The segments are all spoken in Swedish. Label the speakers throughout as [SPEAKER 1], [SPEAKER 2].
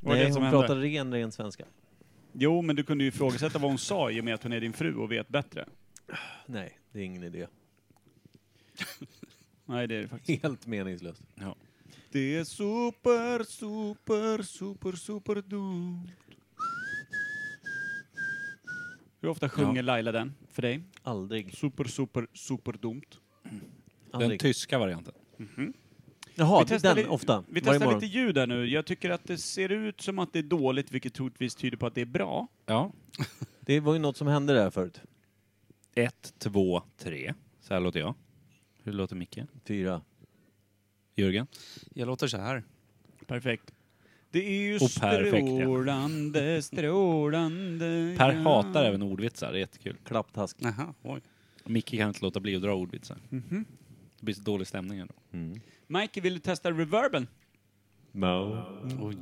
[SPEAKER 1] Var det
[SPEAKER 2] Nej,
[SPEAKER 1] det som
[SPEAKER 2] hon
[SPEAKER 1] hände?
[SPEAKER 2] pratade ren, ren svenska.
[SPEAKER 1] Jo, men du kunde ju ifrågasätta vad hon sa i och med att hon är din fru och vet bättre.
[SPEAKER 2] Nej, det är ingen idé.
[SPEAKER 1] Nej, det är det faktiskt.
[SPEAKER 2] Helt meningslöst.
[SPEAKER 1] Ja. Det är super, super, super, super dumt. Hur ofta sjunger Laila den för dig?
[SPEAKER 2] Aldrig.
[SPEAKER 1] Super, super, super dumt.
[SPEAKER 3] Den
[SPEAKER 2] Aldrig.
[SPEAKER 3] tyska varianten.
[SPEAKER 2] Jaha,
[SPEAKER 1] Vi
[SPEAKER 2] det är
[SPEAKER 1] testar
[SPEAKER 2] den
[SPEAKER 1] li-
[SPEAKER 2] ofta.
[SPEAKER 1] Vi
[SPEAKER 2] Varje
[SPEAKER 1] testar
[SPEAKER 2] morgon.
[SPEAKER 1] lite ljud här nu. Jag tycker att det ser ut som att det är dåligt, vilket troligtvis tyder på att det är bra.
[SPEAKER 3] Ja.
[SPEAKER 2] Det var ju något som hände där förut.
[SPEAKER 3] Ett, två, tre. Så här låter jag. Hur låter Micke?
[SPEAKER 2] Fyra.
[SPEAKER 3] Jörgen? Jag låter så här.
[SPEAKER 1] Perfekt. Det är ju
[SPEAKER 3] Och perfekt, ja.
[SPEAKER 1] strålande, strålande...
[SPEAKER 3] Per
[SPEAKER 1] ja.
[SPEAKER 3] hatar även ordvitsar, det är jättekul.
[SPEAKER 2] Klapptask.
[SPEAKER 3] Aha, oj. Micke kan inte låta bli att dra ordvitsar.
[SPEAKER 4] Mhm.
[SPEAKER 3] Det blir så dålig stämning ändå.
[SPEAKER 1] Mm. Mike, vill du testa reverben?
[SPEAKER 2] No.
[SPEAKER 1] Mm.
[SPEAKER 3] Oj.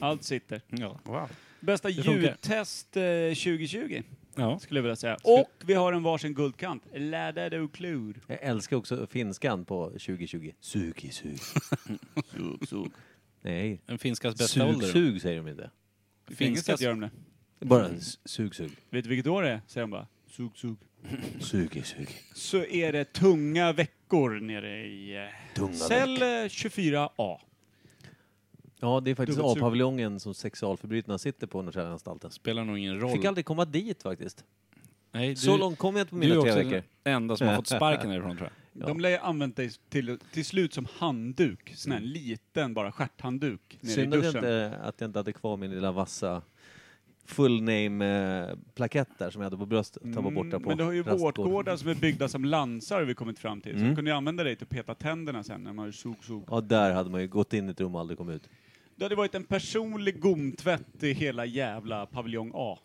[SPEAKER 1] Allt sitter.
[SPEAKER 3] Ja. Wow.
[SPEAKER 1] Bästa
[SPEAKER 3] Det funkar.
[SPEAKER 1] ljudtest eh, 2020,
[SPEAKER 3] Ja.
[SPEAKER 1] skulle jag vilja säga. Och vi har en varsin guldkant. Ladda du klur.
[SPEAKER 2] Jag älskar också finskan på 2020. Sugi, sug.
[SPEAKER 1] Sug, sug.
[SPEAKER 2] Nej.
[SPEAKER 3] En finskas bästa
[SPEAKER 2] Sug,
[SPEAKER 3] ålder.
[SPEAKER 2] sug säger de inte.
[SPEAKER 1] Finskat
[SPEAKER 3] Finskas...
[SPEAKER 1] gör de det.
[SPEAKER 2] Bara
[SPEAKER 1] Mm.
[SPEAKER 2] s- sug, sug.
[SPEAKER 1] Vet du vilket år det är? Säger de bara. Sug, sug.
[SPEAKER 2] Sugi, sug.
[SPEAKER 1] Så är det tunga veckor nere i... eh,
[SPEAKER 2] Tunga
[SPEAKER 1] Cell
[SPEAKER 2] veck.
[SPEAKER 1] eh, 24A.
[SPEAKER 2] Ja, det är faktiskt
[SPEAKER 1] Dubbelt sug.
[SPEAKER 2] A-paviljongen som sexualförbrytarna sitter på Norrtäljeanstalten.
[SPEAKER 3] Spelar nog ingen roll.
[SPEAKER 2] Fick aldrig komma dit faktiskt.
[SPEAKER 3] Nej, du,
[SPEAKER 2] Så långt kom jag inte på
[SPEAKER 3] du är
[SPEAKER 2] mina tre
[SPEAKER 3] också
[SPEAKER 2] veckor.
[SPEAKER 3] den enda som har fått sparken därifrån tror jag.
[SPEAKER 2] Ja.
[SPEAKER 1] De lär ju använt dig till, till slut som handduk. Sån
[SPEAKER 2] Mm.
[SPEAKER 1] här liten bara stjärthandduk nere i
[SPEAKER 2] Synd att jag,
[SPEAKER 1] duschen.
[SPEAKER 2] inte, att jag inte hade kvar min lilla vassa full name-plakett där som jag hade på bröstet. Den var borta
[SPEAKER 1] Mm,
[SPEAKER 2] på
[SPEAKER 1] Men du har ju
[SPEAKER 2] rastgården. Mm.
[SPEAKER 1] vårtgårdar som är byggda som lansar har vi kommit fram till. Så de kunde ju använda dig till att peta tänderna sen när man sug, sug.
[SPEAKER 2] Ja, där hade man ju gått in i ett rum och aldrig kommit ut.
[SPEAKER 1] Det hade varit en personlig gomtvätt i hela jävla paviljong A.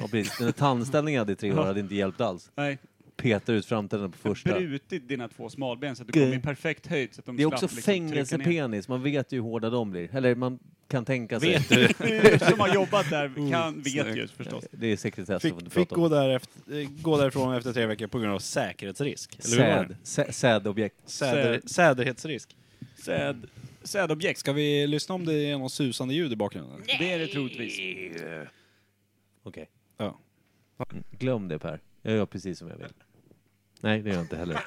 [SPEAKER 2] Ja, precis. Den där tandställningen jag hade i tre år hade inte hjälpt alls.
[SPEAKER 1] Nej,
[SPEAKER 2] Petar ut framtänderna på första.
[SPEAKER 1] brutit dina två smalben så att du kom i perfekt höjd. Så att de
[SPEAKER 2] Det är
[SPEAKER 1] slapp
[SPEAKER 2] också
[SPEAKER 1] liksom trycka ner.
[SPEAKER 2] fängelsepenis, man vet ju hur hårda de blir. Eller man kan tänka sig.
[SPEAKER 3] Vet du?
[SPEAKER 1] Du som har jobbat
[SPEAKER 2] Oh,
[SPEAKER 1] där kan, vet ju förstås.
[SPEAKER 2] Det är sekretess.
[SPEAKER 4] Fick,
[SPEAKER 2] som Alltså, du
[SPEAKER 4] fick
[SPEAKER 2] pratar om.
[SPEAKER 4] gå, där efter, eh, gå därifrån efter tre veckor på grund av säkerhetsrisk. Eller hur var
[SPEAKER 2] Säd,
[SPEAKER 4] det?
[SPEAKER 2] sä, sädobjekt.
[SPEAKER 4] Säder, säderhetsrisk.
[SPEAKER 1] Säd, sädobjekt,
[SPEAKER 4] Ska vi lyssna om det är någon susande ljud i bakgrunden?
[SPEAKER 1] det är det troligtvis.
[SPEAKER 2] Okej.
[SPEAKER 4] Ja.
[SPEAKER 2] Mm, Glöm det Per. Jag gör precis som jag vill. Nej, det gör jag inte heller.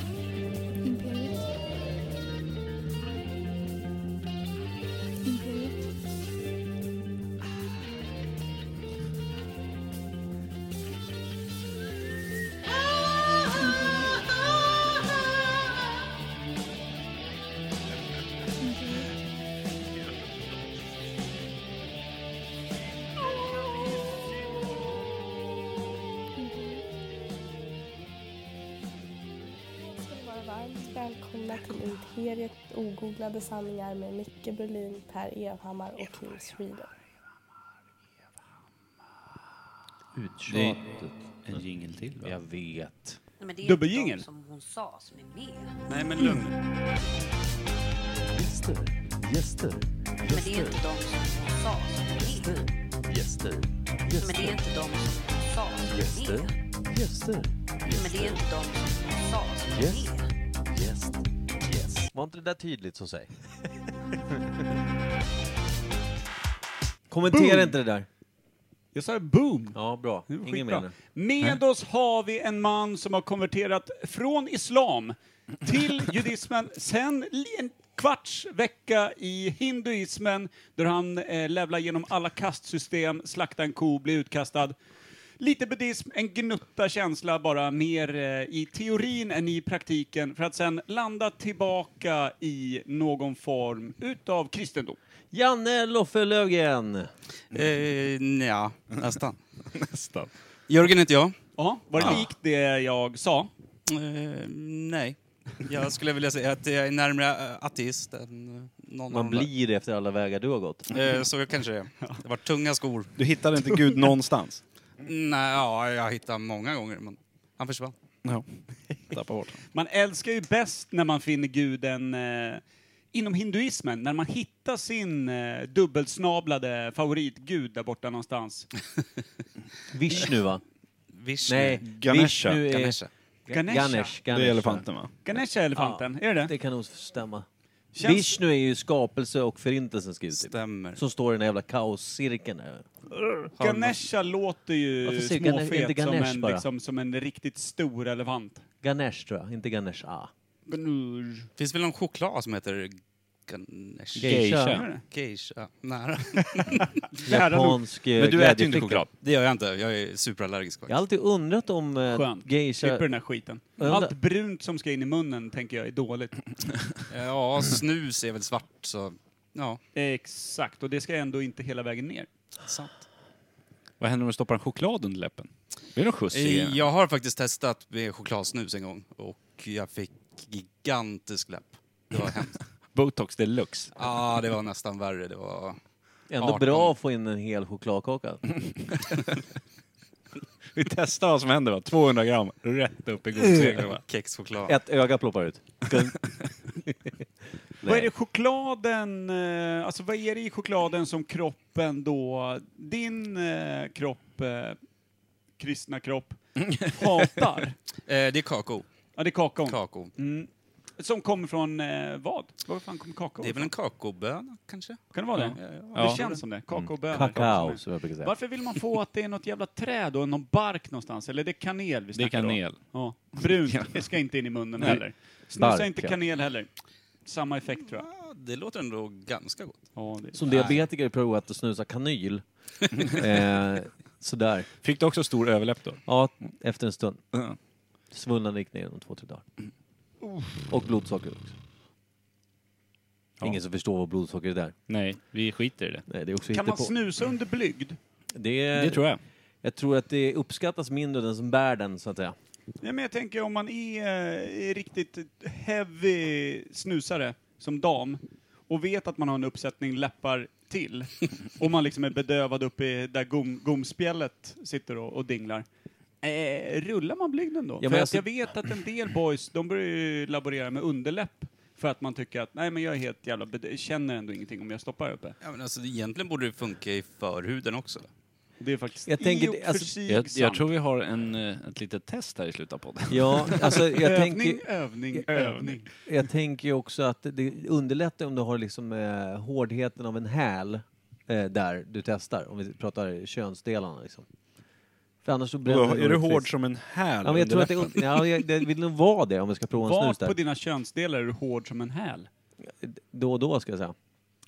[SPEAKER 5] Imperial. Imperial.
[SPEAKER 6] ska ni vara varmt välkomna till Imperiet ogooglade sanningar med Micke Berlin, Per Evhammar och Kim Sweden.
[SPEAKER 2] Uttjatet.
[SPEAKER 3] En jingel till va?
[SPEAKER 2] Jag vet.
[SPEAKER 7] Nej, men det är
[SPEAKER 1] Dubbelgingel.
[SPEAKER 7] inte de som hon sa som är med.
[SPEAKER 1] Nej men lugn.
[SPEAKER 8] Gäster, gäster,
[SPEAKER 7] Nej, men det är inte de som hon sa som är med.
[SPEAKER 8] gäster,
[SPEAKER 7] Nej, men det är inte de som hon sa som är med. Nej,
[SPEAKER 8] gäster,
[SPEAKER 7] men det är inte de som hon sa som är med.
[SPEAKER 8] gäst, gäst.
[SPEAKER 2] Var inte det där tydligt så säg. Kommentera inte det där.
[SPEAKER 1] Jag sa boom.
[SPEAKER 2] Ja, bra.
[SPEAKER 1] Det var
[SPEAKER 2] Ingen
[SPEAKER 1] skitbra.
[SPEAKER 2] mer nu.
[SPEAKER 1] Med oss har vi en man som har konverterat från islam till judismen, sen li- en kvarts vecka i hinduismen, där han eh, levlar genom alla kastsystem, slaktar en ko, blir utkastad. Lite buddhism, en gnutta känsla bara mer eh, i teorin än i praktiken, för att sen landa tillbaka i någon form utav kristendom.
[SPEAKER 2] Janne Loffelögen.
[SPEAKER 9] Eh, ja, nästan.
[SPEAKER 4] Nästan.
[SPEAKER 9] Jörgen heter jag.
[SPEAKER 1] Ja, var det likt det jag sa?
[SPEAKER 9] Eh, nej. Jag skulle vilja säga att jag är närmare eh, ateist än eh, någon
[SPEAKER 2] Man
[SPEAKER 9] av de där.
[SPEAKER 2] blir det efter alla vägar du har gått.
[SPEAKER 9] Eh, så jag kanske det är. Det var tunga skor.
[SPEAKER 4] Du hittade inte Gud någonstans?
[SPEAKER 9] Nej, ja, jag hittade många gånger, men han försvann.
[SPEAKER 4] Ja. Tappa bort
[SPEAKER 1] Man älskar ju bäst när man finner guden eh, inom hinduismen, när man hittar sin eh, dubbelsnablade favoritgud där borta någonstans.
[SPEAKER 2] Vishnu va?
[SPEAKER 9] Vishnu.
[SPEAKER 2] Nej, Eh,
[SPEAKER 4] Ganesha.
[SPEAKER 2] Vishnu är...
[SPEAKER 9] Ganesha.
[SPEAKER 1] Ganesha.
[SPEAKER 2] Ganesh,
[SPEAKER 4] Det
[SPEAKER 2] Ganesh.
[SPEAKER 4] är elefanten va?
[SPEAKER 1] Ganesha är elefanten, är det det?
[SPEAKER 2] Det kan nog stämma.
[SPEAKER 1] Känns-
[SPEAKER 2] Vishnu är ju skapelse och förintelsens gud. typ.
[SPEAKER 9] Stämmer.
[SPEAKER 2] Som står i den där jävla kaoscirkeln där.
[SPEAKER 1] Ganesha låter ju
[SPEAKER 2] Varför säger Ganesh-
[SPEAKER 1] småfet
[SPEAKER 2] inte
[SPEAKER 1] som
[SPEAKER 2] Ganesh
[SPEAKER 1] en,
[SPEAKER 2] bara?
[SPEAKER 1] liksom, som en riktigt stor elefant.
[SPEAKER 2] Ganesh tror jag, inte Ganesh ah. A.
[SPEAKER 1] Ganesh.
[SPEAKER 9] Finns väl någon choklad som heter Ganesha?
[SPEAKER 1] Är det?
[SPEAKER 9] Geisha. Nära.
[SPEAKER 1] Nära nog.
[SPEAKER 2] Japansk eh,
[SPEAKER 4] Men du äter ju inte
[SPEAKER 2] glädjeflicka.
[SPEAKER 4] choklad.
[SPEAKER 9] Det gör jag inte. Jag är superallergisk
[SPEAKER 2] Jag har
[SPEAKER 9] faktiskt.
[SPEAKER 2] alltid undrat om eh,
[SPEAKER 1] Skönt.
[SPEAKER 2] geisha...
[SPEAKER 1] Slipper den här skiten.
[SPEAKER 2] Undra-
[SPEAKER 1] Allt brunt som ska in i munnen tänker jag är dåligt.
[SPEAKER 9] Eh, Ja, snus är väl svart så... Ja,
[SPEAKER 1] Exakt, och det ska ändå inte hela vägen ner.
[SPEAKER 9] sant.
[SPEAKER 3] Vad händer om du stoppar en choklad under läppen? Blir det någon skjuts i
[SPEAKER 9] Eh, Jag har faktiskt testat med chokladsnus en gång och jag fick gigantisk läpp. Det var hemskt.
[SPEAKER 3] Botox deluxe.
[SPEAKER 9] Ja, ah, det var nästan värre. Det var...
[SPEAKER 2] Ändå
[SPEAKER 9] 18.
[SPEAKER 2] bra att få in en hel chokladkaka.
[SPEAKER 4] Vi testar vad som händer va? 200 gram rätt upp i godseglet va?
[SPEAKER 9] Kexchoklad.
[SPEAKER 2] Ett öga ploppar ut.
[SPEAKER 1] Vad är det chokladen, eh, alltså vad är det i chokladen som kroppen då, din eh, kropp, eh, kristna kropp, hatar?
[SPEAKER 9] Eh, det är kakao.
[SPEAKER 1] Ja, det är kakaon.
[SPEAKER 9] kakao.
[SPEAKER 1] Mm. Som kommer från eh, vad? Var fan kommer kakao
[SPEAKER 9] Det är
[SPEAKER 1] ifrån?
[SPEAKER 9] väl en kakaoböna kanske?
[SPEAKER 1] Kan det vara det?
[SPEAKER 9] Ja. Mm.
[SPEAKER 1] Det
[SPEAKER 3] Ja.
[SPEAKER 1] känns som det. Kakaobönor.
[SPEAKER 2] Mm. Kakao, som jag brukar säga.
[SPEAKER 1] Varför vill man få att det är något jävla träd och någon bark någonstans? Eller det är kanel vi
[SPEAKER 3] Det är
[SPEAKER 1] snackar om.
[SPEAKER 3] kanel.
[SPEAKER 1] Ja. Brunt. Det ska inte in i munnen heller.
[SPEAKER 2] Bark,
[SPEAKER 1] Snusa inte
[SPEAKER 2] ja.
[SPEAKER 1] kanel heller. Samma effekt tror jag.
[SPEAKER 9] Ja, det låter ändå ganska gott.
[SPEAKER 1] Ja, det
[SPEAKER 2] Som diabetiker har jag provat att snusa kanyl. eh, sådär.
[SPEAKER 4] Fick du också stor överläpp då?
[SPEAKER 2] Ja, efter en stund. Svullnaden gick ner om två, tre dagar. Och blodsocker också. Ingen som förstår vad blodsocker är där.
[SPEAKER 3] Nej, vi skiter i det.
[SPEAKER 2] Nej, det är också
[SPEAKER 1] kan man
[SPEAKER 2] hittepå.
[SPEAKER 1] snusa under blygd?
[SPEAKER 2] Det, är,
[SPEAKER 3] Det tror jag.
[SPEAKER 2] jag tror att det uppskattas mindre av den som bär den, så att säga.
[SPEAKER 1] Ja, men jag tänker om man är, eh, är riktigt heavy snusare som dam och vet att man har en uppsättning läppar till och man liksom är bedövad uppe i där gom, gomspjället sitter och, och dinglar. Eh, rullar man blygden då?
[SPEAKER 2] men
[SPEAKER 1] för att
[SPEAKER 2] alltså-
[SPEAKER 1] jag vet att en del boys, de börjar ju laborera med underläpp för att man tycker att nej men jag är helt jävla bedö- känner ändå ingenting om jag stoppar här uppe.
[SPEAKER 9] Ja, men alltså, egentligen borde det funka i förhuden också.
[SPEAKER 1] Det är faktiskt
[SPEAKER 2] Jag tänker
[SPEAKER 1] i och
[SPEAKER 2] det-
[SPEAKER 1] för
[SPEAKER 2] alltså,
[SPEAKER 1] sig
[SPEAKER 3] Jag, jag
[SPEAKER 1] sant.
[SPEAKER 3] tror vi har en, eh, ett litet test här i slutet av podden.
[SPEAKER 2] Ja, alltså jag
[SPEAKER 1] övning,
[SPEAKER 2] tänker...
[SPEAKER 1] övning, övning.
[SPEAKER 2] Jag tänker ju också att det underlättar om du har liksom eh, hårdheten av en häl eh, där du testar, om vi pratar könsdelarna liksom. För annars så bränner
[SPEAKER 4] Är
[SPEAKER 2] nog
[SPEAKER 4] du
[SPEAKER 2] ett
[SPEAKER 4] hård
[SPEAKER 2] friskt-
[SPEAKER 4] som en häl?
[SPEAKER 2] Ja, men jag tror att det,
[SPEAKER 4] under läppen?
[SPEAKER 2] un- ja, jag- det vill nog vara det om vi ska prova en snus
[SPEAKER 1] Vart på
[SPEAKER 2] där.
[SPEAKER 1] dina könsdelar är du hård som en häl?
[SPEAKER 2] Då och då ska jag säga.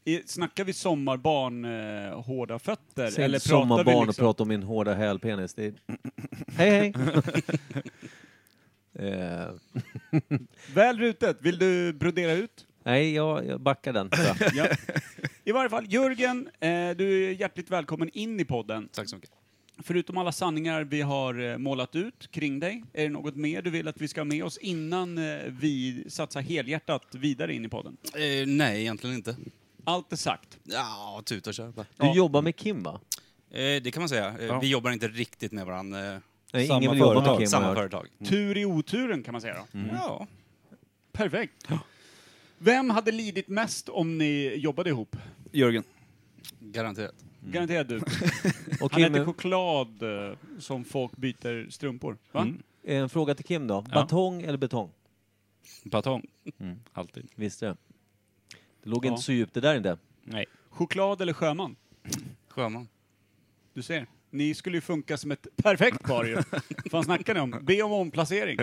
[SPEAKER 1] I, snackar vi sommarbarn eh, hårda fötter?
[SPEAKER 2] Säg
[SPEAKER 1] eller
[SPEAKER 2] inte
[SPEAKER 1] pratar vi
[SPEAKER 2] sommarbarn och
[SPEAKER 1] liksom...
[SPEAKER 2] prata om min hårda hälpenis. Det är... Hej hej! Eh,
[SPEAKER 1] Väl rutet, vill du brodera ut?
[SPEAKER 2] nej, jag, jag backar den. tror jag.
[SPEAKER 1] Ja. I varje fall, Jörgen, eh, du är hjärtligt välkommen in i podden.
[SPEAKER 9] Tack så mycket.
[SPEAKER 1] Förutom alla sanningar vi har eh, målat ut kring dig, är det något mer du vill att vi ska ha med oss innan eh, vi satsar helhjärtat vidare in i podden?
[SPEAKER 9] Eh, nej, egentligen inte.
[SPEAKER 1] Allt är sagt.
[SPEAKER 9] Ja, tuta och kör bara.
[SPEAKER 2] Du jobbar med Kim va?
[SPEAKER 9] Eh, det kan man säga. Eh, Vi jobbar inte riktigt med varandra. Eh,
[SPEAKER 2] Nej,
[SPEAKER 4] Samma
[SPEAKER 2] ingen vill jobba med
[SPEAKER 4] företag,
[SPEAKER 2] Kim. har jag
[SPEAKER 9] samma
[SPEAKER 2] hört.
[SPEAKER 9] företag.
[SPEAKER 1] Tur i oturen kan man säga då.
[SPEAKER 2] Mm.
[SPEAKER 9] Ja.
[SPEAKER 1] Perfekt. Vem hade lidit mest om ni jobbade ihop?
[SPEAKER 4] Jörgen.
[SPEAKER 9] Garanterat.
[SPEAKER 2] Mm.
[SPEAKER 1] Garanterat du.
[SPEAKER 2] Och
[SPEAKER 1] Han
[SPEAKER 2] Kim,
[SPEAKER 1] äter choklad eh, som folk byter strumpor. Va?
[SPEAKER 2] eh, en fråga till Kim då. Batong eller betong?
[SPEAKER 3] Batong. Alltid.
[SPEAKER 2] Visste det. Det låg
[SPEAKER 1] Ja.
[SPEAKER 2] inte så djupt det där inte.
[SPEAKER 3] Nej.
[SPEAKER 1] Choklad eller sjöman?
[SPEAKER 9] Sjöman.
[SPEAKER 1] Du ser. Ni skulle ju funka som ett perfekt par ju. Fan snackar ni om? Be om omplacering.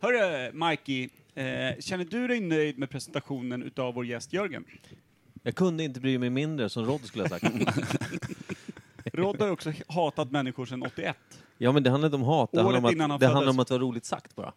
[SPEAKER 1] Hörru, Mikey. Eh, känner du dig nöjd med presentationen utav vår gäst Jörgen?
[SPEAKER 2] Jag kunde inte bry mig mindre som Rod skulle jag ha sagt.
[SPEAKER 1] Rod har ju också hatat människor sedan 81.
[SPEAKER 2] ja men det handlar inte om hat, det
[SPEAKER 1] Året
[SPEAKER 2] handlar om
[SPEAKER 1] innan han
[SPEAKER 2] att, det handlar
[SPEAKER 1] föddes.
[SPEAKER 2] om att vara roligt sagt bara.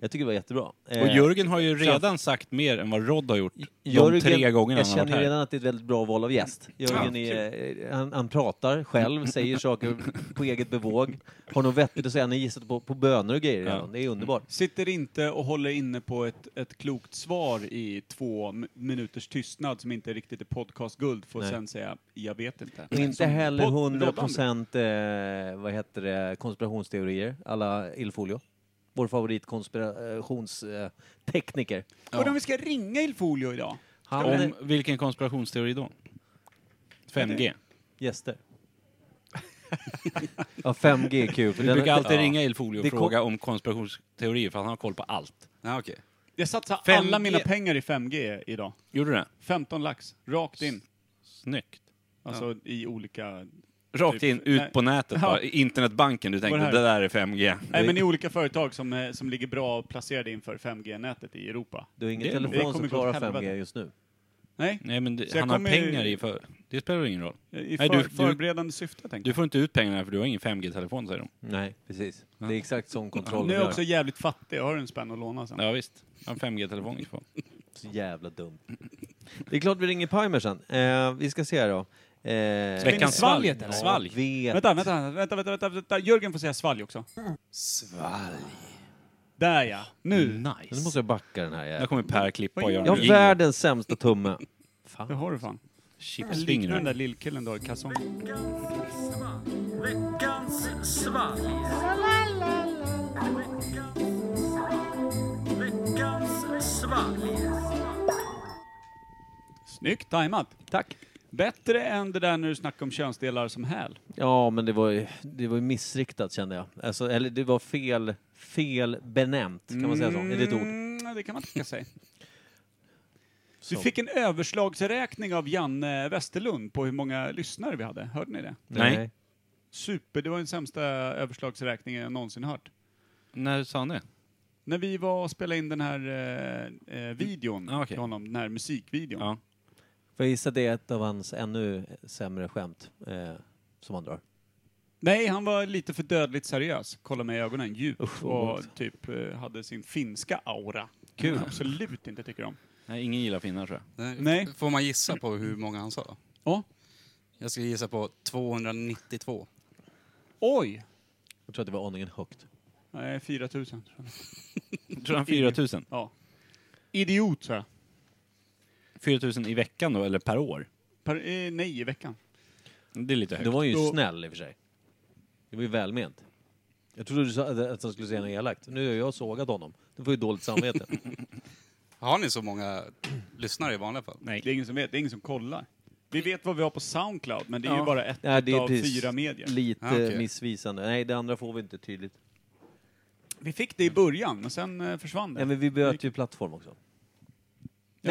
[SPEAKER 2] Jag tycker det var jättebra. Eh,
[SPEAKER 4] Och Jörgen har ju redan sagt mer än vad Rod har gjort. de
[SPEAKER 2] Jörgen-
[SPEAKER 4] tre gångerna
[SPEAKER 2] Jag
[SPEAKER 4] han har varit
[SPEAKER 2] känner
[SPEAKER 4] här.
[SPEAKER 2] redan att det är ett väldigt bra val av gäst. Jörgen är, eh, han, han pratar själv, säger saker på eget bevåg. Har något vettigt att säga, han har gissat på, på bönor och grejer redan. Det är underbart.
[SPEAKER 1] Sitter inte och håller inne på ett, ett klokt svar i två m- minuters tystnad som inte riktigt är podcastguld får
[SPEAKER 2] Nej.
[SPEAKER 1] sen säga jag vet inte.
[SPEAKER 2] Och inte
[SPEAKER 1] Som
[SPEAKER 2] heller
[SPEAKER 1] podd-
[SPEAKER 2] 100
[SPEAKER 1] Roddande.
[SPEAKER 2] procent, eh, vad heter det, konspirationsteorier, alla Ilfolio. vår eh, favoritkonspirationstekniker.
[SPEAKER 1] Och om vi ska ringa Il Folio idag?
[SPEAKER 2] Han hade
[SPEAKER 4] Om vilken konspirationsteori då? 5G.
[SPEAKER 2] gäster. ja, 5G är kul. för
[SPEAKER 4] Vi
[SPEAKER 2] den-
[SPEAKER 4] brukar alltid
[SPEAKER 2] ja.
[SPEAKER 4] ringa Ilfolio
[SPEAKER 2] Det
[SPEAKER 4] och
[SPEAKER 2] kom-
[SPEAKER 4] fråga om konspirationsteorier för han har koll på allt.
[SPEAKER 9] Ja, okej.
[SPEAKER 1] Jag satsar
[SPEAKER 4] 5G.
[SPEAKER 1] alla mina pengar i 5G idag.
[SPEAKER 4] Gjorde du det?
[SPEAKER 1] 15 lax, rakt in.
[SPEAKER 4] Snyggt.
[SPEAKER 1] Alltså i olika...
[SPEAKER 4] Rakt in, ut
[SPEAKER 1] Nej.
[SPEAKER 4] på nätet
[SPEAKER 1] Ja.
[SPEAKER 4] bara. Internetbanken, du tänkte
[SPEAKER 1] Var det här?
[SPEAKER 4] det där är 5G.
[SPEAKER 1] Nej men i olika företag som, eh, som ligger bra placerade inför 5G-nätet i Europa.
[SPEAKER 2] Du har ingen
[SPEAKER 4] Det är nog-
[SPEAKER 1] det
[SPEAKER 2] telefon
[SPEAKER 1] kommer
[SPEAKER 2] som
[SPEAKER 1] gå
[SPEAKER 2] klarar
[SPEAKER 1] åt helvete.
[SPEAKER 2] 5G just nu.
[SPEAKER 1] Nej,
[SPEAKER 4] Nej men det,
[SPEAKER 1] Så jag
[SPEAKER 4] han har
[SPEAKER 1] kommer-
[SPEAKER 4] pengar i för... Det spelar ingen roll.
[SPEAKER 1] i för,
[SPEAKER 4] Nej, du- du-
[SPEAKER 1] förberedande syfte tänkte
[SPEAKER 4] Du får inte ut pengarna för du har ingen 5G-telefon säger de.
[SPEAKER 2] Nej, precis. Det är exakt sån
[SPEAKER 1] jag.
[SPEAKER 2] kontroll
[SPEAKER 1] Nu
[SPEAKER 2] de
[SPEAKER 1] är jag också
[SPEAKER 2] gör.
[SPEAKER 1] jävligt fattig, jag har en spänn att låna sen.
[SPEAKER 4] Ja visst. Jag har en 5G-telefon i så fall.
[SPEAKER 2] Så jävla dumt. Det är klart vi ringer Pimer sen. Eh, vi ska se här då. Eh,
[SPEAKER 1] Veckans svalget, eller?
[SPEAKER 4] Svalg.
[SPEAKER 2] Vet.
[SPEAKER 1] Vänta, vänta, vänta, vänta, vänta, vänta. Jörgen får säga svalg också.
[SPEAKER 9] Svalg.
[SPEAKER 1] Där ja, nu.
[SPEAKER 2] Nu
[SPEAKER 4] Nice.
[SPEAKER 2] måste jag backa den här
[SPEAKER 4] Nu
[SPEAKER 2] jäveln.
[SPEAKER 4] kommer Per klippa och göra
[SPEAKER 2] Jag
[SPEAKER 4] en
[SPEAKER 2] har
[SPEAKER 4] jingle.
[SPEAKER 2] världens sämsta tumme.
[SPEAKER 1] Det har du fan. Liknar den
[SPEAKER 4] Chipsfingrar.
[SPEAKER 1] där lillkillen du har i kalsongen. Snyggt tajmat.
[SPEAKER 2] Tack.
[SPEAKER 1] Bättre än det där när du snackade om könsdelar som häl.
[SPEAKER 2] Ja, men det var ju, det var ju missriktat kände jag. Alltså, eller det var fel, fel benämnt, kan man säga så? Är det ett ord?
[SPEAKER 1] Mm, det kan man tänka sig. Du
[SPEAKER 2] Så.
[SPEAKER 1] fick en överslagsräkning av Janne Westerlund på hur många lyssnare vi hade. Hörde ni det?
[SPEAKER 4] Nej.
[SPEAKER 1] Super, det var den sämsta överslagsräkningen jag någonsin hört.
[SPEAKER 4] När sa han det?
[SPEAKER 1] När vi var och spelade in den här eh, eh, videon
[SPEAKER 4] Ah, okej.
[SPEAKER 1] till honom, den här musikvideon.
[SPEAKER 4] Ja.
[SPEAKER 2] Får jag gissa det är ett av hans ännu sämre skämt eh, som han drar?
[SPEAKER 1] Nej, han var lite för dödligt seriös. Kolla mig i ögonen djupt
[SPEAKER 2] Usch, vad
[SPEAKER 1] och typ eh, hade sin finska aura. Kul. Absolut inte tycker om.
[SPEAKER 4] Nej, ingen gillar finnar tror jag.
[SPEAKER 9] Nej.
[SPEAKER 1] Nej.
[SPEAKER 9] Får man gissa på hur många han sa?
[SPEAKER 1] Ja.
[SPEAKER 9] Jag skulle gissa på 292.
[SPEAKER 1] Oj!
[SPEAKER 2] Jag tror att det var aningen högt.
[SPEAKER 1] Nej, 4000.
[SPEAKER 4] Tror han 4000?
[SPEAKER 1] Ja. Idiot, sa jag.
[SPEAKER 4] 4000 i veckan då, eller per år?
[SPEAKER 1] Per, eh, nej, i veckan.
[SPEAKER 4] Det är lite
[SPEAKER 2] Det
[SPEAKER 4] högt.
[SPEAKER 2] var ju
[SPEAKER 1] Då-
[SPEAKER 2] snäll i och för sig. Det var ju välment. Jag trodde du sa att- att han skulle säga något elakt. Nu har jag sågat honom. Du får ju dåligt samvete.
[SPEAKER 9] Har ni så många lyssnare i vanliga fall?
[SPEAKER 4] Nej.
[SPEAKER 1] Det är ingen som vet, det är ingen som kollar. Vi vet vad vi har på Soundcloud, men det är ju bara ett
[SPEAKER 2] Nej, det är
[SPEAKER 1] av
[SPEAKER 2] precis
[SPEAKER 1] fyra medier.
[SPEAKER 2] Lite
[SPEAKER 9] Ah, okej.
[SPEAKER 2] missvisande. Nej, det andra får vi inte tydligt.
[SPEAKER 1] Vi fick det i början, men sen eh, försvann det.
[SPEAKER 2] Nej, men vi bytte ju plattform också.
[SPEAKER 1] Ja,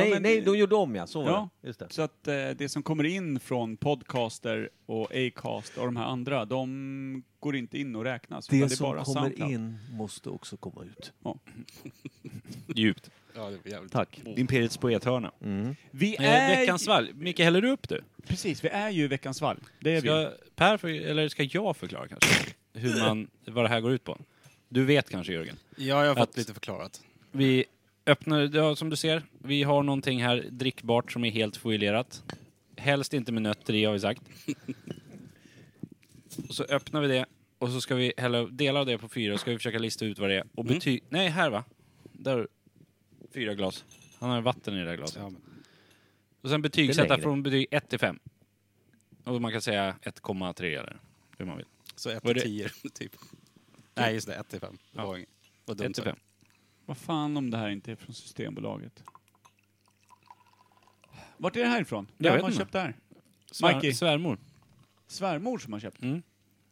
[SPEAKER 2] nej,
[SPEAKER 1] men-
[SPEAKER 2] nej, de gjorde om ja. Så var
[SPEAKER 1] Ja.
[SPEAKER 2] det. Just det.
[SPEAKER 1] Så att eh, det som kommer in från Podcaster och Acast och de här andra, de går inte in och räknas. utan
[SPEAKER 2] Det
[SPEAKER 1] är bara
[SPEAKER 2] som kommer
[SPEAKER 1] Soundcloud.
[SPEAKER 2] in måste också komma ut.
[SPEAKER 4] Djupt.
[SPEAKER 9] Ja, det är jävligt.
[SPEAKER 2] Tack.
[SPEAKER 1] Mm.
[SPEAKER 4] Imperiets poethörna.
[SPEAKER 1] Vi
[SPEAKER 4] Eh,
[SPEAKER 1] är,
[SPEAKER 4] veckans svalg. Micke, häller du upp du?
[SPEAKER 1] Precis, vi är ju i veckans valg. Det är vi.
[SPEAKER 4] Ska per, för, eller ska jag förklara kanske? Hur man, vad det här går ut på? Du vet kanske Jörgen?
[SPEAKER 9] Ja, jag har fått
[SPEAKER 4] Att-
[SPEAKER 9] lite förklarat.
[SPEAKER 4] Vi öppnar, ja, som du ser, vi har någonting här drickbart som är helt foilerat. Helst inte med nötter i har vi sagt. Och så öppnar vi det och så ska vi hälla dela det på fyra och ska vi försöka lista ut vad det är. Och bety... Nej, här va? Där. har du Fyra glas. Han har vatten i det där glaset.
[SPEAKER 9] Ja, men-
[SPEAKER 4] Och sen
[SPEAKER 2] Det är
[SPEAKER 4] betygsätta
[SPEAKER 2] längre.
[SPEAKER 4] från betyg 1 till 5. Och man kan säga 1,3 eller hur man vill.
[SPEAKER 9] Så 1
[SPEAKER 4] Vad är
[SPEAKER 9] till
[SPEAKER 4] det?
[SPEAKER 9] 10 typ. Nej, just det. 1 till 5. Det var inget. Vad dumt
[SPEAKER 4] 1 till
[SPEAKER 9] sagt.
[SPEAKER 4] 5.
[SPEAKER 1] Vad fan om det här inte är från Systembolaget? Vart är det här ifrån? Vem
[SPEAKER 4] vet
[SPEAKER 1] har
[SPEAKER 4] inte.
[SPEAKER 1] köpt det här?
[SPEAKER 4] Svär,
[SPEAKER 1] Mikey.
[SPEAKER 4] Svärmor.
[SPEAKER 1] Svärmor som har köpt.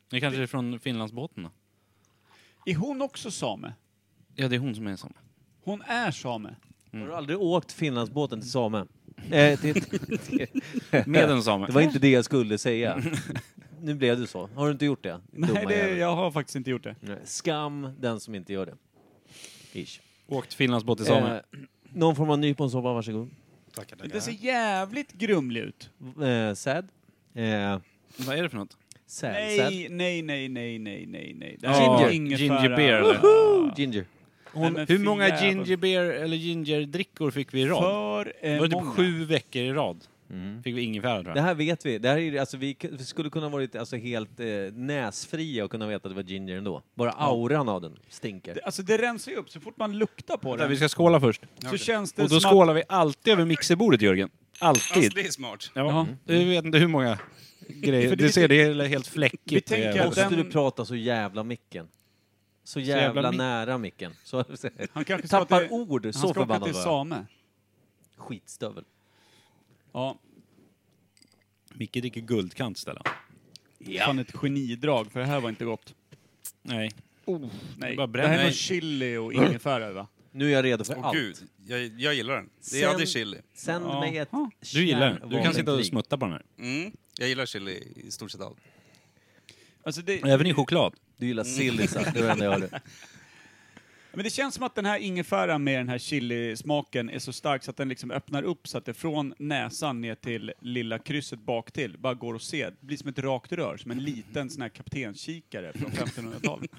[SPEAKER 4] Det kanske är från Finlandsbåten då?
[SPEAKER 1] Är hon också same?
[SPEAKER 4] Ja, det är hon som är ensam.
[SPEAKER 1] Hon är same.
[SPEAKER 2] Har du aldrig åkt Finlandsbåten till Same? Eh, till,
[SPEAKER 4] Med en same.
[SPEAKER 2] det var inte det jag skulle säga. Nu blev du så. Har du inte gjort det?
[SPEAKER 1] Nej,
[SPEAKER 2] Dumma
[SPEAKER 1] det,
[SPEAKER 2] jävel.
[SPEAKER 1] jag har faktiskt inte gjort det.
[SPEAKER 2] Nej, Skam den som inte gör det. Ish.
[SPEAKER 4] Åkt Finlandsbåt till Samer.
[SPEAKER 2] Eh, någon form av nyponsoppa, varsågod.
[SPEAKER 9] Tackar, tackar.
[SPEAKER 1] Den ser jävligt grumlig ut.
[SPEAKER 2] Eh, sad. Eh,
[SPEAKER 4] Vad är det för något?
[SPEAKER 2] sad. sad.
[SPEAKER 1] Nej, nej, nej, nej, nej, nej, nej. Det
[SPEAKER 4] Ja,
[SPEAKER 1] här är
[SPEAKER 4] ginger.
[SPEAKER 1] ingefära.
[SPEAKER 4] Ginger beer, eller?
[SPEAKER 2] Woohoo, Ginger.
[SPEAKER 1] Nej, men
[SPEAKER 4] Hur
[SPEAKER 1] fy
[SPEAKER 4] många
[SPEAKER 1] jävel.
[SPEAKER 4] ginger beer eller gingerdrickor fick vi i rad?
[SPEAKER 1] För eh,
[SPEAKER 4] det var typ
[SPEAKER 1] många.
[SPEAKER 4] sju veckor i rad. Fick vi ingefära tror
[SPEAKER 2] Mm. Det
[SPEAKER 4] jag.
[SPEAKER 2] här vet vi. Det här är, alltså, vi, k- vi skulle kunna varit alltså, helt eh, näsfria och kunna veta att det var ginger ändå. Bara auran av den stinker.
[SPEAKER 1] Det- Alltså det rensar ju upp så fort man luktar på
[SPEAKER 4] Vänta,
[SPEAKER 1] det.
[SPEAKER 4] vi ska skåla först.
[SPEAKER 1] Så känns det
[SPEAKER 4] Och då
[SPEAKER 1] som
[SPEAKER 4] skålar vi alltid över mixerbordet Jörgen.
[SPEAKER 9] Alltså,
[SPEAKER 4] Alltid.
[SPEAKER 9] det är smart.
[SPEAKER 4] Ja. Mm. Jag vet inte hur många grejer.
[SPEAKER 1] För det
[SPEAKER 4] Du
[SPEAKER 1] vi
[SPEAKER 4] ser, det är helt fläckigt.
[SPEAKER 1] tänker
[SPEAKER 4] Det är-
[SPEAKER 1] att-
[SPEAKER 2] Måste
[SPEAKER 1] den-
[SPEAKER 2] du prata så jävla mycket? så jävla
[SPEAKER 1] mick.
[SPEAKER 2] nära micken. Så,
[SPEAKER 1] Han kanske ska
[SPEAKER 2] tappar
[SPEAKER 1] till-
[SPEAKER 2] ord,
[SPEAKER 1] Han
[SPEAKER 2] så
[SPEAKER 1] ska åka
[SPEAKER 2] förbannad
[SPEAKER 1] till
[SPEAKER 2] var jag.
[SPEAKER 1] same.
[SPEAKER 2] Skitstövel.
[SPEAKER 1] Ja,
[SPEAKER 3] Micke dricker guldkant Stellan.
[SPEAKER 1] fan ett genidrag, för det här var inte gott.
[SPEAKER 3] Nej.
[SPEAKER 1] Nej,
[SPEAKER 3] Bara
[SPEAKER 1] det,
[SPEAKER 3] bränn-
[SPEAKER 1] här är
[SPEAKER 3] nej.
[SPEAKER 1] någon chili och ingefära va?
[SPEAKER 2] Nu är jag redo för
[SPEAKER 9] Åh
[SPEAKER 2] allt.
[SPEAKER 9] gud, jag, jag gillar den. Det
[SPEAKER 2] Sen-
[SPEAKER 9] är aldrig chili.
[SPEAKER 2] Sänd
[SPEAKER 1] Ja.
[SPEAKER 2] mig ett
[SPEAKER 1] Du
[SPEAKER 3] Du gillar den. Du kan sitta och
[SPEAKER 2] kärnvapenkrig.
[SPEAKER 3] smutta på den här.
[SPEAKER 9] Mm. Jag gillar chili i stort sett allt.
[SPEAKER 1] Alltså det,
[SPEAKER 3] Även i choklad.
[SPEAKER 2] Du gillar
[SPEAKER 3] Mm.
[SPEAKER 2] sillisar, det är det enda jag hörde.
[SPEAKER 1] Men det känns som att den här ingefäran med den här chilismaken är så stark så att den liksom öppnar upp så att det från näsan ner till lilla krysset bak till bara går att se. Det blir som ett rakt rör, som en liten sån här kaptenskikare från 1500-talet.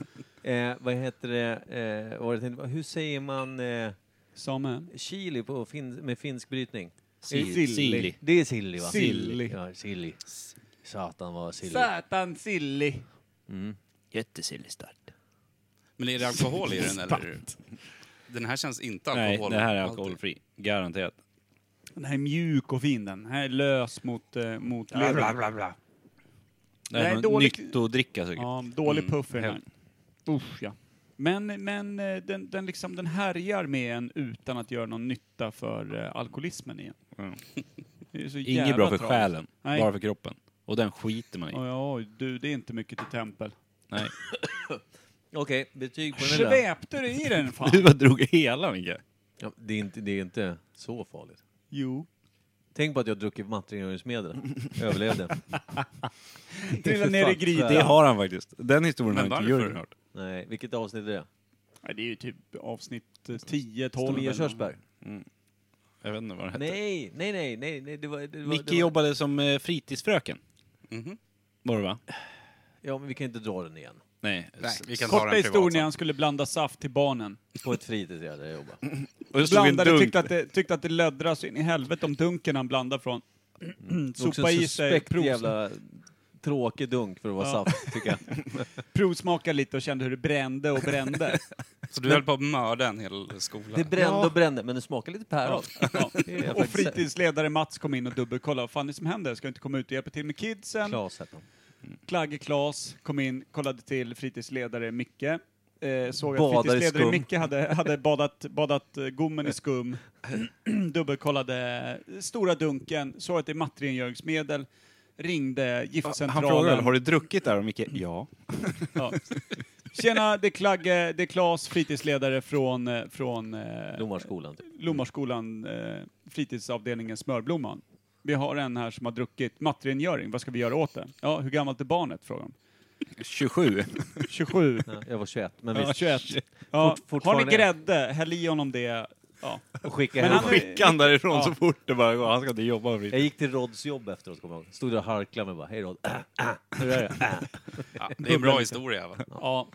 [SPEAKER 2] Eh, vad heter det, eh, vad var det jag tänkte på? hur säger man eh,
[SPEAKER 1] Same.
[SPEAKER 2] chili på fin med finsk brytning?
[SPEAKER 1] Silly.
[SPEAKER 3] Silly.
[SPEAKER 2] Det är silly va?
[SPEAKER 1] Silly.
[SPEAKER 2] Ja, silly. Satan vad silly.
[SPEAKER 1] Satan silly.
[SPEAKER 2] Jättesilly start.
[SPEAKER 9] Men är det alkohol i den eller? Den här känns inte
[SPEAKER 3] Nej,
[SPEAKER 9] alkohol.
[SPEAKER 3] det här är alkoholfri. Garanterat.
[SPEAKER 1] Den här är mjuk och fin den. Den här är lös mot, eh, mot levern.
[SPEAKER 3] Det här
[SPEAKER 1] Nej,
[SPEAKER 3] är
[SPEAKER 1] dålig-
[SPEAKER 3] dålig... nytt att dricka säkert.
[SPEAKER 1] Ja, dålig
[SPEAKER 9] Mm,
[SPEAKER 1] puff är den här.
[SPEAKER 9] helt.
[SPEAKER 1] Usch ja. Men, men eh, den, den, liksom, den härjar med en utan att göra någon nytta för eh, alkoholismen igen.
[SPEAKER 3] Mm.
[SPEAKER 1] Det är så jävla
[SPEAKER 3] Inget bra för
[SPEAKER 1] tragiskt.
[SPEAKER 3] själen,
[SPEAKER 1] Nej.
[SPEAKER 3] bara för kroppen. Och den skiter man i.
[SPEAKER 1] Oj, oj, du, det är inte mycket till tempel.
[SPEAKER 3] Nej.
[SPEAKER 2] Okej, betyg på den där.
[SPEAKER 1] Svepte du i den fan?
[SPEAKER 3] Du bara drog hela Micke.
[SPEAKER 2] Ja, det, är inte, det är inte så farligt.
[SPEAKER 1] Jo.
[SPEAKER 2] Tänk på att jag druckit mattrengöringsmedel. Överlevde.
[SPEAKER 1] Trilla ner i grytan.
[SPEAKER 3] Det har han faktiskt. Den historien
[SPEAKER 9] Men
[SPEAKER 3] har inte
[SPEAKER 9] varför?
[SPEAKER 3] Jörgen hört.
[SPEAKER 2] Nej, vilket avsnitt är det?
[SPEAKER 1] Nej, det är ju typ avsnitt eh, 10, 12.
[SPEAKER 2] Tomia
[SPEAKER 1] eller något.
[SPEAKER 2] Körsberg?
[SPEAKER 3] Jag vet inte vad det hette.
[SPEAKER 2] Nej, nej, nej, nej, nej, det var... Det var
[SPEAKER 3] Micke
[SPEAKER 2] det var,
[SPEAKER 3] jobbade som eh, fritidsfröken.
[SPEAKER 9] Mhm.
[SPEAKER 3] Var det va?
[SPEAKER 2] Ja, men vi kan inte dra den igen.
[SPEAKER 3] Nej.
[SPEAKER 9] Nej, vi kan ta
[SPEAKER 1] Korta
[SPEAKER 9] den
[SPEAKER 1] historien
[SPEAKER 9] privat.
[SPEAKER 1] när
[SPEAKER 9] sen.
[SPEAKER 1] han skulle blanda saft till barnen.
[SPEAKER 2] På ett fritids där jag jobbar.
[SPEAKER 1] Mm,
[SPEAKER 3] Och det stod en
[SPEAKER 1] Blandade,
[SPEAKER 3] dunk.
[SPEAKER 1] tyckte att det, tyckte att det löddras in i helvete om dunken han blandade från. Sopa i sig,
[SPEAKER 2] Mm. suspekt
[SPEAKER 1] prov,
[SPEAKER 2] jävla tråkig dunk för att vara
[SPEAKER 1] Ja.
[SPEAKER 2] saft, tycker jag.
[SPEAKER 1] provsmaka lite och kände hur det brände och brände.
[SPEAKER 9] Så du höll på att mörda en hel skola.
[SPEAKER 2] Det brände och brände, men det smakar lite päron.
[SPEAKER 1] Ja.
[SPEAKER 2] Det är
[SPEAKER 1] Och
[SPEAKER 2] jag faktiskt-
[SPEAKER 1] fritidsledare Mats kom in och dubbelkollade. Vad fan är det som händer? Ska jag inte komma ut och hjälpa till med kidsen?
[SPEAKER 2] Klas hette han.
[SPEAKER 1] Klagge Klas kom in, kollade till fritidsledare Micke. Eh, såg att
[SPEAKER 2] Badar i
[SPEAKER 1] fritidsledare
[SPEAKER 2] skum.
[SPEAKER 1] Micke hade, hade badat, badat eh, gommen i skum. Dubbelkollade stora dunken, såg att det är mattrengöringsmedel. Ringde
[SPEAKER 3] Han frågade,
[SPEAKER 1] giftcentralen.
[SPEAKER 3] har du druckit där? Och Micke, ja.
[SPEAKER 1] Ja. Tjena, det är Klagge, det är Klas, fritidsledare från, eh, från eh,
[SPEAKER 2] Domarskolan, typ.
[SPEAKER 1] Lommarskolan, eh, fritidsavdelningen Smörblomman. Vi har en här som har druckit mattrengöring, vad ska vi göra åt det? Ja, hur gammalt är barnet? frågar de.
[SPEAKER 3] 27.
[SPEAKER 1] 27.
[SPEAKER 2] Ja, jag var 21, men
[SPEAKER 1] Ja,
[SPEAKER 2] visst.
[SPEAKER 1] 21. Ja, har ni
[SPEAKER 2] fortfarande.
[SPEAKER 1] grädde, häll i honom det. Ja.
[SPEAKER 2] Och skicka
[SPEAKER 1] Men
[SPEAKER 2] hem
[SPEAKER 1] han-
[SPEAKER 2] honom.
[SPEAKER 3] Skickade han därifrån
[SPEAKER 1] Ja.
[SPEAKER 3] så fort det bara går. Han ska inte jobba med
[SPEAKER 2] Jag
[SPEAKER 3] fritid.
[SPEAKER 2] gick till Rods jobb efteråt, kommer jag ihåg. Stod där och harklade mig bara, hej Rod. Hur är det?
[SPEAKER 9] Ja, det är en bra historia. Va?
[SPEAKER 1] Ja.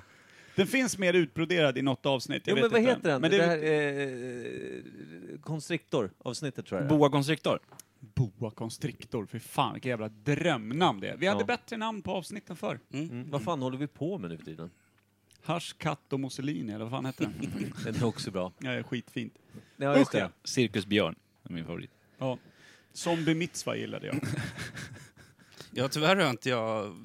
[SPEAKER 1] Den finns mer utbroderad i något avsnitt. Jag
[SPEAKER 2] Jo,
[SPEAKER 1] vet
[SPEAKER 2] men vad
[SPEAKER 1] inte.
[SPEAKER 2] heter den?
[SPEAKER 1] Men
[SPEAKER 2] det,
[SPEAKER 1] det är
[SPEAKER 2] här eh, Constrictor-avsnittet, tror jag det är.
[SPEAKER 3] Boa constrictor.
[SPEAKER 1] Boa Constrictor, för fan vilket jävla drömnamn det är. Vi hade
[SPEAKER 2] Ja.
[SPEAKER 1] bättre namn på avsnitten förr.
[SPEAKER 2] Mm. Vad fan håller vi på med nu för tiden?
[SPEAKER 1] Hasch, katt och Mussolini, eller vad fan hette den?
[SPEAKER 2] Den är också bra.
[SPEAKER 1] Ja, det är skitfint.
[SPEAKER 2] Ja, just det.
[SPEAKER 3] Cirkus Björn är min favorit.
[SPEAKER 1] Ja. Zombie Mitzva gillade jag.
[SPEAKER 9] Ja, tyvärr har inte jag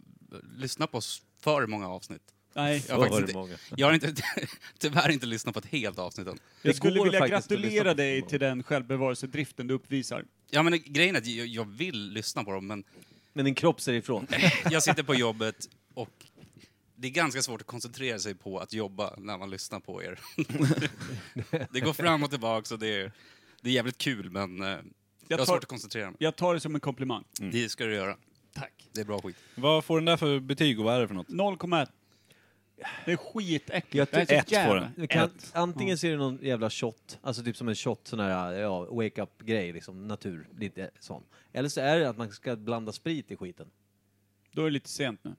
[SPEAKER 9] lyssnat på s- för många avsnitt.
[SPEAKER 1] Nej,
[SPEAKER 9] Jag
[SPEAKER 2] Då
[SPEAKER 9] har,
[SPEAKER 2] var
[SPEAKER 9] faktiskt
[SPEAKER 2] det
[SPEAKER 9] inte,
[SPEAKER 2] många.
[SPEAKER 9] jag har inte, tyvärr inte lyssnat på ett helt avsnitt än.
[SPEAKER 1] Jag
[SPEAKER 2] Det
[SPEAKER 1] skulle
[SPEAKER 2] går
[SPEAKER 1] vilja
[SPEAKER 2] faktiskt att lyssna
[SPEAKER 1] gratulera
[SPEAKER 2] på
[SPEAKER 1] dig
[SPEAKER 2] Simon.
[SPEAKER 1] till den självbevarelsedriften du uppvisar.
[SPEAKER 9] Ja, men grejen är att jag, jag vill lyssna på dem, men
[SPEAKER 2] Men din kropp säger ifrån.
[SPEAKER 9] jag sitter på jobbet och det är ganska svårt att koncentrera sig på att jobba när man lyssnar på er. det går fram och tillbaka och det är, det är jävligt kul, men eh, jag har
[SPEAKER 1] tar-
[SPEAKER 9] svårt att koncentrera mig.
[SPEAKER 1] Jag tar det som en komplimang.
[SPEAKER 9] Det ska du göra. Tack. Det är bra skit.
[SPEAKER 3] Vad får den där för betyg och vad är det för något?
[SPEAKER 1] 0,1. Det är skitäckligt.
[SPEAKER 2] Jag
[SPEAKER 1] Det här är så
[SPEAKER 3] ett får
[SPEAKER 1] jävla-
[SPEAKER 3] den.
[SPEAKER 2] Du Kan, antingen ser du någon jävla shot, alltså typ som en shot sån här ja, wake-up-grej, liksom natur, lite sån. Eller så är det att man ska blanda sprit i skiten.
[SPEAKER 1] Då är det lite sent nu.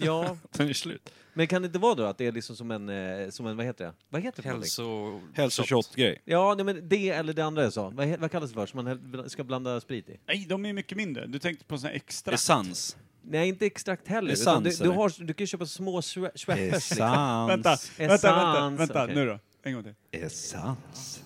[SPEAKER 2] Ja,
[SPEAKER 3] Den är slut.
[SPEAKER 2] men kan det inte vara då att det är liksom som en, eh, som en vad heter det? Vad heter det? för någonting?
[SPEAKER 9] Hälso...
[SPEAKER 3] Hälsoshot-grej.
[SPEAKER 2] Ja, nej, men det eller det andra jag sa. Vad, he- vad kallas det för som man häll- ska blanda sprit i?
[SPEAKER 1] Nej, de är mycket mindre. Du tänkte på såna här extra.
[SPEAKER 3] Essens.
[SPEAKER 2] Nej, inte extrakt heller.
[SPEAKER 3] Essens,
[SPEAKER 2] utan du, du,
[SPEAKER 3] eller?
[SPEAKER 2] har, du kan köpa små schwe- schweppes. Liksom.
[SPEAKER 1] Vänta,
[SPEAKER 3] Essens.
[SPEAKER 1] vänta, vänta,
[SPEAKER 2] Essens,
[SPEAKER 1] vänta.
[SPEAKER 2] okej.
[SPEAKER 1] Nu då. En gång till.
[SPEAKER 3] Essens.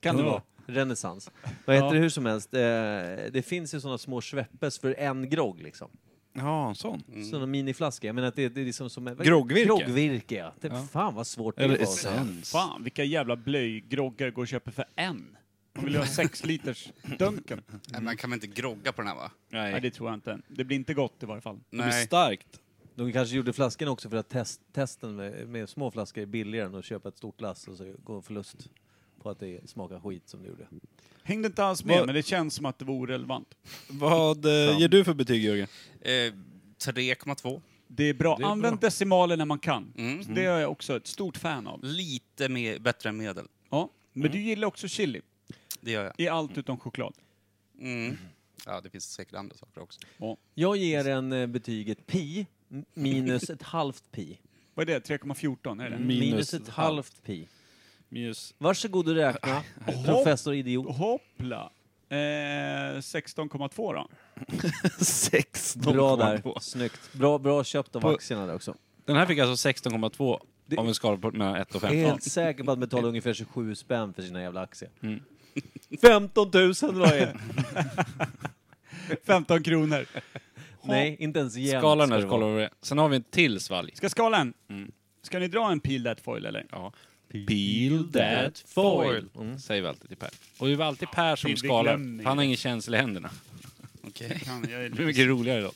[SPEAKER 1] Kan det vara?
[SPEAKER 2] Renässans. Vad heter
[SPEAKER 1] Ja.
[SPEAKER 2] det hur som helst? Eh, det finns ju sådana små schweppes för en grogg liksom.
[SPEAKER 4] Ja, en sån.
[SPEAKER 2] Sådana miniflaskor. Jag menar att det, det är liksom som... vad-
[SPEAKER 4] Groggvirke.
[SPEAKER 2] Groggvirke, ja. Det, Fan vad svårt det var.
[SPEAKER 1] Fan, vilka jävla blöjgroggar går och köper för en? Man vill ju ha sex liters dunken.
[SPEAKER 9] Nej, Man kan väl inte grogga på den här va?
[SPEAKER 1] Nej,
[SPEAKER 4] Nej.
[SPEAKER 1] det tror jag inte. Det blir inte gott i varje fall.
[SPEAKER 4] Det blir
[SPEAKER 9] Nej.
[SPEAKER 4] starkt.
[SPEAKER 2] De kanske gjorde flaskan också för att test, testen med, med små flaskor är billigare än att köpa ett stort lass och så går förlust på att det smakar skit som det gjorde.
[SPEAKER 1] Hängde inte alls med,
[SPEAKER 4] Vad-
[SPEAKER 1] men det känns som att det vore relevant.
[SPEAKER 4] Vad eh, ger du för betyg, Jörgen?
[SPEAKER 9] Eh, 3,2.
[SPEAKER 1] Det är bra.
[SPEAKER 4] är bra.
[SPEAKER 1] Använd decimaler när man kan.
[SPEAKER 9] Mm.
[SPEAKER 1] Så Det är jag också ett stort fan av.
[SPEAKER 9] Lite mer, bättre än medel.
[SPEAKER 1] Ja. Men du gillar också chili
[SPEAKER 9] Det gör jag.
[SPEAKER 1] i allt utom choklad.
[SPEAKER 9] Mm. Ja, det finns säkert andra saker också.
[SPEAKER 2] Jag ger en eh, betyget pi m- minus ett halvt pi.
[SPEAKER 1] Vad är det? 3,14? Är det?
[SPEAKER 4] Minus
[SPEAKER 2] Minus ett
[SPEAKER 4] ett
[SPEAKER 2] halvt pi.
[SPEAKER 4] Minus...
[SPEAKER 2] Varsågod och räkna,
[SPEAKER 1] Hopp.
[SPEAKER 2] professor idiot.
[SPEAKER 1] Hoppla! Eh, 16,2 då.
[SPEAKER 4] 16.
[SPEAKER 2] Bra där, snyggt. Bra, bra köpt av aktierna där också.
[SPEAKER 4] Den här fick alltså 16,2
[SPEAKER 2] Det-
[SPEAKER 4] av en skala på mellan 1 och
[SPEAKER 2] Jag
[SPEAKER 4] 15.
[SPEAKER 2] är helt säker på att betala ungefär 27 spänn för sina jävla aktier. 15 000 varje!
[SPEAKER 1] 15 kronor.
[SPEAKER 2] Nej, inte ens jämnt. ska
[SPEAKER 4] Skalan där,
[SPEAKER 2] det vara.
[SPEAKER 4] skala över det. Sen har vi en till svalg.
[SPEAKER 1] Ska skalan? Ska ni dra en peel that foil eller?
[SPEAKER 4] Ja. Peel that foil. Säger vi alltid till Per. Och det var alltid Per som
[SPEAKER 1] Vi- vi
[SPEAKER 4] skalar.
[SPEAKER 1] glömmer ju
[SPEAKER 4] för Han har
[SPEAKER 1] det.
[SPEAKER 4] ingen känsla i händerna.
[SPEAKER 9] Okej.
[SPEAKER 1] Kan jag-
[SPEAKER 4] Det blir mycket roligare idag.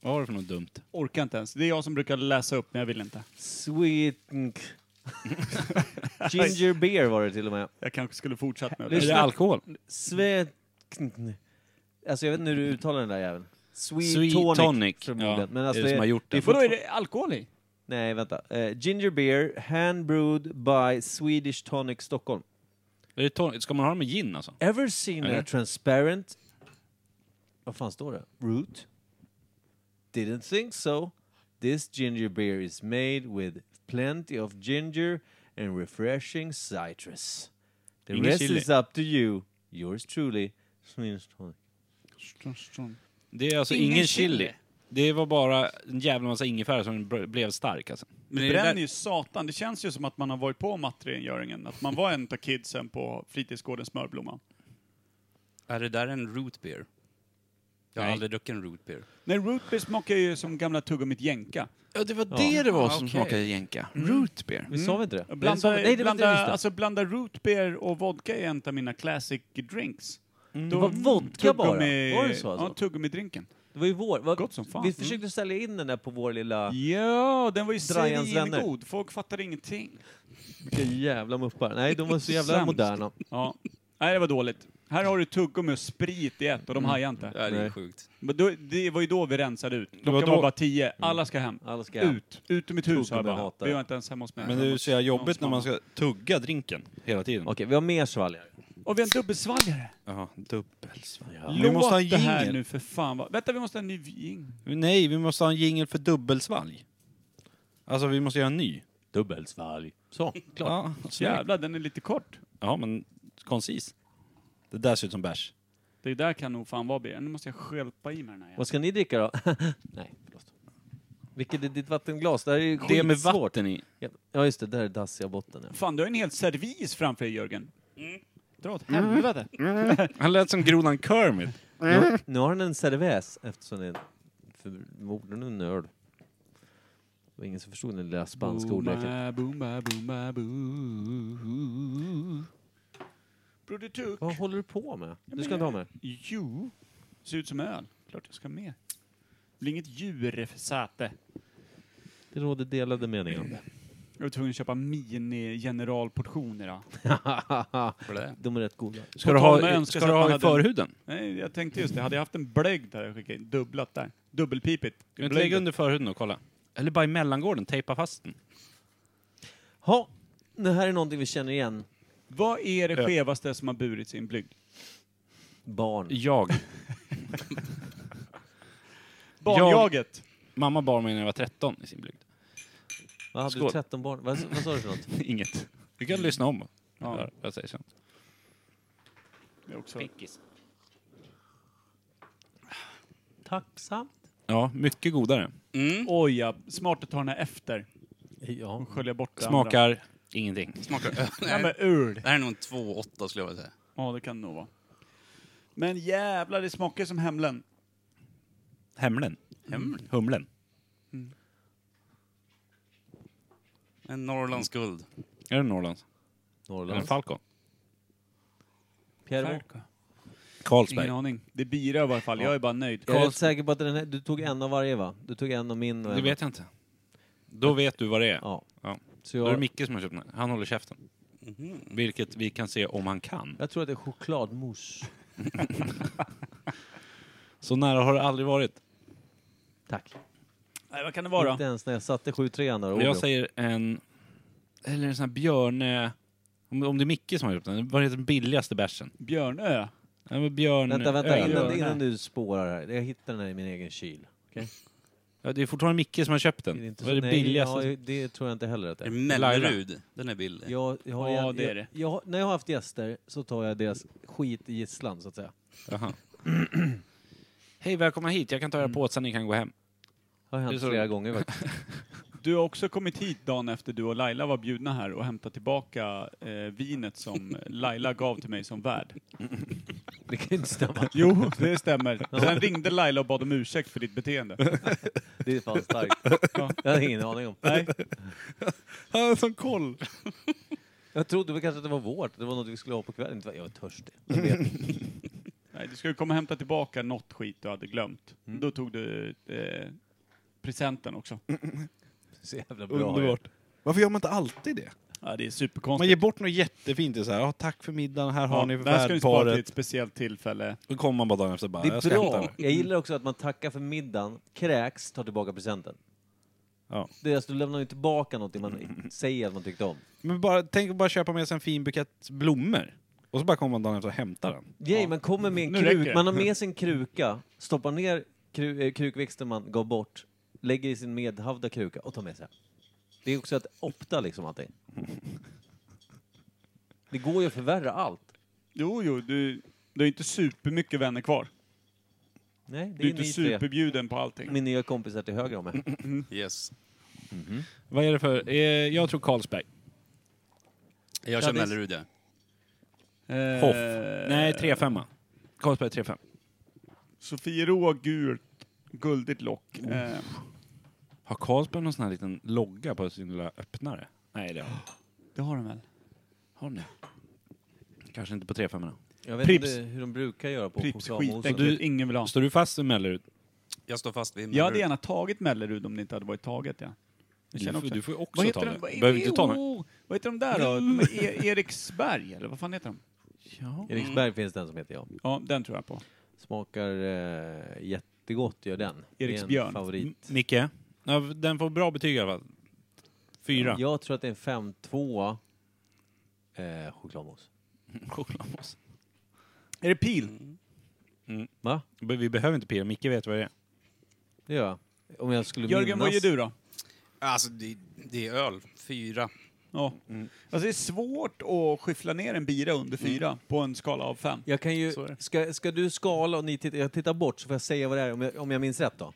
[SPEAKER 4] Vad var det för något dumt?
[SPEAKER 1] Orkar inte ens. Det är jag som brukar läsa upp, men jag vill inte.
[SPEAKER 2] Sweet... Ginger beer var det till och med.
[SPEAKER 1] Jag kanske skulle fortsatt med
[SPEAKER 4] Är
[SPEAKER 1] det.
[SPEAKER 4] det alkohol?
[SPEAKER 2] Sweet... Alltså jag vet inte hur du uttalar den där jäveln. Sweet,
[SPEAKER 4] Sweet
[SPEAKER 2] tonic.
[SPEAKER 4] tonic.
[SPEAKER 2] förmodligen.
[SPEAKER 4] Ja,
[SPEAKER 2] Men alltså
[SPEAKER 4] är det som har gjort
[SPEAKER 2] det är
[SPEAKER 4] den?
[SPEAKER 1] Vadå, är
[SPEAKER 2] fortfar-
[SPEAKER 1] det alkohol i?
[SPEAKER 2] Nej, vänta. Eh, ginger beer, hand brewed by Swedish Tonic Stockholm.
[SPEAKER 4] Är det ton- Ska man ha det med gin alltså?
[SPEAKER 2] Ever seen
[SPEAKER 4] Eller?
[SPEAKER 2] a transparent... Vad fan står det? Root? Didn't think so. This ginger beer is made with plenty of ginger and refreshing citrus. The
[SPEAKER 4] Ingen
[SPEAKER 2] rest
[SPEAKER 4] chili.
[SPEAKER 2] is up to you. Yours truly. Swedish Tonic.
[SPEAKER 4] Det är alltså ingen,
[SPEAKER 1] Ingen
[SPEAKER 4] chili.
[SPEAKER 1] chili.
[SPEAKER 4] Det var bara en jävla massa ingefära som br- blev stark alltså.
[SPEAKER 1] Men det
[SPEAKER 9] det
[SPEAKER 1] bränner
[SPEAKER 9] där-
[SPEAKER 1] ju satan. Det känns ju som att man har varit på mattrengöringen. Att man var en av kidsen på fritidsgården Smörblomman.
[SPEAKER 9] Är det där en root beer? Jag har
[SPEAKER 4] Nej.
[SPEAKER 9] aldrig druckit en root beer.
[SPEAKER 1] Nej, root beer smakar ju som gamla tuggummit jänka.
[SPEAKER 4] Ja, det var det det var
[SPEAKER 9] som smakade
[SPEAKER 4] jänka.
[SPEAKER 9] Mm.
[SPEAKER 4] Root beer.
[SPEAKER 2] Vi sa vi inte det? Vi sa
[SPEAKER 1] Mm. Blanda,
[SPEAKER 2] vi- Nej, det var inte
[SPEAKER 1] blanda,
[SPEAKER 2] det vi visste.
[SPEAKER 1] alltså, blanda root beer och vodka är en av mina classic drinks. Då-
[SPEAKER 2] Vad, vodka bara?
[SPEAKER 1] tuggummi-
[SPEAKER 2] Var det så alltså?
[SPEAKER 1] Ja, tuggummidrinken.
[SPEAKER 2] Det var ju vår. Vad-
[SPEAKER 1] Gott som fan.
[SPEAKER 2] Vi
[SPEAKER 1] Mm.
[SPEAKER 2] försökte sälja in den där på vår lilla...
[SPEAKER 1] Ja, den var ju
[SPEAKER 2] Drajans vänner.
[SPEAKER 1] god. Folk fattade ingenting.
[SPEAKER 2] Vilka jävla muppar. Nej, de var så jävla
[SPEAKER 1] Sämst.
[SPEAKER 2] moderna.
[SPEAKER 1] Ja. Nej, det var dåligt. Här har du tuggummi och sprit i ett och de hajar
[SPEAKER 9] Det
[SPEAKER 1] inte.
[SPEAKER 9] är
[SPEAKER 2] Nej.
[SPEAKER 9] ju sjukt.
[SPEAKER 1] Men då, det var ju då vi rensade ut. Klockan
[SPEAKER 4] var
[SPEAKER 1] var,
[SPEAKER 4] då-
[SPEAKER 1] bara tio. Alla ska hem.
[SPEAKER 2] Alla ska hem.
[SPEAKER 1] Ut. Ut ur mitt hus, har jag
[SPEAKER 2] Tuggummi
[SPEAKER 1] bara.
[SPEAKER 2] hatar
[SPEAKER 1] Vi var
[SPEAKER 2] jag.
[SPEAKER 1] inte ens hemma hos mig.
[SPEAKER 4] Men det är ju så jävla jobbigt när man ska tugga drinken hela tiden.
[SPEAKER 2] Okej, vi har mer svalgar.
[SPEAKER 1] Och vi har en dubbelsvalgare.
[SPEAKER 4] Ja, dubbelsvalg.
[SPEAKER 1] Låt
[SPEAKER 4] Vi måste ha en
[SPEAKER 1] det här
[SPEAKER 4] jingel.
[SPEAKER 1] nu för fan. vad- Vänta, vi måste ha en ny jingel.
[SPEAKER 4] Nej, vi måste ha en jingel för dubbelsvalg. Alltså, vi måste göra en ny.
[SPEAKER 2] Dubbelsvalg. Så, klart.
[SPEAKER 4] Ja, ja.
[SPEAKER 1] Jävlar, den är lite kort.
[SPEAKER 4] ja men koncis. Det där ser ut som bärs.
[SPEAKER 1] Det där kan nog fan vara bra. Nu måste jag skälpa i mig den här. jäveln.
[SPEAKER 2] Vad ska ni dricka då? Nej, förlåt. Vilket är ditt vattenglas? Det här är ju
[SPEAKER 4] Det med
[SPEAKER 2] skitsvårt.
[SPEAKER 4] vatten i.
[SPEAKER 2] Ja, Ja, just det. Där är dassiga botten. Ja.
[SPEAKER 1] Fan, du har en hel servis framför dig, Jörgen. Dra åt helvete.
[SPEAKER 4] Han lät som grodan Kermit.
[SPEAKER 2] Nu, nu har han en cerväs eftersom det är förmodligen en nörd. Det var ingen som förstod den lilla spanska ordleken.
[SPEAKER 1] Boom, boom, ba, boom, ba, boo. Bror, du tog...
[SPEAKER 2] Vad håller du på med? Du ska inte ha med
[SPEAKER 1] Jo. Ser ut som öl. Klart jag ska med. Det blir inget djursäte.
[SPEAKER 2] Det råder delade meningar om det.
[SPEAKER 1] Jag var tvungen att köpa mini-generalportioner. då.
[SPEAKER 2] De är rätt goda.
[SPEAKER 4] Ska du
[SPEAKER 1] tal om att
[SPEAKER 4] ha, i-
[SPEAKER 1] önska
[SPEAKER 4] ska
[SPEAKER 1] sig
[SPEAKER 4] du
[SPEAKER 1] att man
[SPEAKER 4] ha i
[SPEAKER 1] hade en-
[SPEAKER 4] förhuden?
[SPEAKER 1] Nej, jag tänkte just det. Hade jag haft en blögg där jag skickade in, dubblat där. Dubbelpipigt.
[SPEAKER 4] Kan du inte
[SPEAKER 1] Blögg.
[SPEAKER 4] lägga under förhuden och kolla? Eller bara i mellangården, tejpa fast den.
[SPEAKER 2] Ha, det här är någonting vi känner igen.
[SPEAKER 1] Vad är det skevaste som har burits i en blygd?
[SPEAKER 2] Barn.
[SPEAKER 4] Jag.
[SPEAKER 1] Barnjaget.
[SPEAKER 4] Mamma bar mig när jag var 13 i sin blygd.
[SPEAKER 2] Vad hade du?
[SPEAKER 4] Skål.
[SPEAKER 2] 13 barn? Vad, vad sa du för något?
[SPEAKER 4] Inget. Vi kan lyssna om.
[SPEAKER 1] Ja.
[SPEAKER 4] Ja. Jag säger sen.
[SPEAKER 1] Det är också.
[SPEAKER 2] Tacksamt.
[SPEAKER 4] Ja, mycket godare.
[SPEAKER 9] Mm.
[SPEAKER 1] Oj, ja. smart att ta den här efter.
[SPEAKER 2] Ja.
[SPEAKER 1] Och skölja bort det andra.
[SPEAKER 4] Smakar ingenting.
[SPEAKER 9] Smakar öl.
[SPEAKER 1] Ja,
[SPEAKER 9] Nej,
[SPEAKER 1] men öl.
[SPEAKER 9] Det här är nog en 2,8 skulle jag vilja säga.
[SPEAKER 1] Ja, det kan det nog vara. Men jävlar, det smakar som Hemlen.
[SPEAKER 4] Hemlen. Humlen.
[SPEAKER 9] En Norrlands guld.
[SPEAKER 3] Är det Norrlands? Eller
[SPEAKER 2] Norrland.
[SPEAKER 3] Falcon?
[SPEAKER 2] Pierrot.
[SPEAKER 1] Ingen
[SPEAKER 4] Carlsberg.
[SPEAKER 1] aning. Det är bira i varje fall. Jag är bara nöjd.
[SPEAKER 2] Jag är rätt säker på att den här, du tog en av varje va? Du tog en av min och
[SPEAKER 3] Det
[SPEAKER 2] en
[SPEAKER 3] vet jag inte. Då vet du vad det är.
[SPEAKER 2] Ja.
[SPEAKER 3] Ja.
[SPEAKER 2] Så
[SPEAKER 3] Då är det
[SPEAKER 2] jag,
[SPEAKER 3] Micke som har köpt den. Han håller käften.
[SPEAKER 4] Mhm.
[SPEAKER 3] Vilket vi kan se om han kan.
[SPEAKER 2] jag tror att det är chokladmousse.
[SPEAKER 3] Så nära har det aldrig varit.
[SPEAKER 2] Tack.
[SPEAKER 1] Nej, vad kan det vara?
[SPEAKER 2] Inte ens när jag satte 7-3 där. Oreo.
[SPEAKER 3] Jag säger en... Eller en sån här björne... Om, om det är Micke som har gjort den, vad heter den billigaste bärsen?
[SPEAKER 1] Björnö.
[SPEAKER 3] Ja, men björn...
[SPEAKER 2] Vänta, vänta,
[SPEAKER 3] öl.
[SPEAKER 2] innan,
[SPEAKER 1] Nej.
[SPEAKER 2] innan du spårar här. Jag hittar den här i min egen kyl.
[SPEAKER 3] Ja, det är fortfarande Micke som har köpt den.
[SPEAKER 2] Är det inte
[SPEAKER 3] vad är det
[SPEAKER 2] nej,
[SPEAKER 3] billigaste?
[SPEAKER 2] Ja, det tror jag inte heller att det
[SPEAKER 9] Är det
[SPEAKER 4] Mm.
[SPEAKER 2] är.
[SPEAKER 9] Mellerud? Den är billig.
[SPEAKER 2] Jag, jag har,
[SPEAKER 1] Ja,
[SPEAKER 2] jag,
[SPEAKER 1] det är det.
[SPEAKER 2] Jag, jag, har- när jag har haft gäster så tar jag deras skit i gisslan, så att säga.
[SPEAKER 3] Jaha. Hej, välkomna hit. Jag kan
[SPEAKER 2] Mm.
[SPEAKER 3] ta era påsar, ni kan gå hem.
[SPEAKER 2] Det har
[SPEAKER 3] Det är
[SPEAKER 2] hänt
[SPEAKER 3] så-
[SPEAKER 2] flera gånger faktiskt.
[SPEAKER 1] Du har också kommit hit dagen efter du och Laila var bjudna här och hämtat tillbaka eh, vinet som Laila gav till mig som värd.
[SPEAKER 2] Det kan ju inte stämma.
[SPEAKER 1] Jo, det stämmer. Sen ringde Laila och bad om ursäkt för ditt beteende.
[SPEAKER 2] Det är fan starkt. Jag hade ingen aning om.
[SPEAKER 1] Nej,
[SPEAKER 9] Han har sån koll!
[SPEAKER 2] Jag trodde väl kanske att det var vårt. Det var något vi skulle ha på kvällen. Jag var törstig. Jag vet inte.
[SPEAKER 1] nej du skulle komma och hämta tillbaka något skit du hade glömt. Då tog du eh, presenten också.
[SPEAKER 2] Så jävla bra.
[SPEAKER 4] Underbart. Varför gör man inte alltid det?
[SPEAKER 1] Ja, det är
[SPEAKER 4] Man
[SPEAKER 1] superkonstigt.
[SPEAKER 4] ger bort något jättefint. Det är så här, "Ja, tack för middagen, här har
[SPEAKER 1] Ja,
[SPEAKER 4] ni
[SPEAKER 1] det här ska ni spara till ett
[SPEAKER 4] värdparet.
[SPEAKER 1] speciellt tillfälle.
[SPEAKER 4] Då kommer man bara dagen efter bara,
[SPEAKER 2] Det är
[SPEAKER 4] jag ska hämta
[SPEAKER 2] bra.
[SPEAKER 4] den.
[SPEAKER 2] Jag gillar också att man tackar för middagen, kräks, tar tillbaka presenten.
[SPEAKER 4] Ja.
[SPEAKER 2] Det är alltså, du lämnar ju tillbaka någonting man säger att man tyckte om.
[SPEAKER 4] Men bara, tänk att bara köpa med sig en fin bukett blommor. Och så bara kommer man dagen efter och hämtar den.
[SPEAKER 2] Yay, man kommer med en
[SPEAKER 1] Nu räcker
[SPEAKER 2] kruk,
[SPEAKER 1] det.
[SPEAKER 2] man har med sig en kruka, stoppar ner kru, eh, krukväxten man gav bort, lägger i sin medhavda kruka och tar med sig. Det är också att opta liksom allting. Det går ju att förvärra allt.
[SPEAKER 1] Jo, jo, du, du har inte supermycket vänner kvar.
[SPEAKER 2] Nej,
[SPEAKER 1] Du
[SPEAKER 2] det är,
[SPEAKER 1] är inte
[SPEAKER 2] ni tre.
[SPEAKER 1] superbjuden på allting.
[SPEAKER 2] Min nya kompis här till höger om mig.
[SPEAKER 9] Yes.
[SPEAKER 3] Vad är det för? Eh, jag tror Carlsberg.
[SPEAKER 9] Jag kör Mellerud, ja.
[SPEAKER 1] Eh,
[SPEAKER 3] Hoff. Nej, 3-5. Carlsberg 3-5.
[SPEAKER 1] Sofiero har gult, guldigt lock. Eh,
[SPEAKER 3] Har Carlsberg någon sån här liten logga på sin lilla öppnare? Nej, det har de
[SPEAKER 1] det har de väl?
[SPEAKER 3] Har de det? Kanske inte på 3-5.
[SPEAKER 2] Jag vet
[SPEAKER 1] Pripps.
[SPEAKER 2] inte hur de brukar göra på
[SPEAKER 1] Pripps skitäckligt.
[SPEAKER 2] chokladmousse.
[SPEAKER 3] Du-
[SPEAKER 1] Ingen vill ha.
[SPEAKER 3] Står du fast vid Mellerud?
[SPEAKER 9] Jag står fast vid
[SPEAKER 1] Jag hade
[SPEAKER 9] Mellerud.
[SPEAKER 1] gärna tagit Mellerud om det inte hade varit taget, ja. Jag
[SPEAKER 3] Du,
[SPEAKER 1] känner
[SPEAKER 3] får-
[SPEAKER 1] också.
[SPEAKER 3] du får ju också
[SPEAKER 1] Vad heter
[SPEAKER 3] ta
[SPEAKER 1] de?
[SPEAKER 3] det.
[SPEAKER 1] Vad-
[SPEAKER 3] Behöver inte ta något.
[SPEAKER 1] jo, Vad heter de där då? De är E- Eriksberg, eller vad fan heter de?
[SPEAKER 2] Eriksberg finns den som heter jag.
[SPEAKER 1] Ja, den tror jag på.
[SPEAKER 2] Smakar eh, jättegott, gör den. Det är
[SPEAKER 1] Eriksbjörn.
[SPEAKER 2] en favorit.
[SPEAKER 3] Micke? Ja, den får bra betyg i alla fall. Fyra.
[SPEAKER 2] Jag tror att det är en 5-2 eh, chokladmousse.
[SPEAKER 3] Chokladmousse.
[SPEAKER 1] Är det pil?
[SPEAKER 3] Mm.
[SPEAKER 2] Va?
[SPEAKER 3] Vi behöver inte pira, Micke vet vad det är.
[SPEAKER 2] Det gör jag. Om jag skulle
[SPEAKER 1] Jörgen, vad
[SPEAKER 2] minnas...
[SPEAKER 1] ger du då?
[SPEAKER 9] Alltså, det, det är öl. Fyra.
[SPEAKER 1] Ja.
[SPEAKER 3] Mm.
[SPEAKER 1] Alltså det är svårt att skyffla ner en bira under fyra på en skala av fem.
[SPEAKER 2] Jag kan ju...
[SPEAKER 1] Så är det.
[SPEAKER 2] Ska, ska du skala och ni tittar, jag tittar bort så får jag säga vad det är om jag, om jag minns rätt då.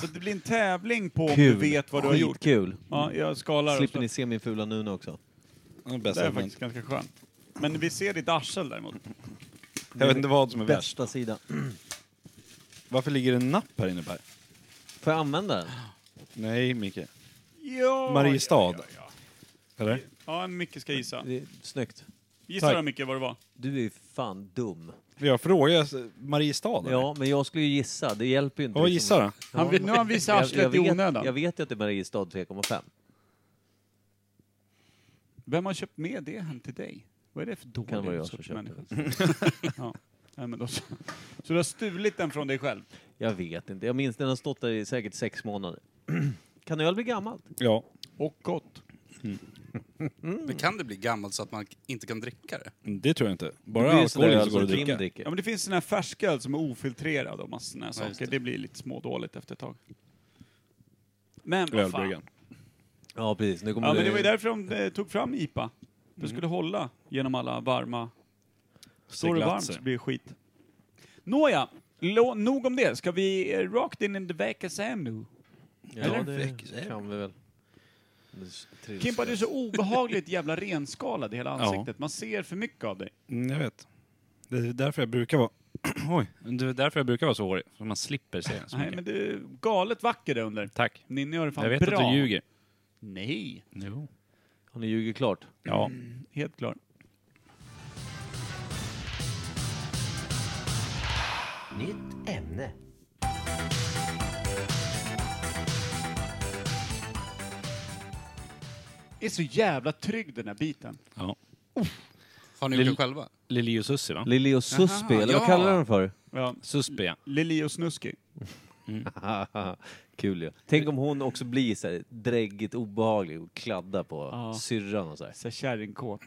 [SPEAKER 1] Så det blir en tävling på om du
[SPEAKER 2] Kul.
[SPEAKER 1] vet vad du har gjort.
[SPEAKER 2] Kul.
[SPEAKER 1] Ja, jag skalar. och
[SPEAKER 2] Slipper
[SPEAKER 1] så-
[SPEAKER 2] ni se min fula nuna också.
[SPEAKER 4] Den är
[SPEAKER 1] Det
[SPEAKER 4] bäst
[SPEAKER 1] är
[SPEAKER 4] jag
[SPEAKER 1] faktiskt ganska skönt. Men vi ser ditt arsel däremot.
[SPEAKER 4] använt. Jag vet inte vad som är värst.
[SPEAKER 2] Bästa sidan.
[SPEAKER 4] Varför ligger det en napp här inne Per?
[SPEAKER 2] Får jag använda den?
[SPEAKER 4] Nej, Micke.
[SPEAKER 1] Ja,
[SPEAKER 4] Mariestad.
[SPEAKER 1] Ja, ja,
[SPEAKER 4] Eller?
[SPEAKER 1] ja. ja Micke ska gissa.
[SPEAKER 2] Det är snyggt.
[SPEAKER 1] Gissa
[SPEAKER 4] Tack.
[SPEAKER 1] då Micke vad det var.
[SPEAKER 2] Du är ju fan dum.
[SPEAKER 4] Jag frågar alltså, Mariestad eller?
[SPEAKER 2] Ja, men jag skulle ju gissa. Det hjälper ju inte. liksom
[SPEAKER 4] Ja, Vad gissar då?
[SPEAKER 1] Han vill- nu har han visat
[SPEAKER 2] Jag-
[SPEAKER 1] arslet
[SPEAKER 2] jag
[SPEAKER 1] i
[SPEAKER 2] vet-
[SPEAKER 1] onödan.
[SPEAKER 2] Jag vet ju att det är Mariestad 3,5.
[SPEAKER 1] Vem har köpt med det hem till dig? Vad är det för dålig
[SPEAKER 2] Kan vara jag som
[SPEAKER 1] sorts
[SPEAKER 2] köpte
[SPEAKER 1] människa? ja. Nej, men då så. så du har stulit den från dig själv?
[SPEAKER 2] Jag vet inte. Jag minns den har stått där i säkert sex månader. Kan öl bli gammalt?
[SPEAKER 4] Ja.
[SPEAKER 1] Och gott.
[SPEAKER 4] Mm.
[SPEAKER 9] Men kan det bli gammalt så att man inte kan dricka det?
[SPEAKER 4] Det tror jag inte.
[SPEAKER 2] Det
[SPEAKER 4] Bara
[SPEAKER 2] blir ju sån
[SPEAKER 4] alkohol
[SPEAKER 2] där öl
[SPEAKER 4] är så
[SPEAKER 1] alltså
[SPEAKER 4] går
[SPEAKER 2] som
[SPEAKER 4] att dricka.
[SPEAKER 2] Kim dricker.
[SPEAKER 1] Ja, men det finns sån här färsköl som är ofiltrerad och massa såna här
[SPEAKER 9] Ja, just
[SPEAKER 1] saker.
[SPEAKER 9] det.
[SPEAKER 1] Det blir lite smådåligt efter ett tag. Men vad fan.
[SPEAKER 4] Ölbryggan.
[SPEAKER 2] Ja, precis. Nu kommer
[SPEAKER 1] Ja,
[SPEAKER 2] du...
[SPEAKER 1] men det var ju därför de eh, tog fram IPA. Det skulle hålla genom alla varma... Står det
[SPEAKER 4] glatt
[SPEAKER 1] varmt
[SPEAKER 4] sig.
[SPEAKER 1] så blir det skit. Nåja, lo- nog om det. Ska vi eh, rakt in i veckans ämne?
[SPEAKER 2] Ja, det kan vi väl. Det s- trills-
[SPEAKER 1] Kimpa, du är så obehagligt jävla renskalad i hela ansiktet. Man ser för mycket av dig.
[SPEAKER 4] Mm, jag vet. Det är därför jag brukar vara
[SPEAKER 3] Oj. Det är därför jag brukar vara så hårig, så man slipper säga så
[SPEAKER 1] Nej,
[SPEAKER 3] mycket.
[SPEAKER 1] men du är galet vacker där under.
[SPEAKER 3] Tack.
[SPEAKER 1] Ninni har det fan
[SPEAKER 3] Jag vet
[SPEAKER 1] bra.
[SPEAKER 3] att du ljuger.
[SPEAKER 1] Nej,
[SPEAKER 3] Jo.
[SPEAKER 2] Har ni ljugit klart?
[SPEAKER 3] Ja.
[SPEAKER 1] helt klart.
[SPEAKER 8] Nytt ämne.
[SPEAKER 1] Det är så jävla trygg den här biten.
[SPEAKER 3] ja.
[SPEAKER 9] Har ni gjort
[SPEAKER 3] Lill-
[SPEAKER 9] det själva?
[SPEAKER 3] Lili och Sussi, va?
[SPEAKER 2] Lili och Susby,
[SPEAKER 9] Jaha,
[SPEAKER 2] eller vad
[SPEAKER 9] ja.
[SPEAKER 2] kallar de för?
[SPEAKER 1] Ja.
[SPEAKER 3] Sussi, ja.
[SPEAKER 1] Lili och Snuski.
[SPEAKER 2] Kul ju. Tänk om hon också blir så här dräggigt obehaglig och kladdar på syrran och så här.
[SPEAKER 1] Så här kärringkåt.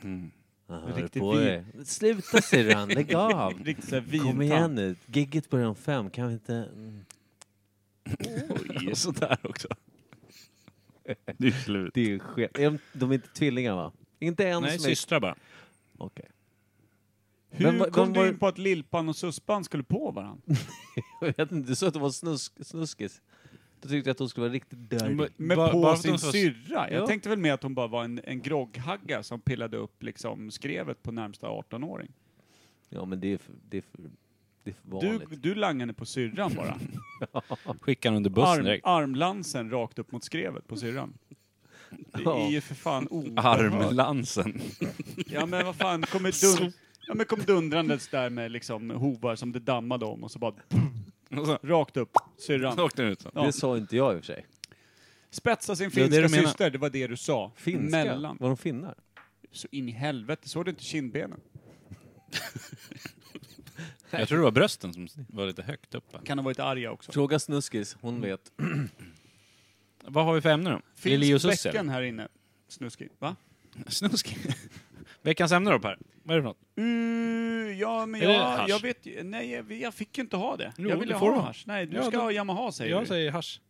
[SPEAKER 2] "Ah, hör
[SPEAKER 1] Riktigt
[SPEAKER 2] på
[SPEAKER 1] vi-
[SPEAKER 2] dig. Sluta syrran, lägg av!
[SPEAKER 1] Riktigt så här vintant.
[SPEAKER 2] Kom igen nu, gigget börjar om fem, kan vi inte... Mm.
[SPEAKER 3] Oj, sådär också. Nu är det slut.
[SPEAKER 2] Det är ju sket. Är de- De är inte tvillingar va? Inte en
[SPEAKER 3] Nej,
[SPEAKER 2] som är...
[SPEAKER 3] systrar bara.
[SPEAKER 2] Okej.
[SPEAKER 1] Hur
[SPEAKER 2] Vem var-
[SPEAKER 1] kom
[SPEAKER 2] vem
[SPEAKER 1] du
[SPEAKER 2] var-
[SPEAKER 1] in på att Lillpan och Suspan skulle på varandra?
[SPEAKER 2] Jag vet inte, du sa att de var snusk, snuskis. Då tyckte jag att de skulle vara riktigt dirty.
[SPEAKER 3] Men-
[SPEAKER 1] Med
[SPEAKER 3] Bara-
[SPEAKER 1] på
[SPEAKER 3] bara för att
[SPEAKER 1] sin
[SPEAKER 3] de var-
[SPEAKER 1] syrra? Jag
[SPEAKER 2] Ja.
[SPEAKER 1] tänkte väl med att hon bara var en, en grogghagga som pillade upp liksom skrevet på närmsta 18-åring.
[SPEAKER 2] Ja men det är för, det är för, det är för
[SPEAKER 1] Du,
[SPEAKER 2] vanligt.
[SPEAKER 1] du langade på syrran bara.
[SPEAKER 3] Skickar hon under bussen
[SPEAKER 1] Arm,
[SPEAKER 3] direkt.
[SPEAKER 1] armlansen rakt upp mot skrevet på syrran. Det är ju för fan oerhört.
[SPEAKER 3] Armlansen.
[SPEAKER 1] Ja men vad fan, kommer dun ja, men kom dundrandes där med liksom hovar som det dammade om och så bara
[SPEAKER 3] Och så
[SPEAKER 1] rakt upp, syrran.
[SPEAKER 3] åkte den ut.
[SPEAKER 1] Ja.
[SPEAKER 2] Det sa inte jag i och för sig.
[SPEAKER 1] Spetsa sin
[SPEAKER 3] Det var det
[SPEAKER 1] finska
[SPEAKER 3] du menade.
[SPEAKER 1] syster, det var det du sa.
[SPEAKER 2] Finska?
[SPEAKER 1] Mellan.
[SPEAKER 2] Var de finnar?
[SPEAKER 1] Så in i helvete, såg du inte kindbenen?
[SPEAKER 3] Jag tror det var brösten som var lite högt uppe.
[SPEAKER 1] Kan ha varit arga också.
[SPEAKER 2] Fråga Snuskis, hon vet.
[SPEAKER 3] Vad har vi för ämne då? Lili och
[SPEAKER 1] Finns
[SPEAKER 3] Sussi?
[SPEAKER 1] bäcken
[SPEAKER 3] eller?
[SPEAKER 1] här inne? Snuskig. Va?
[SPEAKER 3] Snusk. Veckans ämne då Per? Vad är det för något?
[SPEAKER 1] Uh, ja, men
[SPEAKER 3] Är det
[SPEAKER 1] jag,
[SPEAKER 3] hasch?
[SPEAKER 1] jag vet ju- Nej, jag, jag fick ju inte ha det.
[SPEAKER 3] Jo,
[SPEAKER 1] jag ville
[SPEAKER 3] det får
[SPEAKER 1] ha
[SPEAKER 3] du.
[SPEAKER 1] hasch. Nej, du
[SPEAKER 3] Ja,
[SPEAKER 1] ska
[SPEAKER 3] då-
[SPEAKER 1] ha Yamaha säger du.
[SPEAKER 3] Jag säger hasch.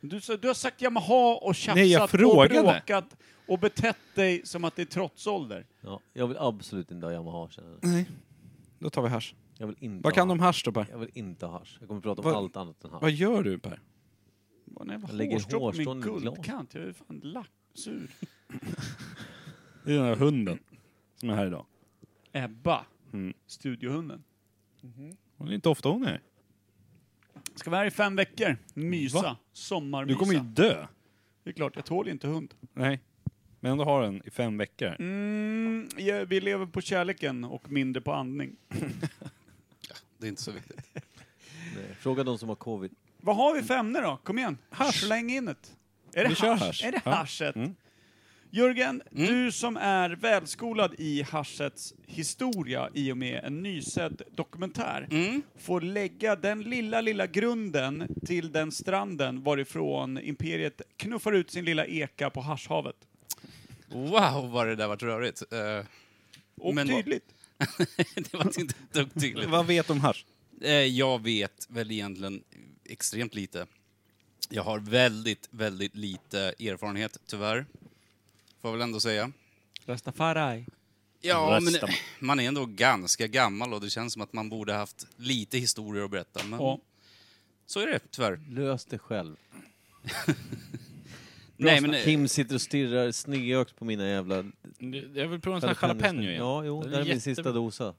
[SPEAKER 1] Du, sa- du har sagt Yamaha och tjafsat
[SPEAKER 3] Nej, jag frågade.
[SPEAKER 1] och bråkat och betett dig som att det är trotsålder.
[SPEAKER 2] Ja, jag vill absolut inte ha Yamaha känner jag.
[SPEAKER 4] Då tar vi hasch.
[SPEAKER 2] Jag vill inte
[SPEAKER 4] Vad
[SPEAKER 2] ha
[SPEAKER 4] kan de
[SPEAKER 2] hasch.
[SPEAKER 4] hasch då Per?
[SPEAKER 2] Jag vill inte ha hasch. Jag kommer prata om
[SPEAKER 4] Vad-
[SPEAKER 2] allt annat än
[SPEAKER 4] Vad
[SPEAKER 2] hasch.
[SPEAKER 4] gör du Per?
[SPEAKER 1] Vad en jävla
[SPEAKER 2] Jag lägger
[SPEAKER 1] hårstrå på min
[SPEAKER 2] hårstrån i glas.
[SPEAKER 1] guldkant. Jag är fan lack, sur.
[SPEAKER 3] Det är den här hunden som är här idag.
[SPEAKER 1] Ebba,
[SPEAKER 3] Mm.
[SPEAKER 1] studiohunden.
[SPEAKER 3] Hon är inte ofta hon är.
[SPEAKER 1] Ska vara här i fem veckor. Mysa.
[SPEAKER 3] Va?
[SPEAKER 1] Sommarmysa.
[SPEAKER 3] Du kommer ju dö.
[SPEAKER 1] Det är klart, jag tål inte hund.
[SPEAKER 3] Nej. Men du har den i fem veckor.
[SPEAKER 1] Mm, ja, vi lever på kärleken och mindre på andning.
[SPEAKER 9] Det är inte så viktigt.
[SPEAKER 2] Nej. Fråga de som har covid.
[SPEAKER 1] Vad har vi för ämne då? Kom igen.
[SPEAKER 3] Hasch.
[SPEAKER 1] Släng in ett. Är det
[SPEAKER 3] Vi kör hasch.
[SPEAKER 1] Är det
[SPEAKER 3] Ja. Mm.
[SPEAKER 1] haschet? Jörgen, du som är välskolad i haschets historia i och med en nysedd dokumentär
[SPEAKER 3] Mm.
[SPEAKER 1] får lägga den lilla, lilla grunden till den stranden varifrån imperiet knuffar ut sin lilla eka på haschhavet.
[SPEAKER 9] Wow, vad det där vart rörigt. Eh,
[SPEAKER 1] Och
[SPEAKER 9] Men vad-
[SPEAKER 1] tydligt.
[SPEAKER 9] det var inte ett dugg tydligt.
[SPEAKER 4] Vad vet du om hasch?
[SPEAKER 9] Eh, Jag vet väl egentligen extremt lite. Jag har väldigt, väldigt lite erfarenhet, tyvärr. Får jag väl ändå säga.
[SPEAKER 1] Rastafari.
[SPEAKER 9] Ja, men
[SPEAKER 3] Rösta.
[SPEAKER 9] man är ändå ganska gammal och det känns som att man borde haft lite historier att berätta. Men
[SPEAKER 1] Ja.
[SPEAKER 9] så är det, tyvärr.
[SPEAKER 2] Lös det själv.
[SPEAKER 9] Nej, men, eh,
[SPEAKER 2] Kim sitter och stirrar snöögt på mina jävla...
[SPEAKER 3] Jag vill prova en sån här jalapeno igen.
[SPEAKER 2] Ja, jo, det
[SPEAKER 3] Den
[SPEAKER 2] här är min
[SPEAKER 3] jättebra.
[SPEAKER 2] sista dosa.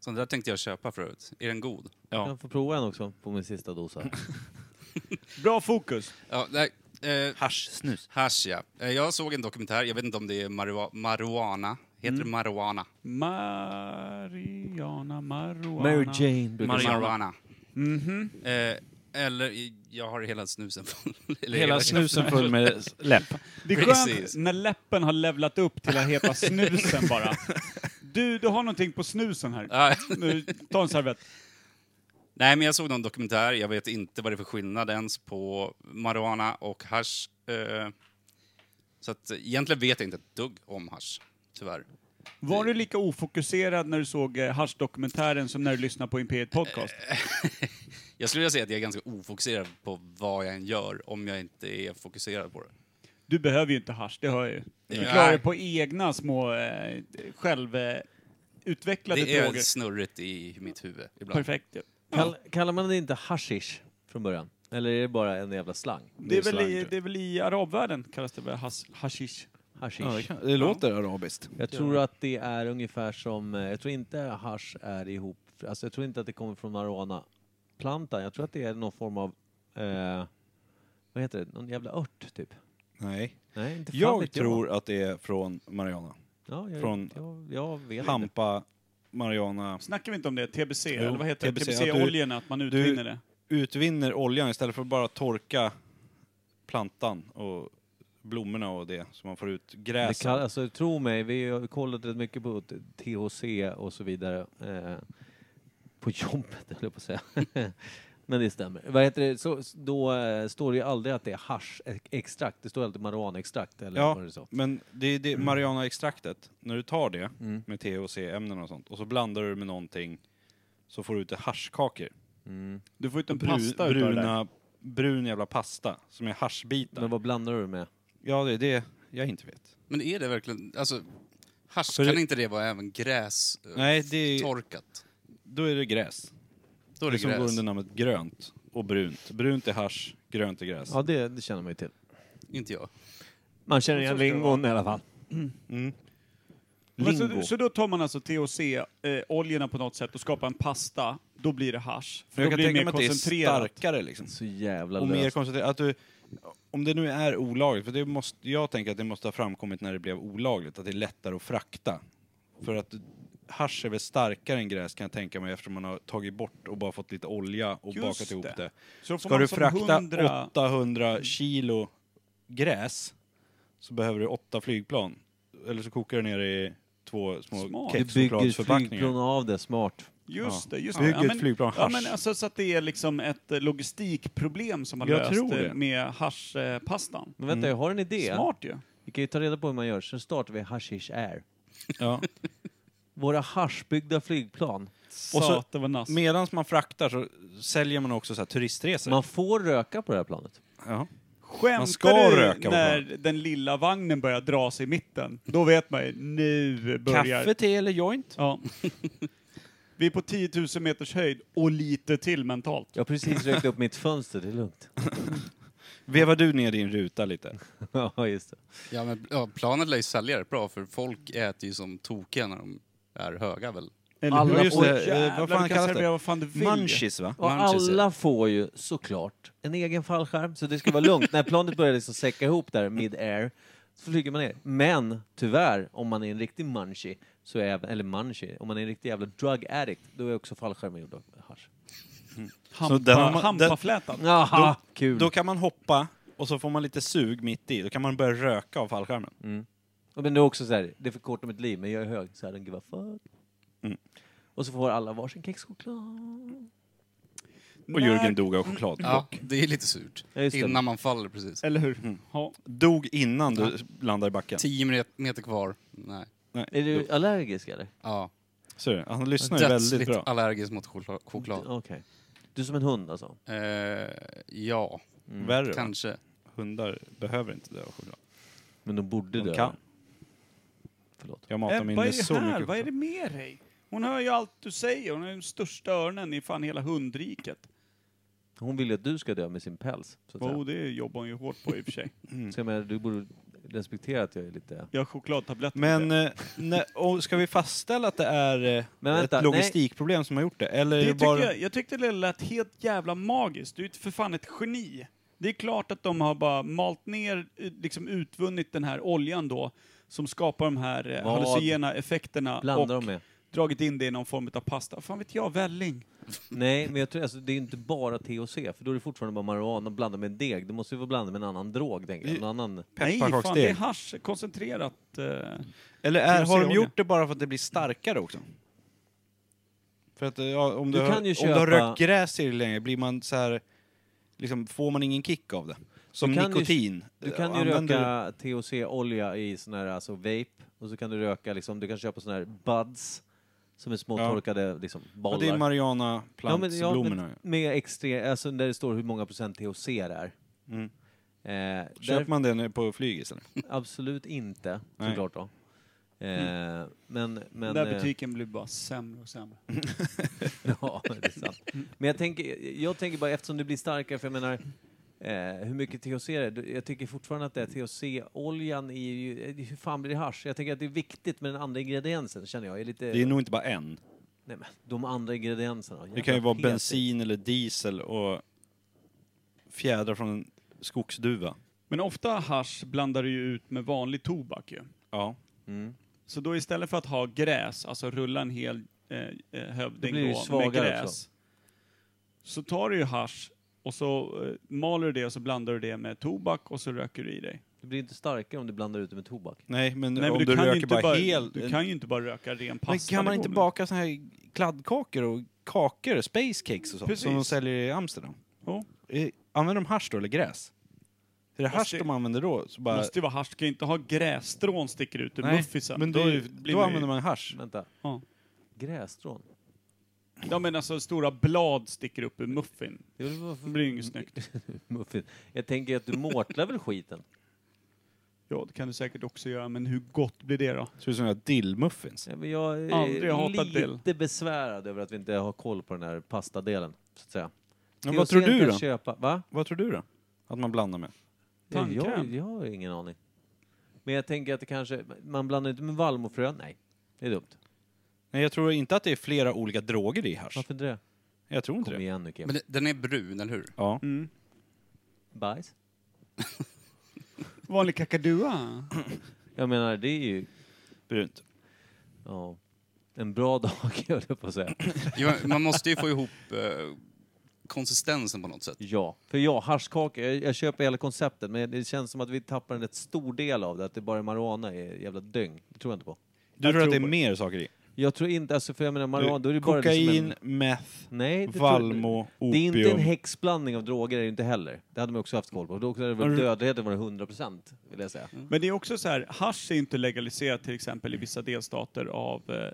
[SPEAKER 9] sån där tänkte jag köpa förut. Är den god?
[SPEAKER 3] Ja.
[SPEAKER 2] Jag får prova en också på min sista dosa.
[SPEAKER 1] Bra fokus.
[SPEAKER 9] Ja, nej, eh,
[SPEAKER 3] Hasch, snus.
[SPEAKER 9] hasch, ja. Eh, Jag såg en dokumentär, jag vet inte om det är marua- marijuana. Heter
[SPEAKER 3] Mm.
[SPEAKER 9] det marijuana?
[SPEAKER 1] Mariana, Maruana.
[SPEAKER 2] Mary Jane brukar
[SPEAKER 3] Mariana.
[SPEAKER 9] Marijuana.
[SPEAKER 4] Mhm.
[SPEAKER 9] Eh, eller, i- jag har hela snusen full. Eller
[SPEAKER 3] Hela
[SPEAKER 9] käften.
[SPEAKER 3] snusen full med s- läpp.
[SPEAKER 1] Det är
[SPEAKER 9] Precis.
[SPEAKER 1] skönt när läppen har levlat upp till att heta snusen bara. Du, du har någonting på snusen här.
[SPEAKER 9] Ja,
[SPEAKER 1] Nu, ta en servett.
[SPEAKER 9] Nej, men jag såg någon dokumentär. Jag vet inte vad det är för skillnad ens på marijuana och hasch. Eh, Så att eh, egentligen vet jag inte ett dugg om hasch, tyvärr.
[SPEAKER 1] Var du lika ofokuserad när du såg eh, Hasch-dokumentären som när du lyssnade på Imperiet Podcast?
[SPEAKER 9] Jag skulle vilja säga att jag är ganska ofokuserad på vad jag än gör om jag inte är fokuserad på det.
[SPEAKER 1] Du behöver ju inte hasch, det hör jag ju. Du
[SPEAKER 9] Nej.
[SPEAKER 1] klarar dig på egna små eh, självutvecklade
[SPEAKER 9] Det är
[SPEAKER 1] droger.
[SPEAKER 9] snurrigt i mitt huvud ibland.
[SPEAKER 1] Perfekt. ju.
[SPEAKER 2] Kall, kallar man det inte hashish från början? Eller är det bara en jävla slang?
[SPEAKER 1] Det är, väl
[SPEAKER 3] slang,
[SPEAKER 1] i,
[SPEAKER 3] tror jag.
[SPEAKER 1] det är väl i arabvärlden kallas det väl has, hashish?
[SPEAKER 2] Hashish.
[SPEAKER 4] Det låter arabiskt.
[SPEAKER 2] jag tror att det är ungefär som, eh, jag tror inte hash är ihop För, Alltså jag tror inte att det kommer från marijuana-plantan. Jag tror att det är någon form av, eh, vad heter det, någon jävla ört typ.
[SPEAKER 4] Nej.
[SPEAKER 2] Nej, inte fan
[SPEAKER 4] Jag
[SPEAKER 2] vet
[SPEAKER 4] tror att det är från Mariana.
[SPEAKER 2] Ja, jag,
[SPEAKER 4] från
[SPEAKER 2] jag, jag vet inte.
[SPEAKER 4] Hampa, Mariana.
[SPEAKER 1] Snackar vi inte om det? TBC, eller vad heter det?
[SPEAKER 4] TBC, att du-
[SPEAKER 1] TBC-oljorna, att man utvinner det.
[SPEAKER 4] Utvinner oljan istället för att bara torka plantan och blommorna och det, så man får ut
[SPEAKER 2] Det kan,
[SPEAKER 4] gräset.
[SPEAKER 2] alltså, tro mig, vi har kollat rätt mycket på THC och så vidare. Eh, på jobbet, höll jag på att säga. Men det stämmer. Vad heter det? Så, s- då eh, står det ju aldrig att det är haschextrakt. Det står alltid marijuanaextrakt eller
[SPEAKER 4] Ja,
[SPEAKER 2] vad det är.
[SPEAKER 4] men det är det Mariana-extraktet, när du tar det med THC-ämnen och sånt och så blandar du det med någonting så får du ut haschkakor.
[SPEAKER 1] Du får ut en
[SPEAKER 4] Bru-
[SPEAKER 1] pasta utav det där.
[SPEAKER 4] bruna, brun jävla pasta som är haschbitar.
[SPEAKER 2] Men vad blandar du med?
[SPEAKER 4] Ja, det är det jag inte vet.
[SPEAKER 9] Men är det verkligen... Alltså, hasch,
[SPEAKER 4] För-
[SPEAKER 9] kan inte det vara även gräs eh,
[SPEAKER 4] Nej, det är-
[SPEAKER 9] torkat?
[SPEAKER 4] Då är det gräs.
[SPEAKER 9] Då är
[SPEAKER 4] Det
[SPEAKER 9] det
[SPEAKER 4] som går
[SPEAKER 9] gräs.
[SPEAKER 4] under namnet grönt och brunt. Brunt är hasch, grönt är gräs.
[SPEAKER 2] Ja, det, det känner man ju till.
[SPEAKER 9] Inte jag.
[SPEAKER 2] Man känner igen lingon i alla fall.
[SPEAKER 1] Men
[SPEAKER 2] Lingo.
[SPEAKER 1] Så, så då tar man alltså THC-oljorna på något sätt och skapar en pasta, då blir det hasch. För då
[SPEAKER 4] Men jag kan
[SPEAKER 1] blir det
[SPEAKER 4] tänka
[SPEAKER 1] mer
[SPEAKER 4] mig att det är
[SPEAKER 1] koncentrerat.
[SPEAKER 4] starkare liksom.
[SPEAKER 2] Så jävla
[SPEAKER 4] Och mer
[SPEAKER 2] löst.
[SPEAKER 4] koncentrerat. Att du, om det nu är olagligt, för det måste, jag tänker att det måste ha framkommit när det blev olagligt, att det är lättare att frakta. För att hasch är väl starkare än gräs kan jag tänka mig eftersom man har tagit bort och bara fått lite olja och
[SPEAKER 1] Just
[SPEAKER 4] bakat ihop
[SPEAKER 1] det.
[SPEAKER 4] det.
[SPEAKER 1] Så får
[SPEAKER 4] Ska
[SPEAKER 1] man
[SPEAKER 4] du
[SPEAKER 1] som alltså
[SPEAKER 4] frakta
[SPEAKER 1] 100
[SPEAKER 4] 800 kilo gräs så behöver du åtta flygplan. Eller så kokar du ner det i två små
[SPEAKER 1] Smart.
[SPEAKER 2] Du bygger flygplan
[SPEAKER 4] kexchokladförpackningar.
[SPEAKER 2] av det, smart.
[SPEAKER 1] Just det, just
[SPEAKER 4] Bygg
[SPEAKER 1] det.
[SPEAKER 4] ett flygplan
[SPEAKER 1] ja,
[SPEAKER 4] hasch.
[SPEAKER 1] men alltså, så att det är liksom ett eh, logistikproblem som har
[SPEAKER 4] Jag
[SPEAKER 1] löst
[SPEAKER 4] tror
[SPEAKER 1] eh,
[SPEAKER 4] det.
[SPEAKER 1] med haschpastan.
[SPEAKER 2] Men vänta, jag har en idé.
[SPEAKER 1] Smart ju.
[SPEAKER 2] Vi kan ju ta reda på hur man gör. Sen startar vi Hashish Air.
[SPEAKER 4] Ja.
[SPEAKER 2] Våra haschbyggda flygplan.
[SPEAKER 1] Och
[SPEAKER 4] Och så-
[SPEAKER 1] så, det var nass.
[SPEAKER 4] Medan man fraktar så säljer man också så här turistresor.
[SPEAKER 2] Man får röka på det här planet.
[SPEAKER 4] ja.
[SPEAKER 1] Skämtar
[SPEAKER 4] Man ska
[SPEAKER 1] du
[SPEAKER 4] röka,
[SPEAKER 1] när den lilla vagnen börjar dra sig i mitten? Då vet man ju, nu börjar...
[SPEAKER 4] Kaffe, te eller joint?
[SPEAKER 1] Ja. Vi är på 10 000 meters höjd och lite till mentalt.
[SPEAKER 2] Jag har precis rökt upp mitt fönster, det är lugnt.
[SPEAKER 4] Vevar du ner din ruta lite?
[SPEAKER 2] ja, just det.
[SPEAKER 9] Ja, men, ja, planet lär ju sälja rätt bra, för folk äter ju som tokiga när de är höga väl.
[SPEAKER 1] Eller
[SPEAKER 2] Alla-
[SPEAKER 1] hur?
[SPEAKER 2] just det,
[SPEAKER 1] Oj,
[SPEAKER 4] eh,
[SPEAKER 1] jävlar,
[SPEAKER 4] vad fan
[SPEAKER 1] du kan
[SPEAKER 4] kallas det?
[SPEAKER 1] servera vad fan du vill.
[SPEAKER 4] Munchies
[SPEAKER 1] Mm.
[SPEAKER 4] va?
[SPEAKER 2] Och
[SPEAKER 9] Manchester.
[SPEAKER 2] alla får ju såklart en egen fallskärm, så det ska vara lugnt. När planet börjar liksom säcka ihop där mid-air så flyger man ner. Men tyvärr, om man är en riktig munchie, så är även, eller munchie, om man är en riktig jävla drug addict, då är också fallskärmen gjord av hasch.
[SPEAKER 1] Hampa,
[SPEAKER 4] Så den har man-
[SPEAKER 1] hampaflätad.
[SPEAKER 2] Jaha, kul!
[SPEAKER 4] Då kan man hoppa och så får man lite sug mitt i. Då kan man börja röka av fallskärmen.
[SPEAKER 1] Mm.
[SPEAKER 2] Men det är också så här, det är för kort om ett liv, men jag är hög, så här, don't give a fuck. Mm. Och så får alla varsin kexchoklad.
[SPEAKER 4] Och Jörgen dog av choklad.
[SPEAKER 9] Ja, det är lite surt.
[SPEAKER 2] Ja, just det.
[SPEAKER 9] Innan man faller precis.
[SPEAKER 1] Eller hur? Ja.
[SPEAKER 4] Mm. Dog innan du landade i backen.
[SPEAKER 9] Tio met- meter kvar. Nej.
[SPEAKER 2] Är du allergisk eller?
[SPEAKER 9] Ja.
[SPEAKER 4] Ser du? Han lyssnar ju väldigt
[SPEAKER 9] Dödsligt
[SPEAKER 4] bra.
[SPEAKER 9] allergisk mot choklad. choklad.
[SPEAKER 2] Okej. Du är som en hund alltså?
[SPEAKER 9] Eh, ja,
[SPEAKER 1] Mm.
[SPEAKER 4] Värre va?
[SPEAKER 9] kanske.
[SPEAKER 4] Hundar behöver inte dö av choklad.
[SPEAKER 2] Men de borde
[SPEAKER 4] De
[SPEAKER 2] dö.
[SPEAKER 4] kan.
[SPEAKER 2] Förlåt.
[SPEAKER 4] Jag matar min
[SPEAKER 1] Ebba
[SPEAKER 4] med så
[SPEAKER 1] är
[SPEAKER 4] mycket
[SPEAKER 1] här, Eh, vad är
[SPEAKER 4] choklad.
[SPEAKER 1] det med dig? Hon hör ju allt du säger, hon är den största örnen i fan hela hundriket.
[SPEAKER 2] Hon vill ju att du ska dö med sin päls. Så att
[SPEAKER 1] Jo,
[SPEAKER 2] säga.
[SPEAKER 1] det jobbar hon ju hårt på i och för sig.
[SPEAKER 2] Så jag menar, du borde respektera att jag är lite...
[SPEAKER 1] Jag har chokladtabletter.
[SPEAKER 4] Men eh, ne, och ska vi fastställa att det är eh,
[SPEAKER 2] Men vänta,
[SPEAKER 4] ett logistikproblem som har gjort det? Eller är
[SPEAKER 1] det
[SPEAKER 4] det
[SPEAKER 1] tycker
[SPEAKER 4] bara...
[SPEAKER 1] jag, jag tyckte det lät helt jävla magiskt. Du är ju för fan ett geni. Det är klart att de har bara malt ner, eh, liksom utvunnit den här oljan då, som skapar de här eh,
[SPEAKER 2] Vad
[SPEAKER 1] hallucinogena effekterna
[SPEAKER 2] Blandar
[SPEAKER 1] och
[SPEAKER 2] de med?
[SPEAKER 1] dragit in det i någon form av pasta. Fan vet jag, välling.
[SPEAKER 2] Nej, men jag tror alltså, det är ju inte bara THC, för då är det fortfarande bara marijuana blandat med en deg. Det måste ju vara blandat med en annan drog, tänker jag. Någon annan...
[SPEAKER 1] Nej, fan,
[SPEAKER 4] Pepparkaksdeg.
[SPEAKER 1] det är hasch koncentrerat. eh,
[SPEAKER 4] Eller är, har de
[SPEAKER 1] THC-olja.
[SPEAKER 4] gjort det bara för att det blir starkare också? För att eh, ja, om, du
[SPEAKER 2] Du
[SPEAKER 4] har,
[SPEAKER 2] kan ju
[SPEAKER 4] om du har
[SPEAKER 2] köpa-
[SPEAKER 4] rökt gräs tillräckligt länge, blir man så här, liksom, får man ingen kick av det? Som
[SPEAKER 2] Du kan ju-
[SPEAKER 4] nikotin.
[SPEAKER 2] Du kan ju röka THC-olja i sån här alltså vape, och så kan du röka liksom, du kan köpa sån här buds, som är små
[SPEAKER 4] Ja.
[SPEAKER 2] torkade liksom,
[SPEAKER 4] Ja,
[SPEAKER 2] bollar.
[SPEAKER 4] det är marijuana
[SPEAKER 2] Ja, men- ja, men
[SPEAKER 4] plantsblommorna.
[SPEAKER 2] med extra, alltså där det står hur många procent THC det är.
[SPEAKER 4] Mm.
[SPEAKER 2] Eh, där-
[SPEAKER 4] Köper man den nu på flygis eller?
[SPEAKER 2] Absolut inte,
[SPEAKER 4] Nej. Mm.
[SPEAKER 2] såklart då. Eh, Men, men...
[SPEAKER 1] Den där
[SPEAKER 2] eh,
[SPEAKER 1] butiken blir bara sämre och sämre.
[SPEAKER 2] Ja, det är sant. Men jag tänker, jag tänker bara eftersom det blir starkare, för jag menar, eh, hur mycket THC är det? Du- Jag tycker fortfarande att det är THC-oljan i ju, eh, hur fan blir det hasch? Jag tänker att det är viktigt med den andra ingrediensen, känner jag. Är lite,
[SPEAKER 4] Det är nog inte bara en.
[SPEAKER 2] Nej, men de andra ingredienserna.
[SPEAKER 4] Det kan ju
[SPEAKER 2] Jävla
[SPEAKER 4] vara
[SPEAKER 2] pet.
[SPEAKER 4] bensin eller diesel och fjädrar från en skogsduva.
[SPEAKER 1] Men ofta hasch blandar du ju ut med vanlig tobak ju.
[SPEAKER 4] Ja.
[SPEAKER 1] Så då istället för att ha gräs, alltså rulla en hel eh, eh, hövding
[SPEAKER 2] blir det ju
[SPEAKER 1] då, med
[SPEAKER 2] svagare
[SPEAKER 1] gräs.
[SPEAKER 2] också.
[SPEAKER 1] Så tar du ju hasch och så eh, maler du det och så blandar du det med tobak och så röker du i dig.
[SPEAKER 2] Det blir inte starkare om du blandar ut det med tobak.
[SPEAKER 4] Nej, men
[SPEAKER 1] Nej, men
[SPEAKER 4] om
[SPEAKER 1] du,
[SPEAKER 4] du,
[SPEAKER 1] kan ju
[SPEAKER 4] röker
[SPEAKER 1] inte
[SPEAKER 4] bara,
[SPEAKER 1] bara,
[SPEAKER 4] hel...
[SPEAKER 1] du kan ju inte bara röka ren pasta.
[SPEAKER 4] men kan man
[SPEAKER 1] det
[SPEAKER 4] inte
[SPEAKER 1] går
[SPEAKER 4] baka såna här kladdkakor och kakor, space cakes och sånt som de
[SPEAKER 1] Precis.
[SPEAKER 4] säljer i Amsterdam?
[SPEAKER 1] väl. Ja.
[SPEAKER 4] Eh, Använder de hasch då, eller gräs? Är det hasch
[SPEAKER 1] Måste-
[SPEAKER 4] de använder då? Så bara...
[SPEAKER 1] Måste ju vara hasch, kan ju inte ha grässtrån sticker ut ur
[SPEAKER 4] Nej,
[SPEAKER 1] muffisen.
[SPEAKER 4] men
[SPEAKER 1] då,
[SPEAKER 4] då,
[SPEAKER 1] är-
[SPEAKER 4] då,
[SPEAKER 1] blir man ju-
[SPEAKER 4] använder man hasch.
[SPEAKER 2] Vänta.
[SPEAKER 1] Ja.
[SPEAKER 2] Grässtrån?
[SPEAKER 1] Ja men alltså stora blad sticker upp ur muffin.
[SPEAKER 2] Det är väl bara
[SPEAKER 1] Det
[SPEAKER 2] för
[SPEAKER 1] blir ju inget snyggt.
[SPEAKER 2] muffin. Jag tänker att du mårtlar väl skiten?
[SPEAKER 1] Ja det kan du säkert också göra, men hur gott blir det då?
[SPEAKER 4] Ser ut som en dillmuffins.
[SPEAKER 2] Nej, men jag är
[SPEAKER 1] Aldrig hatat
[SPEAKER 2] lite
[SPEAKER 1] dill.
[SPEAKER 2] besvärad över att vi inte har koll på den här pastadelen, så att säga.
[SPEAKER 4] Men
[SPEAKER 2] THC
[SPEAKER 4] vad tror du
[SPEAKER 2] kan
[SPEAKER 4] då?
[SPEAKER 2] Köpa. Va?
[SPEAKER 4] Vad tror du då? Att man blandar med?
[SPEAKER 2] Jag, jag,
[SPEAKER 1] Tandkräm.
[SPEAKER 2] jag har ingen aning. Men jag tänker att det kanske, man blandar inte med vallmofrön? Nej, det är dumt.
[SPEAKER 4] Nej, jag tror inte att det är flera olika droger i hasch.
[SPEAKER 2] Varför inte det?
[SPEAKER 4] Jag tror inte
[SPEAKER 2] Kom
[SPEAKER 4] det.
[SPEAKER 2] igen nu Kim.
[SPEAKER 9] Men det- den är brun, eller hur?
[SPEAKER 4] Ja.
[SPEAKER 1] Mm.
[SPEAKER 2] Bajs?
[SPEAKER 1] Vanlig kakadua.
[SPEAKER 2] Jag menar, det är ju,
[SPEAKER 4] Brunt.
[SPEAKER 2] ja, en bra dag höll jag på att säga.
[SPEAKER 9] Jo, man måste ju få ihop eh, konsistensen på något sätt.
[SPEAKER 2] Ja, för ja, haschkaka, jag, jag köper hela konceptet men det känns som att vi tappar en rätt stor del av det, att det bara är marijuana är jävla döng. Det tror jag inte på.
[SPEAKER 4] Du tror att det är mer saker i?
[SPEAKER 2] Jag tror inte, alltså för jag menar marijuana, då är det bara
[SPEAKER 4] Kokain,
[SPEAKER 2] liksom en...
[SPEAKER 4] meth,
[SPEAKER 2] Nej, det tror jag inte.
[SPEAKER 4] Valmo,
[SPEAKER 2] Det är inte en
[SPEAKER 4] opium.
[SPEAKER 2] häxblandning av droger, är det inte heller. Det hade man också haft koll på. Då hade väl dödligheten varit 100 procent, vill jag säga.
[SPEAKER 1] Men det är också så här, hasch är inte legaliserat till exempel i vissa delstater av eh, eh,
[SPEAKER 2] Är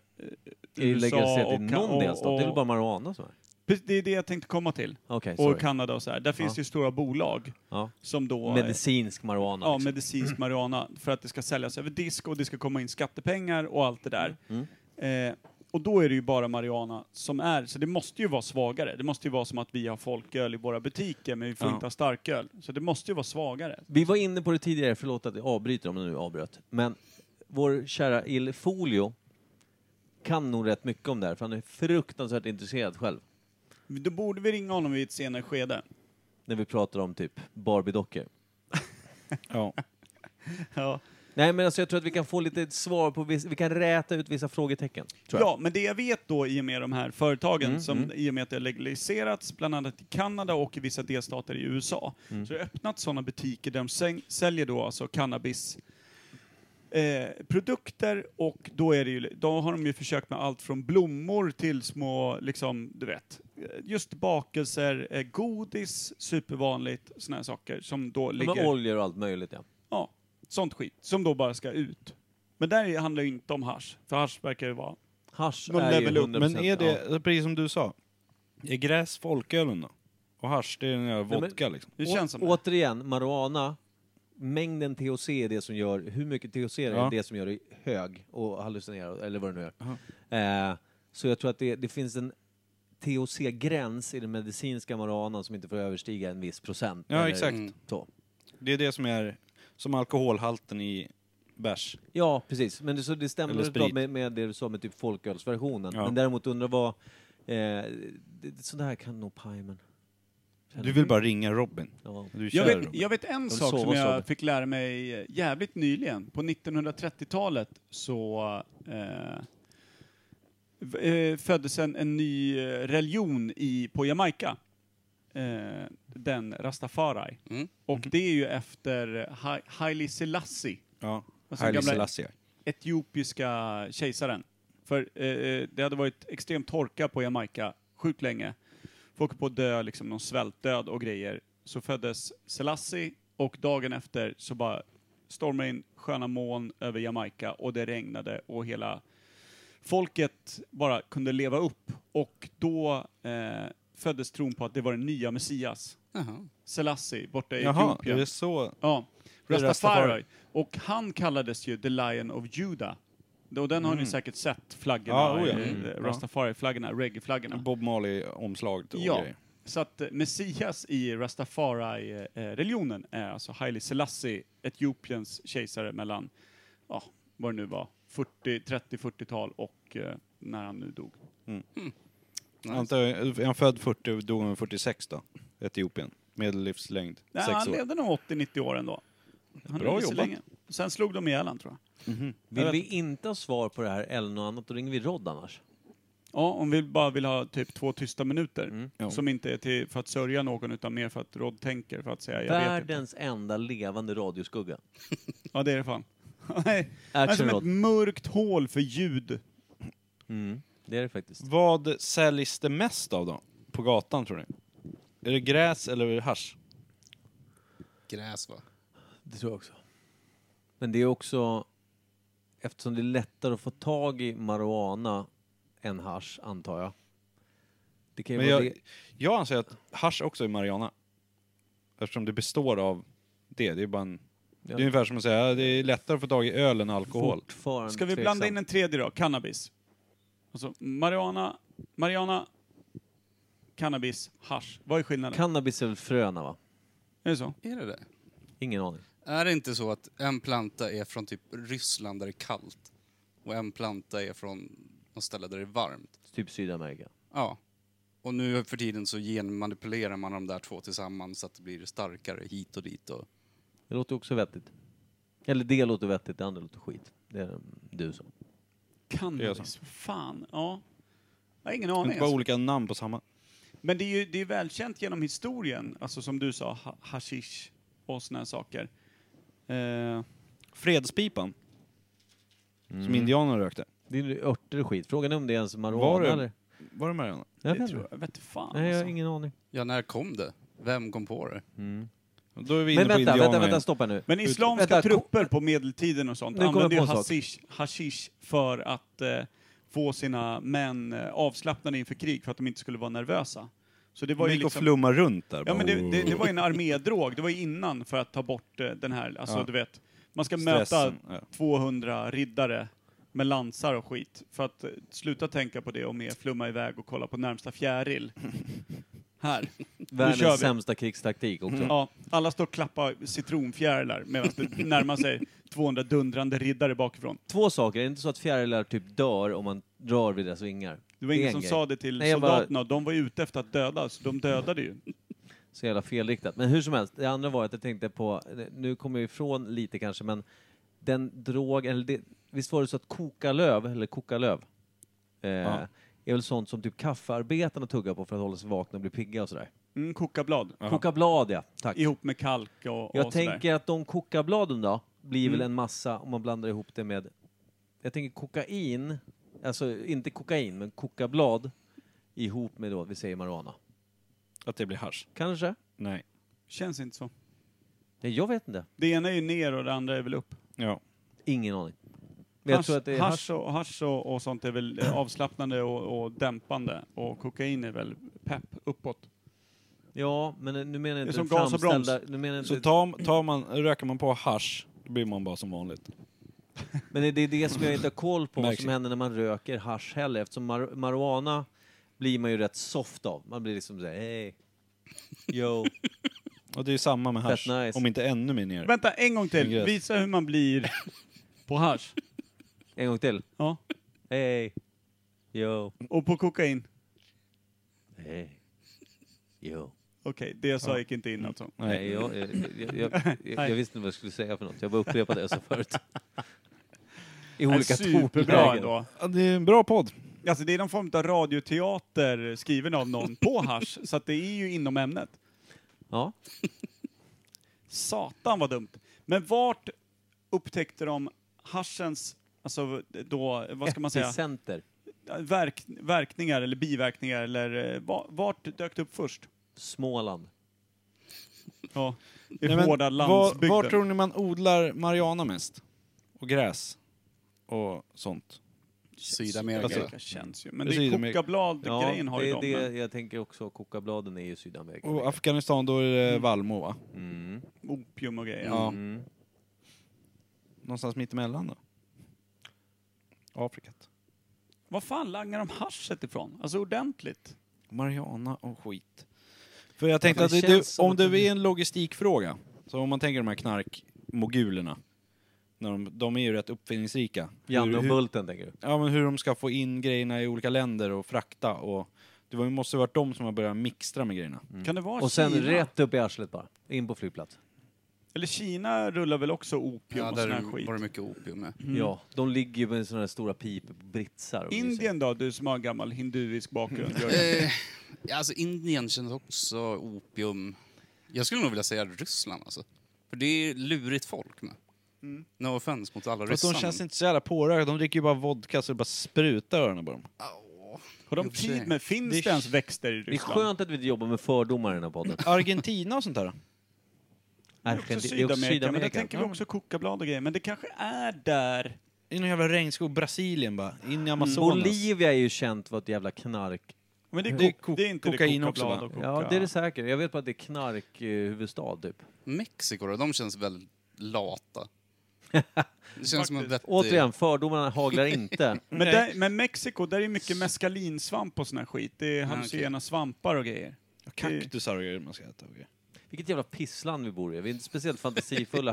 [SPEAKER 2] det legaliserat i
[SPEAKER 1] Ka-
[SPEAKER 2] någon delstat? Det är väl bara marijuana som är?
[SPEAKER 1] Precis, Det är det jag tänkte komma till.
[SPEAKER 2] Okej,
[SPEAKER 1] och
[SPEAKER 2] sorry.
[SPEAKER 1] Kanada och så här. Där finns det ju stora bolag
[SPEAKER 2] Ja.
[SPEAKER 1] som då... eh,
[SPEAKER 2] Medicinsk marijuana.
[SPEAKER 1] Ja,
[SPEAKER 2] liksom.
[SPEAKER 1] medicinsk marijuana för att det ska säljas över disk och det ska komma in skattepengar och allt det där.
[SPEAKER 2] Mm.
[SPEAKER 1] Eh, och då är det ju bara marijuana som är, så det måste ju vara svagare. Det måste ju vara som att vi har folköl i våra butiker men vi får inte ha starköl. Så det måste ju vara svagare.
[SPEAKER 2] Vi var inne på det tidigare, förlåt att jag avbryter om jag nu avbröt. Men vår kära Il Folio kan nog rätt mycket om det här, för han är fruktansvärt intresserad själv.
[SPEAKER 1] Då borde vi ringa honom i ett senare skede.
[SPEAKER 2] När vi pratar om typ Barbie-dockor.
[SPEAKER 4] Ja.
[SPEAKER 1] Ja.
[SPEAKER 2] Nej men alltså jag tror att vi kan få lite svar på, viss, vi kan räta ut vissa frågetecken. Tror jag. Mm,
[SPEAKER 1] Ja, men det jag vet då i och med de här företagen, som i och med att det har legaliserats bland annat i Kanada och i vissa delstater i USA,
[SPEAKER 2] Mm.
[SPEAKER 1] så har det öppnat sådana butiker där de säng- säljer då alltså cannabis Eh, produkter och då, är det ju, då har de ju försökt med allt från blommor till små, liksom, du vet, eh, just bakelser, eh, godis, supervanligt, sådana här saker som då
[SPEAKER 2] Ja,
[SPEAKER 1] ligger...
[SPEAKER 2] med oljor och allt möjligt ja.
[SPEAKER 1] Ja, sånt skit som då bara ska ut. Men där handlar ju inte om hasch, för hasch verkar ju vara...
[SPEAKER 2] Hasch
[SPEAKER 1] Någon
[SPEAKER 2] är ju
[SPEAKER 1] level up,
[SPEAKER 2] 100%.
[SPEAKER 4] Men är
[SPEAKER 2] ja.
[SPEAKER 4] det, precis som du sa, är gräs folkölen då? Och hasch, det är den där
[SPEAKER 2] men-
[SPEAKER 4] vodka liksom.
[SPEAKER 1] Det
[SPEAKER 2] Å-
[SPEAKER 1] känns som det.
[SPEAKER 2] återigen, marijuana, mängden THC är det som gör, hur mycket THC är
[SPEAKER 4] Ja.
[SPEAKER 2] det som gör dig hög och hallucinerar eller vad det nu är. Eh, så jag tror att det, det finns en THC-gräns i den medicinska marijuanan som inte får överstiga en viss procent.
[SPEAKER 4] Ja,
[SPEAKER 2] eller
[SPEAKER 4] exakt.
[SPEAKER 9] Mm.
[SPEAKER 2] Så.
[SPEAKER 4] Det är det som är som alkoholhalten i bärs.
[SPEAKER 2] Ja, precis. Men det, så det stämmer
[SPEAKER 4] Eller
[SPEAKER 2] rätt bra
[SPEAKER 4] sprit.
[SPEAKER 2] med, med det du sa med typ folkölsversionen.
[SPEAKER 4] Ja.
[SPEAKER 2] Men däremot undrar vad... Eh, det, sånt här kan nog pajmen.
[SPEAKER 4] Du vill bara ringa Robin.
[SPEAKER 2] Ja.
[SPEAKER 4] Du
[SPEAKER 1] Jag
[SPEAKER 4] kör
[SPEAKER 1] vet,
[SPEAKER 4] Robin.
[SPEAKER 1] jag vet en
[SPEAKER 2] vill
[SPEAKER 1] sak
[SPEAKER 2] sova
[SPEAKER 1] som
[SPEAKER 2] och
[SPEAKER 1] jag
[SPEAKER 2] sova.
[SPEAKER 1] fick lära mig jävligt nyligen. På 1930-talet så eh, v- eh, föddes en, en ny eh, religion i, på Jamaica. Eh, den rastafari.
[SPEAKER 9] Mm.
[SPEAKER 1] Och
[SPEAKER 4] Mhm.
[SPEAKER 1] det är ju efter ha, Haile Selassie,
[SPEAKER 4] Ja.
[SPEAKER 1] Alltså
[SPEAKER 4] Haile
[SPEAKER 1] gamla-
[SPEAKER 4] Selassie.
[SPEAKER 1] etiopiska kejsaren. För eh, eh, det hade varit extrem torka på Jamaica sjukt länge. Folk höll på att dö, liksom någon svältdöd och grejer. Så föddes Selassie och dagen efter så bara stormade in sköna moln över Jamaica och det regnade och hela folket bara kunde leva upp. Och då eh, föddes tron på att det var den nya Messias.
[SPEAKER 9] Jaha.
[SPEAKER 1] Selassie borta i
[SPEAKER 4] Jaha, är
[SPEAKER 1] Etiopien.
[SPEAKER 4] det så?
[SPEAKER 1] Ja,
[SPEAKER 4] Det är
[SPEAKER 1] Rastafari.
[SPEAKER 4] Rastafari.
[SPEAKER 1] Och han kallades ju The Lion of Judah. Och den har ni säkert sett, flaggorna,
[SPEAKER 4] Mm. Ja, oh ja.
[SPEAKER 1] eh,
[SPEAKER 4] Mm.
[SPEAKER 1] Rastafari-flaggorna, reggae-flaggorna.
[SPEAKER 4] Bob Marley-omslaget och
[SPEAKER 1] Ja,
[SPEAKER 4] grejer.
[SPEAKER 1] så att eh, Messias i Rastafari-religionen är alltså Haile Selassie, Etiopiens kejsare mellan, ja, vad det nu var, 40, 30-40-tal och eh, när han nu dog.
[SPEAKER 4] Antar jag- Är han född 40 och dog han 46 då? Etiopien. Medellivslängd.
[SPEAKER 1] Nej,
[SPEAKER 4] sex
[SPEAKER 1] han
[SPEAKER 4] år.
[SPEAKER 1] levde nog 80-90 år ändå. Han
[SPEAKER 4] Bra
[SPEAKER 1] levde så
[SPEAKER 4] jobbat.
[SPEAKER 1] länge. Sen slog de ihjäl han, tror jag.
[SPEAKER 2] Vill vi inte ha svar på det här eller något annat, då ringer vi Rod annars.
[SPEAKER 1] Ja, om vi bara vill ha typ två tysta minuter.
[SPEAKER 4] Ja.
[SPEAKER 1] Som inte är till för att sörja någon, utan mer för att Rod tänker, för att säga jag vet inte.
[SPEAKER 2] Världens enda levande radioskugga.
[SPEAKER 1] Ja, det är det fan. Nej, Han är
[SPEAKER 2] Action
[SPEAKER 1] som ett
[SPEAKER 2] Rod.
[SPEAKER 1] mörkt hål för ljud.
[SPEAKER 2] Mm, det är det faktiskt.
[SPEAKER 4] Vad säljs det mest av då? På gatan tror ni? Är det gräs eller är det hasch?
[SPEAKER 9] Gräs va?
[SPEAKER 2] Det tror jag också. Men det är också, eftersom det är lättare att få tag i marijuana än hasch, antar jag. Det kan ju
[SPEAKER 4] Men
[SPEAKER 2] vara
[SPEAKER 4] jag,
[SPEAKER 2] det.
[SPEAKER 4] jag anser att hasch också är marijuana. Eftersom det består av det. Det är bara en... Det är ungefär som att säga "Ja, det är lättare att få tag i öl än alkohol.
[SPEAKER 2] Fortfarande
[SPEAKER 1] Ska vi blanda in en tredje då? Cannabis. Alltså, marijuana, marijuana, cannabis, hasch. Vad är skillnaden?
[SPEAKER 2] Cannabis är väl fröna, va?
[SPEAKER 1] är det så?
[SPEAKER 9] Är det det?
[SPEAKER 2] Ingen aning.
[SPEAKER 9] Är det inte så att en planta är från typ Ryssland där det är kallt och en planta är från något ställe där det är varmt?
[SPEAKER 2] Typ Sydamerika.
[SPEAKER 9] Ja. Och nu för tiden så genmanipulerar man de där två tillsammans så att det blir starkare hit och dit. Och...
[SPEAKER 2] Det låter också vettigt. Eller det låter vettigt, det andra låter skit. Det är mm, du som.
[SPEAKER 1] Cannabis, fan. Ja. Jag har ingen
[SPEAKER 4] Det är
[SPEAKER 1] aning.
[SPEAKER 4] inte bara
[SPEAKER 1] Alltså.
[SPEAKER 4] olika namn på samma.
[SPEAKER 1] Men det är ju det är välkänt genom historien, alltså som du sa, ha- hashish och såna här saker. Eh,
[SPEAKER 4] Fredspipan.
[SPEAKER 2] Mm.
[SPEAKER 4] Som indianerna rökte.
[SPEAKER 2] Det är ju örter och skit. Frågan är om det är ens
[SPEAKER 4] Var
[SPEAKER 2] marijuana
[SPEAKER 4] det-
[SPEAKER 2] eller?
[SPEAKER 4] Var det marijuana?
[SPEAKER 2] Jag
[SPEAKER 1] det
[SPEAKER 2] vet
[SPEAKER 1] tror
[SPEAKER 2] inte.
[SPEAKER 1] jag, vet fan.
[SPEAKER 2] Nej, jag har
[SPEAKER 1] alltså.
[SPEAKER 2] ingen aning.
[SPEAKER 9] Ja, när kom det? Vem kom på det?
[SPEAKER 4] Då är vi inne
[SPEAKER 2] Men
[SPEAKER 4] på
[SPEAKER 2] vänta,
[SPEAKER 4] indianerna
[SPEAKER 2] vänta, vänta,
[SPEAKER 4] igen.
[SPEAKER 2] stoppa nu.
[SPEAKER 1] Men islamska
[SPEAKER 2] Vänta, kom-
[SPEAKER 1] trupper på medeltiden och sånt
[SPEAKER 2] Nu kommer jag
[SPEAKER 1] använde ju
[SPEAKER 2] på en sak.
[SPEAKER 1] hashish, hashish för att eh, få sina män eh, avslappnade inför krig för att de inte skulle vara nervösa. Så det var
[SPEAKER 4] De
[SPEAKER 1] ju
[SPEAKER 4] gick och
[SPEAKER 1] liksom...
[SPEAKER 4] flumma runt där.
[SPEAKER 1] Ja,
[SPEAKER 4] bara.
[SPEAKER 1] men det, det, det var ju
[SPEAKER 2] Oh.
[SPEAKER 1] en armédrog. Det var ju innan för att ta bort eh, den här, alltså
[SPEAKER 4] Ja.
[SPEAKER 1] du vet, man ska
[SPEAKER 4] Stressen,
[SPEAKER 1] möta
[SPEAKER 4] ja.
[SPEAKER 1] 200 riddare med lansar och skit. För att eh, sluta tänka på det och mer flumma iväg och kolla på närmsta fjäril. här. kör vi. Mm.
[SPEAKER 2] Världens sämsta krigstaktik också.
[SPEAKER 1] Ja, alla står och klappar citronfjärilar medan det närmar sig 200 dundrande riddare bakifrån.
[SPEAKER 2] Två saker, det är inte så att fjärilar typ dör om man rör vid deras vingar.
[SPEAKER 1] Det var
[SPEAKER 2] är
[SPEAKER 1] ingen
[SPEAKER 2] en
[SPEAKER 1] som
[SPEAKER 2] grej.
[SPEAKER 1] sa det till
[SPEAKER 2] Nej, jag bara-
[SPEAKER 1] soldaterna, och de var ju ute efter att döda, så de dödade ju.
[SPEAKER 2] Så jävla felriktat. Men hur som helst, det andra var att jag tänkte på, nu kommer jag ifrån lite kanske, men den drog, eller det, visst var det så att koka löv, eller koka löv, eh,
[SPEAKER 4] Ja.
[SPEAKER 2] är väl sånt som typ kaffearbetarna tuggar på för att hålla sig vakna och bli pigga och sådär.
[SPEAKER 1] Mm, kokablad.
[SPEAKER 2] Koka blad ja, tack.
[SPEAKER 1] Ihop med kalk och,
[SPEAKER 2] Jag
[SPEAKER 1] och sådär.
[SPEAKER 2] tänker att de kokabladen då, blir väl en massa, om man blandar ihop det med, jag tänker kokain, alltså inte kokain, men kokablad ihop med då, vi säger marijuana.
[SPEAKER 4] Att det blir hasch.
[SPEAKER 2] Kanske?
[SPEAKER 4] Nej.
[SPEAKER 1] Känns inte så.
[SPEAKER 2] Nej, jag vet inte.
[SPEAKER 1] Det ena är ju ner och det andra är väl upp.
[SPEAKER 4] Ja.
[SPEAKER 2] Ingen aning. Men jag
[SPEAKER 1] Hasch,
[SPEAKER 2] tror att det är hasch.
[SPEAKER 1] hasch, och, hasch och, och sånt är väl eh, avslappnande och, och dämpande. Och kokain är väl pepp uppåt.
[SPEAKER 2] Ja, men nu menar jag
[SPEAKER 1] Det är som
[SPEAKER 2] inte
[SPEAKER 1] gas och broms.
[SPEAKER 2] framställda... Nu menar jag
[SPEAKER 4] Så
[SPEAKER 2] inte,
[SPEAKER 4] tar, tar man, röker man på hasch, då blir man bara som vanligt.
[SPEAKER 2] men det- det är det som jag inte har koll på, vad
[SPEAKER 4] Märks
[SPEAKER 2] som händer när man röker hasch heller. Eftersom mar- marijuana blir man ju rätt soft av. Man blir liksom såhär, hej, yo.
[SPEAKER 4] Och det är samma med hasch.
[SPEAKER 2] Fett nice.
[SPEAKER 4] Om inte ännu mer ner.
[SPEAKER 1] Vänta, en gång till.
[SPEAKER 4] Ingress.
[SPEAKER 1] Visa hur man blir på hasch.
[SPEAKER 2] En gång till.
[SPEAKER 1] Ja.
[SPEAKER 2] Hej, yo.
[SPEAKER 1] Och på kokain.
[SPEAKER 2] Hej, yo.
[SPEAKER 1] Okej, det jag sa gick inte in alltså.
[SPEAKER 2] Nej, jag, jag, jag, jag, jag, jag visste inte vad jag skulle säga för något. Jag bara upprepade det jag sa förut. I
[SPEAKER 1] Nej,
[SPEAKER 2] olika
[SPEAKER 1] Superbra
[SPEAKER 2] tonlägen.
[SPEAKER 1] ändå.
[SPEAKER 4] Ja, det är en bra podd.
[SPEAKER 1] Alltså det är någon form av radioteater skriven av någon på hasch, så att det är ju inom ämnet.
[SPEAKER 2] Ja.
[SPEAKER 1] Satan vad dumt. Men vart upptäckte de haschens, alltså då, vad ska man säga,
[SPEAKER 2] Epicenter.
[SPEAKER 1] verk, verkningar eller biverkningar eller eh, va- vart dök det upp först?
[SPEAKER 2] Småland.
[SPEAKER 1] Ja, i
[SPEAKER 4] Nej, men
[SPEAKER 1] hårda
[SPEAKER 4] Var,
[SPEAKER 1] landsbygden.
[SPEAKER 4] var tror ni man odlar marijuana mest? Och gräs? Och sånt.
[SPEAKER 9] Sydamerika.
[SPEAKER 1] Sydamerika känns ju. Men det
[SPEAKER 4] Det är
[SPEAKER 1] är
[SPEAKER 4] Alltså, Sydamerika.
[SPEAKER 1] kokablad-grejen har ju
[SPEAKER 2] det,
[SPEAKER 1] de.
[SPEAKER 2] det,
[SPEAKER 1] men-
[SPEAKER 2] jag tänker också kokabladen är ju Sydamerika.
[SPEAKER 4] Och Afghanistan, då är det vallmo va?
[SPEAKER 1] Opium och grejer.
[SPEAKER 4] Ja.
[SPEAKER 2] Mm.
[SPEAKER 4] Någonstans mittemellan då? Afrikat.
[SPEAKER 1] Var fan langar de haschet ifrån? Alltså ordentligt.
[SPEAKER 4] Mariana och skit. För jag tänkte
[SPEAKER 2] det
[SPEAKER 4] att det,
[SPEAKER 2] känns
[SPEAKER 4] det,
[SPEAKER 2] som
[SPEAKER 4] om
[SPEAKER 2] att
[SPEAKER 4] det
[SPEAKER 2] det-
[SPEAKER 4] är en logistikfråga, så om man tänker de här knarkmogulerna, när de, de är ju rätt uppfinningsrika.
[SPEAKER 2] Janne
[SPEAKER 4] Hur-
[SPEAKER 2] och
[SPEAKER 4] hur-
[SPEAKER 2] Bulten, tänker du?
[SPEAKER 4] ja, men hur de ska få in grejerna i olika länder och frakta och det var- måste ha varit de som har börjat mixtra med grejerna.
[SPEAKER 1] Kan det vara
[SPEAKER 2] Mm. Och sen
[SPEAKER 1] Kina?
[SPEAKER 2] rätt upp i arslet bara. In på flygplats.
[SPEAKER 1] Eller Kina rullar väl också opium
[SPEAKER 9] Ja,
[SPEAKER 1] och
[SPEAKER 9] där
[SPEAKER 1] sån här skit?
[SPEAKER 9] var det mycket opium med.
[SPEAKER 2] Ja, de ligger ju med sådana här stora pipor på britsar. och myser.
[SPEAKER 1] Mm. Indien då, du som har en gammal hinduisk bakgrund? Jörgen?
[SPEAKER 9] Eh, ja, alltså Indien känns också opium. Jag skulle nog vilja säga Ryssland alltså. För det är lurigt folk med.
[SPEAKER 1] Mm.
[SPEAKER 9] No offense mot alla
[SPEAKER 4] Fast de
[SPEAKER 9] ryssar.
[SPEAKER 4] känns
[SPEAKER 9] men-
[SPEAKER 4] inte så jävla pårökta, de dricker ju bara vodka så det bara sprutar i öronen på dem.
[SPEAKER 9] Åh.
[SPEAKER 1] har de
[SPEAKER 9] i och för sig.
[SPEAKER 1] tid med? Finns det, ens växter i
[SPEAKER 2] Det är
[SPEAKER 1] Ryssland?
[SPEAKER 2] skönt att vi inte jobbar med fördomar i den här podden.
[SPEAKER 4] Argentina och sånt där då?
[SPEAKER 1] Det är också
[SPEAKER 2] Argentin-
[SPEAKER 1] Alltså, Sydamerika, men där tänker vi
[SPEAKER 4] Ja.
[SPEAKER 1] också kokablad och grejer. Men det kanske är där.
[SPEAKER 4] I någon jävla regnskog, Brasilien bara, in i Amazonas.
[SPEAKER 2] Bolivia är ju känt för att jävla knark...
[SPEAKER 1] Men det är,
[SPEAKER 4] Det är
[SPEAKER 1] kok-
[SPEAKER 4] ko-
[SPEAKER 1] det är inte
[SPEAKER 4] kokain
[SPEAKER 1] det
[SPEAKER 4] också, va?
[SPEAKER 1] kokablad och koka.
[SPEAKER 2] Ja, det är det säkert. Jag vet bara att det är knarkhuvudstad, typ.
[SPEAKER 9] Mexiko då, de känns väldigt lata. Det känns som en vettig...
[SPEAKER 2] Återigen, fördomarna haglar inte.
[SPEAKER 1] Men, där, men Mexiko, där är mycket mescalinsvamp och sån här skit. Det är hallucinogena svampar och grejer.
[SPEAKER 4] Kaktusar och grejer man ska äta. och grejer.
[SPEAKER 2] Vilket jävla pissland vi bor i. Vi är inte speciellt fantasifulla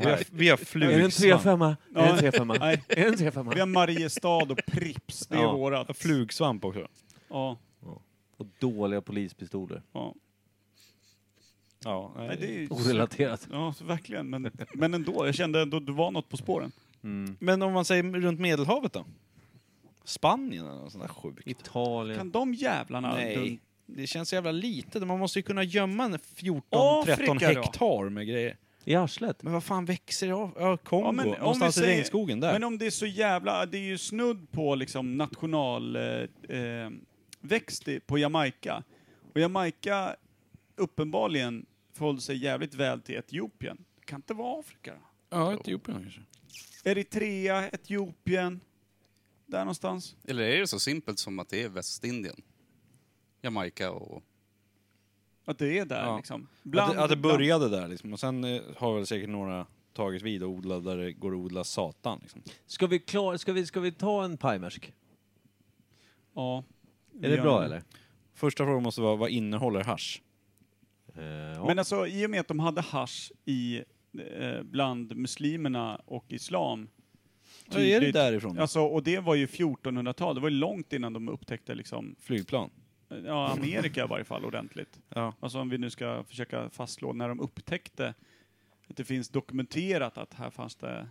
[SPEAKER 4] Vi
[SPEAKER 2] här.
[SPEAKER 4] har, vi har
[SPEAKER 2] Är det en
[SPEAKER 4] flugsvamp.
[SPEAKER 2] trefemma? Är det en trefemma?
[SPEAKER 1] Nej.
[SPEAKER 2] Är det en trefemma?
[SPEAKER 1] Vi har Mariestad och Prips, det är
[SPEAKER 2] Ja.
[SPEAKER 1] vårat.
[SPEAKER 4] Flugsvamp också.
[SPEAKER 1] Ja,
[SPEAKER 2] Och dåliga polispistoler.
[SPEAKER 1] ja.
[SPEAKER 4] Ja, nej.
[SPEAKER 1] Nej, det är ju...
[SPEAKER 2] Orelaterat.
[SPEAKER 1] Ja, så verkligen. Men, men ändå, jag kände ändå att du var något på spåren.
[SPEAKER 4] Men om man säger runt Medelhavet då? Spanien eller något sånt där sjukt?
[SPEAKER 2] Italien.
[SPEAKER 1] Kan de jävlarna...
[SPEAKER 4] Nej. Det känns så jävla litet. Man måste ju kunna gömma en
[SPEAKER 1] Afrika
[SPEAKER 4] 14-13
[SPEAKER 1] då?
[SPEAKER 4] hektar med grejer.
[SPEAKER 2] I arslet.
[SPEAKER 4] Men vad fan växer det av? Ja, Kongo.
[SPEAKER 1] Ja, men om vi
[SPEAKER 4] Någonstans i
[SPEAKER 1] säger-
[SPEAKER 4] regnskogen där.
[SPEAKER 1] Men om det är så jävla... Det är ju snudd på liksom nationalväxt eh, växt i- på Jamaica. Och Jamaica uppenbarligen förhåller sig jävligt väl till Etiopien. Det kan inte vara Afrika då?
[SPEAKER 4] Ja, Etiopien kanske.
[SPEAKER 1] Eritrea, Etiopien. Där någonstans.
[SPEAKER 9] Eller är det så simpelt som att det är Västindien? Jamaica och...
[SPEAKER 1] Att det är där
[SPEAKER 4] Ja.
[SPEAKER 1] liksom.
[SPEAKER 4] att, det- att det började där liksom. Och sen eh, har väl säkert några tagit vid och odlat där det går att odla satan liksom.
[SPEAKER 2] Ska vi, klar, ska vi, ska vi ta en pajmersk?
[SPEAKER 1] Ja. Eh,
[SPEAKER 2] Är det bra eller?
[SPEAKER 4] Första frågan måste vara, vad innehåller hasch?
[SPEAKER 1] Men alltså i och med att de hade hasch i, eh, bland muslimerna och islam.
[SPEAKER 4] Ja, är det
[SPEAKER 1] tydligt-
[SPEAKER 4] därifrån?
[SPEAKER 1] Alltså, och det var ju 1400-tal, det var ju långt innan de upptäckte liksom,
[SPEAKER 4] Flygplan?
[SPEAKER 1] eh, ja, Amerika i varje fall ordentligt.
[SPEAKER 4] Ja.
[SPEAKER 1] Alltså om vi nu ska försöka fastslå när de upptäckte att det finns dokumenterat att här fanns det...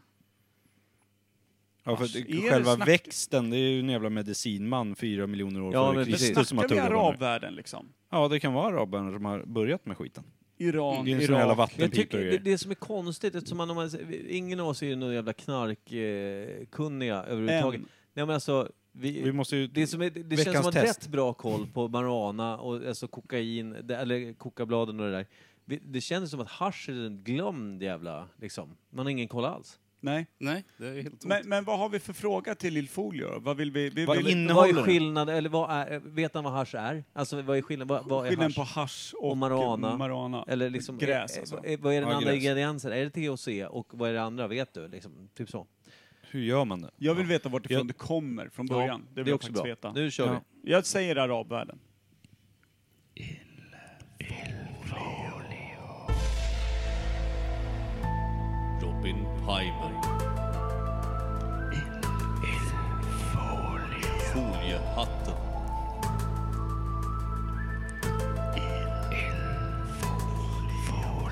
[SPEAKER 4] Ja, för
[SPEAKER 1] Hasch,
[SPEAKER 4] det-
[SPEAKER 1] är det
[SPEAKER 4] själva
[SPEAKER 1] snack-
[SPEAKER 4] växten, det är ju en jävla medicinman fyra miljoner år
[SPEAKER 2] Ja,
[SPEAKER 4] före
[SPEAKER 2] men
[SPEAKER 1] Men
[SPEAKER 2] precis.
[SPEAKER 4] Kristus som har
[SPEAKER 1] snackar vi
[SPEAKER 4] tuggat på det.
[SPEAKER 1] arabvärlden liksom?
[SPEAKER 4] Ja, det kan vara araberna som har börjat med skiten.
[SPEAKER 1] Iran,
[SPEAKER 4] Det är en sån jävla
[SPEAKER 1] Irak.
[SPEAKER 2] Jag
[SPEAKER 4] vattenpipor
[SPEAKER 2] tycker
[SPEAKER 4] och
[SPEAKER 2] det,
[SPEAKER 4] grejer.
[SPEAKER 2] det som är konstigt, eftersom man, om man, ingen av oss är ju någon jävla knarkkunniga eh, kunniga överhuvudtaget.
[SPEAKER 1] Än.
[SPEAKER 2] Nej men alltså, vi,
[SPEAKER 4] Vi måste ju...
[SPEAKER 2] det, som är, det- det känns
[SPEAKER 4] Veckans
[SPEAKER 2] som att
[SPEAKER 4] test.
[SPEAKER 2] rätt bra koll på marijuana och alltså kokain, det, eller kokabladen och det där. Vi, det känns som att hasch är en glömd jävla, liksom. Man har ingen koll alls.
[SPEAKER 1] Nej.
[SPEAKER 9] Nej, det är helt
[SPEAKER 1] Men, men vad har vi för fråga till Ilfolio? Vad vill vi... vi
[SPEAKER 4] Vad
[SPEAKER 1] vill,
[SPEAKER 4] innehåller
[SPEAKER 2] Vad är
[SPEAKER 4] den?
[SPEAKER 2] skillnaden, eller vad är, vet han vad hasch är? Alltså vad är skillnaden, vad, vad är
[SPEAKER 1] skillnaden
[SPEAKER 2] hasch?
[SPEAKER 1] på hasch och,
[SPEAKER 2] Och marijuana.
[SPEAKER 1] marijuana.
[SPEAKER 2] Eller liksom,
[SPEAKER 1] gräs
[SPEAKER 2] eh,
[SPEAKER 1] alltså.
[SPEAKER 2] eh, Vad är den
[SPEAKER 4] Ja,
[SPEAKER 2] andra
[SPEAKER 4] gräs.
[SPEAKER 2] ingrediensen? Är det THC och vad är det andra? Vet du? Liksom, typ så.
[SPEAKER 4] Hur gör man det?
[SPEAKER 1] Jag vill veta vart ifrån
[SPEAKER 4] Jag-
[SPEAKER 1] det kommer från början. det vill
[SPEAKER 2] det är
[SPEAKER 1] jag
[SPEAKER 2] också
[SPEAKER 1] faktiskt
[SPEAKER 2] bra.
[SPEAKER 1] veta.
[SPEAKER 2] Nu kör vi.
[SPEAKER 4] Ja.
[SPEAKER 1] Jag säger arabvärlden.
[SPEAKER 2] Robin Pimer. Foliehatten.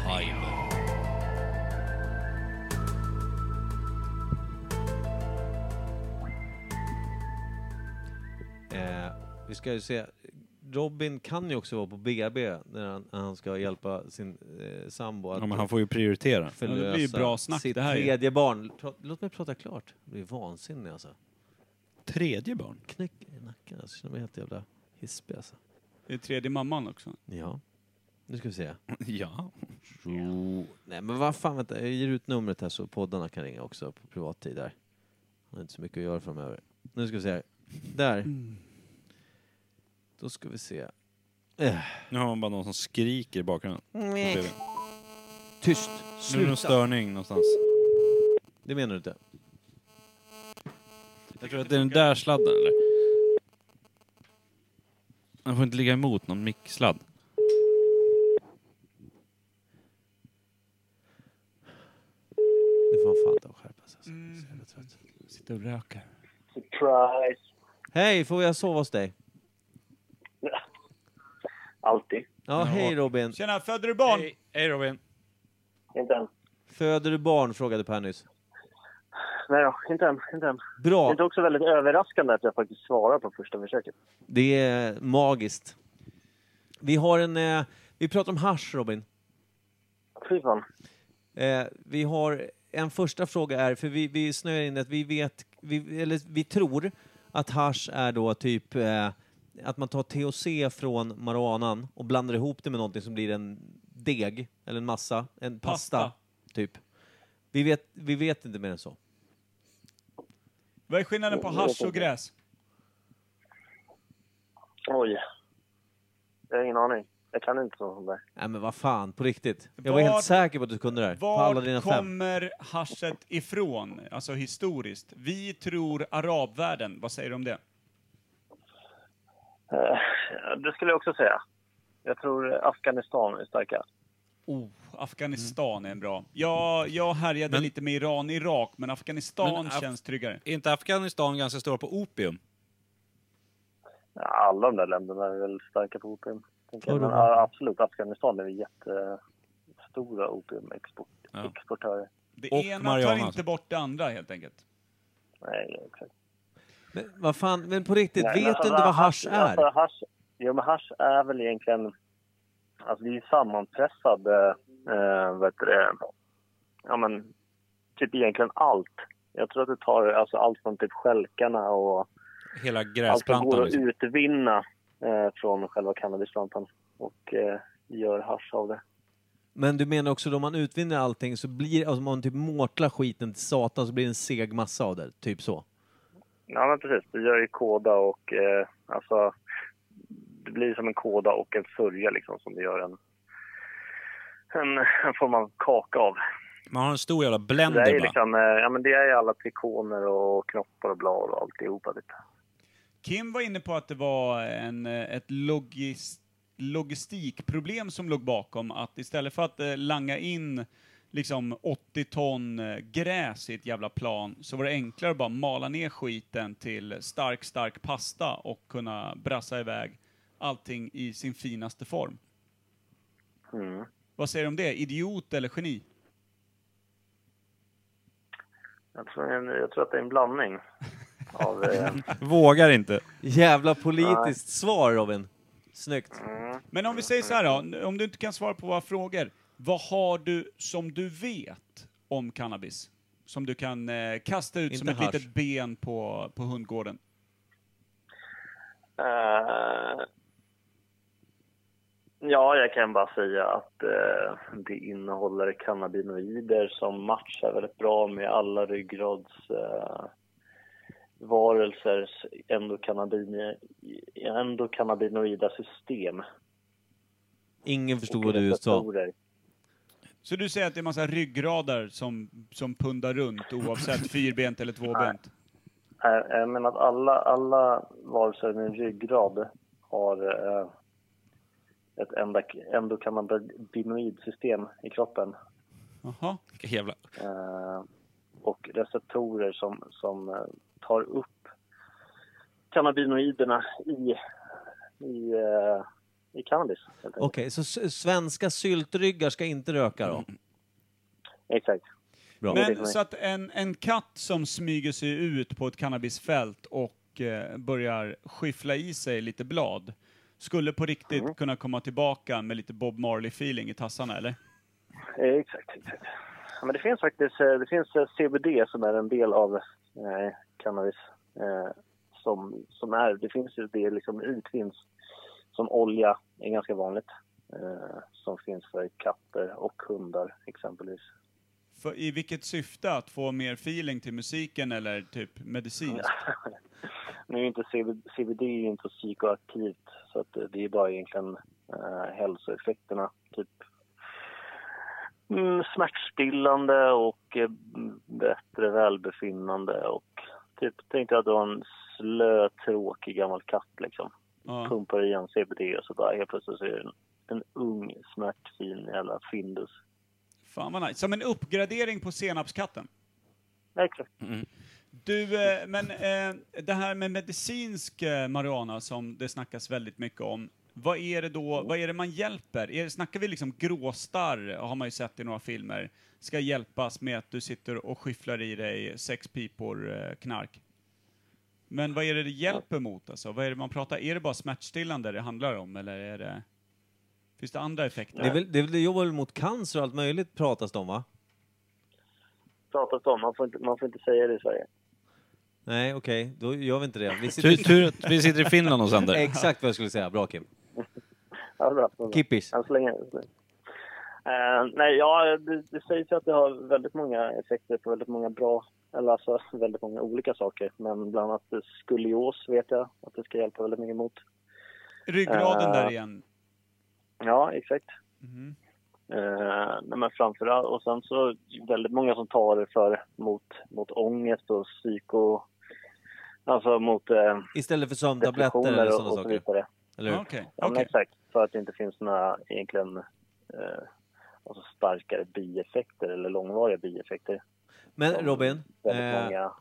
[SPEAKER 2] Pimer. Eh, vi ska ju se. Robin kan ju också vara på BB när han, när han ska hjälpa sin eh, sambo att
[SPEAKER 4] Ja, men han får ju prioritera.
[SPEAKER 1] det blir
[SPEAKER 2] förlösa
[SPEAKER 1] ju bra snack
[SPEAKER 2] sitt
[SPEAKER 1] det här ju.
[SPEAKER 2] tredje barn. Pra- Låt mig prata klart. Jag blir vansinnig alltså.
[SPEAKER 4] Tredje barn?
[SPEAKER 2] Knäcker i nacken alltså. Jag känner mig helt jävla hispig alltså.
[SPEAKER 1] Det är tredje mamman också.
[SPEAKER 2] Ja. Nu ska vi se.
[SPEAKER 4] Ja.
[SPEAKER 2] Jo. Nej men vad fan vänta. Jag ger ut numret här så poddarna kan ringa också på privattid där. Han har inte så mycket att göra framöver. Nu ska vi se här. Där. Då ska vi se. Eh.
[SPEAKER 4] Nu har man bara någon som skriker i bakgrunden.
[SPEAKER 2] Tyst.
[SPEAKER 4] Nu är det någon
[SPEAKER 2] Sluta.
[SPEAKER 4] störning någonstans.
[SPEAKER 2] Det menar du inte?
[SPEAKER 4] Jag tror att det är den där sladden eller? Den får inte ligga emot någon micksladd.
[SPEAKER 2] Nu får han fan ta och skärpa sig.
[SPEAKER 1] Sitter och röker.
[SPEAKER 5] Surprise!
[SPEAKER 2] Hej, får jag sova hos dig?
[SPEAKER 5] Alltid.
[SPEAKER 2] Ja, hej Robin.
[SPEAKER 1] Tjena, föder du barn?
[SPEAKER 3] Hej, hej Robin.
[SPEAKER 5] Inte än.
[SPEAKER 2] Föder du barn? frågade Per nyss.
[SPEAKER 5] Nej då, inte än. Inte än. Det är
[SPEAKER 2] Bra.
[SPEAKER 5] inte också väldigt överraskande att jag faktiskt svarar på första försöket.
[SPEAKER 2] Det är magiskt. Vi har en... Eh, vi pratar om hasch, Robin.
[SPEAKER 5] Fy fan.
[SPEAKER 2] Eh, vi har en första fråga är, för vi, vi snöar in att vi vet, vi, eller vi tror att hasch är då typ eh, att man tar THC från marijuanan och blandar ihop det med någonting som blir en deg, eller en massa, en pasta,
[SPEAKER 1] Pasta.
[SPEAKER 2] typ. Vi vet, vi vet inte mer än så.
[SPEAKER 1] Vad är skillnaden på hasch och gräs?
[SPEAKER 5] Oj. Jag har ingen aning. Jag kan inte sånt där.
[SPEAKER 2] Nej men vad fan, på riktigt. Jag var
[SPEAKER 1] Vart-
[SPEAKER 2] helt säker på att du kunde det här. På alla dina
[SPEAKER 1] Var
[SPEAKER 2] fem.
[SPEAKER 1] kommer haschet ifrån? Alltså historiskt. Vi tror arabvärlden. Vad säger du om det?
[SPEAKER 5] Eh, Det skulle jag också säga. Jag tror Afghanistan är starka.
[SPEAKER 1] Oh, Afghanistan är en bra. Jag, jag härjade
[SPEAKER 3] Men-
[SPEAKER 1] lite med Iran, Irak, men Afghanistan
[SPEAKER 3] Men Af-
[SPEAKER 1] känns tryggare.
[SPEAKER 3] Är inte Afghanistan ganska stora på opium?
[SPEAKER 5] Ja, Alla de där länderna är väl starka på opium. tänker jag.
[SPEAKER 2] Ja,
[SPEAKER 5] Men
[SPEAKER 2] de har-
[SPEAKER 5] ja, absolut, Afghanistan är väl jättestora opiumexportörer.
[SPEAKER 1] Det
[SPEAKER 3] och
[SPEAKER 1] ena
[SPEAKER 3] Mariana,
[SPEAKER 1] tar inte
[SPEAKER 3] alltså.
[SPEAKER 1] bort det andra helt enkelt.
[SPEAKER 5] Nej, exakt.
[SPEAKER 2] Men vad fan, men på riktigt,
[SPEAKER 5] Nej, men
[SPEAKER 2] vet
[SPEAKER 5] alltså,
[SPEAKER 2] du inte vad hasch är?
[SPEAKER 5] Alltså, hasch, jo, men hasch är väl egentligen... Alltså det är ju sammanpressad... Eh, vad heter det? Ja, men typ egentligen allt. Jag tror att det tar alltså, allt från typ stjälkarna och
[SPEAKER 3] Hela
[SPEAKER 5] allt som går
[SPEAKER 3] gräsplantan
[SPEAKER 5] att
[SPEAKER 3] liksom.
[SPEAKER 5] utvinna eh, från själva cannabisplantan och eh, gör hasch av det.
[SPEAKER 2] Men du menar också om man utvinner allting så blir, alltså om man typ mårtlar skiten till satan så blir det en seg massa av det, typ så.
[SPEAKER 5] Ja, men precis. Det gör ju kåda och... Eh, alltså, det blir som en kåda och en sörja liksom, som det gör en, en, en form av kaka av.
[SPEAKER 3] Man har en stor jävla
[SPEAKER 5] Det är, ju
[SPEAKER 3] blender bara.
[SPEAKER 5] liksom, eh, ja, men det är ju alla trikoner och knoppar och blad och alltihopa. Lite.
[SPEAKER 1] Kim var inne på att det var en, eh, ett logis, logistikproblem som låg bakom, att istället för att eh, langa in liksom 80 ton eh, gräs i ett jävla plan, så var det enklare att bara mala ner skiten till stark, stark pasta och kunna brassa iväg allting i sin finaste form.
[SPEAKER 5] Mm.
[SPEAKER 1] Vad säger du om det? Idiot eller geni?
[SPEAKER 5] Jag, tror, det är en- jag tror att det är en blandning. Av, eh,
[SPEAKER 3] Vågar inte.
[SPEAKER 2] Jävla politiskt svar Robin. Snyggt.
[SPEAKER 1] Men om vi säger så här då, om du inte kan svara på våra frågor, vad har du som du vet om cannabis? Som du kan eh, kasta ut
[SPEAKER 2] Inte
[SPEAKER 1] som ett
[SPEAKER 2] hasch.
[SPEAKER 1] litet ben på, på hundgården.
[SPEAKER 5] eh, ja, jag kan bara säga att eh, det innehåller cannabinoider som matchar väldigt bra med alla ryggrads... Eh, varelsers endokannabin, endokannabinoida system.
[SPEAKER 2] Ingen förstod
[SPEAKER 5] och
[SPEAKER 2] vad du just sa.
[SPEAKER 5] receptorer.
[SPEAKER 1] Så du säger att det är massa ryggradar som, som pundar runt oavsett fyrbent eller tvåbent?
[SPEAKER 5] Nej, Eh, Jag menar att alla, alla varelser med en ryggrad har eh, ett enda, endokannabinoidsystem i kroppen.
[SPEAKER 1] Jaha.
[SPEAKER 3] Vilka jävla...
[SPEAKER 5] Eh, och receptorer som, som eh, tar upp cannabinoiderna i, i, eh, i cannabis. helt enkelt.
[SPEAKER 2] Okej, så s- svenska syltryggar ska inte röka då?
[SPEAKER 5] Exakt.
[SPEAKER 2] Bra.
[SPEAKER 5] det är
[SPEAKER 1] Men
[SPEAKER 5] för mig.
[SPEAKER 1] så att en, en katt som smyger sig ut på ett cannabisfält och eh, börjar skyffla i sig lite blad, skulle på riktigt
[SPEAKER 2] Mm.
[SPEAKER 1] kunna komma tillbaka med lite Bob Marley-feeling i tassarna eller?
[SPEAKER 5] Eh, Exakt, exakt. Ja, men det finns faktiskt eh, det finns eh, CBD som är en del av eh, cannabis. Eh, som, som är, det finns ju det liksom utvinns som olja, är ganska vanligt. Eh, som finns för katter och hundar exempelvis.
[SPEAKER 1] För, I vilket syfte? Att få mer feeling till musiken eller typ
[SPEAKER 5] Mm.
[SPEAKER 1] medicin?
[SPEAKER 5] Nu är ju inte CB, CBD är ju inte psykoaktivt så att eh, det är bara egentligen eh, hälsoeffekterna. Typ mm, smärtstillande och eh, m- bättre välbefinnande och typ tänkte jag att du har en slö tråkig gammal katt liksom.
[SPEAKER 1] Ja.
[SPEAKER 5] Pumpar i en CBD och så bara helt plötsligt så är det en, en ung smärtfin jävla findus.
[SPEAKER 1] Fan vad nice. Som en uppgradering på senapskatten.
[SPEAKER 5] exakt.
[SPEAKER 1] Du, eh, men eh, det här med medicinsk eh, marijuana som det snackas väldigt mycket om. Vad är det då, vad är det man hjälper? Är, snackar vi liksom gråstarr, har man ju sett i några filmer, ska hjälpas med att du sitter och skyfflar i dig sex pipor eh, knark? Men vad är det det hjälper mot alltså? Vad är det man pratar, är det bara smärtstillande det handlar om eller är det, finns det andra effekter?
[SPEAKER 2] Det, är väl, det, är väl, det jobbar väl mot cancer och allt möjligt pratas det om va?
[SPEAKER 5] Pratas om. Man får, inte, man får inte säga det i Sverige.
[SPEAKER 2] Nej, okej, då gör vi inte det. Vi
[SPEAKER 3] Tur,
[SPEAKER 2] sitter...
[SPEAKER 3] tur att vi sitter i Finland och sänder.
[SPEAKER 2] Exakt vad jag skulle säga. Bra Kim.
[SPEAKER 5] Ja, bra. bra.
[SPEAKER 2] Kippis.
[SPEAKER 5] Än så länge. Eh, nej, ja, det, det sägs ju att det har väldigt många effekter på väldigt många bra, eller alltså väldigt många olika saker. Men bland annat skolios vet jag att det ska hjälpa väldigt mycket mot.
[SPEAKER 1] Ryggraden där
[SPEAKER 5] Eh,
[SPEAKER 1] igen.
[SPEAKER 5] Ja, exakt.
[SPEAKER 1] Mhm.
[SPEAKER 5] Eh, nej, men framförallt, och sen så väldigt många som tar det för mot, mot ångest och psyko... Alltså mot eh,
[SPEAKER 2] Istället för sömntabletter eller
[SPEAKER 5] depressioner
[SPEAKER 2] sådana
[SPEAKER 5] och, och så
[SPEAKER 2] saker.
[SPEAKER 5] vidare.
[SPEAKER 2] Eller hur?
[SPEAKER 1] Okej,
[SPEAKER 5] Ja, men
[SPEAKER 1] okej.
[SPEAKER 5] exakt. För att det inte finns några egentligen eh, alltså starkare bieffekter eller långvariga bieffekter.
[SPEAKER 2] Men
[SPEAKER 5] som
[SPEAKER 2] Robin,
[SPEAKER 5] Väldigt
[SPEAKER 2] eh,
[SPEAKER 5] många...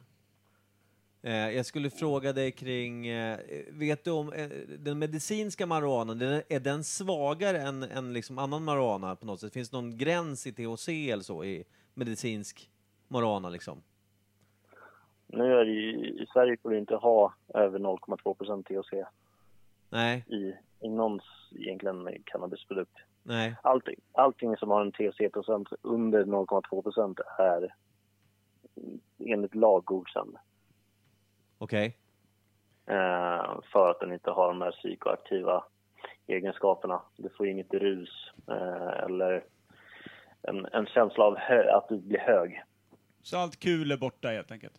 [SPEAKER 2] eh, jag skulle fråga dig kring, eh, vet du om eh, den medicinska marijuanan, den, är den svagare än, än liksom annan marijuana på något sätt? Finns det någon gräns i THC eller så i medicinsk marijuana liksom?
[SPEAKER 5] Nu är det ju, i Sverige får du inte ha över 0,2 procent THC
[SPEAKER 2] Nej,
[SPEAKER 5] i, i någons egentligen cannabisprodukt.
[SPEAKER 2] nej.
[SPEAKER 5] Allting, allting som har en THC-procent under 0,2 procent är enligt lag godkänd.
[SPEAKER 2] Okej.
[SPEAKER 5] eh, för att den inte har de här psykoaktiva egenskaperna. Du får inget rus eh, eller en, en känsla av hö- att du blir hög.
[SPEAKER 1] Så allt kul är borta helt enkelt?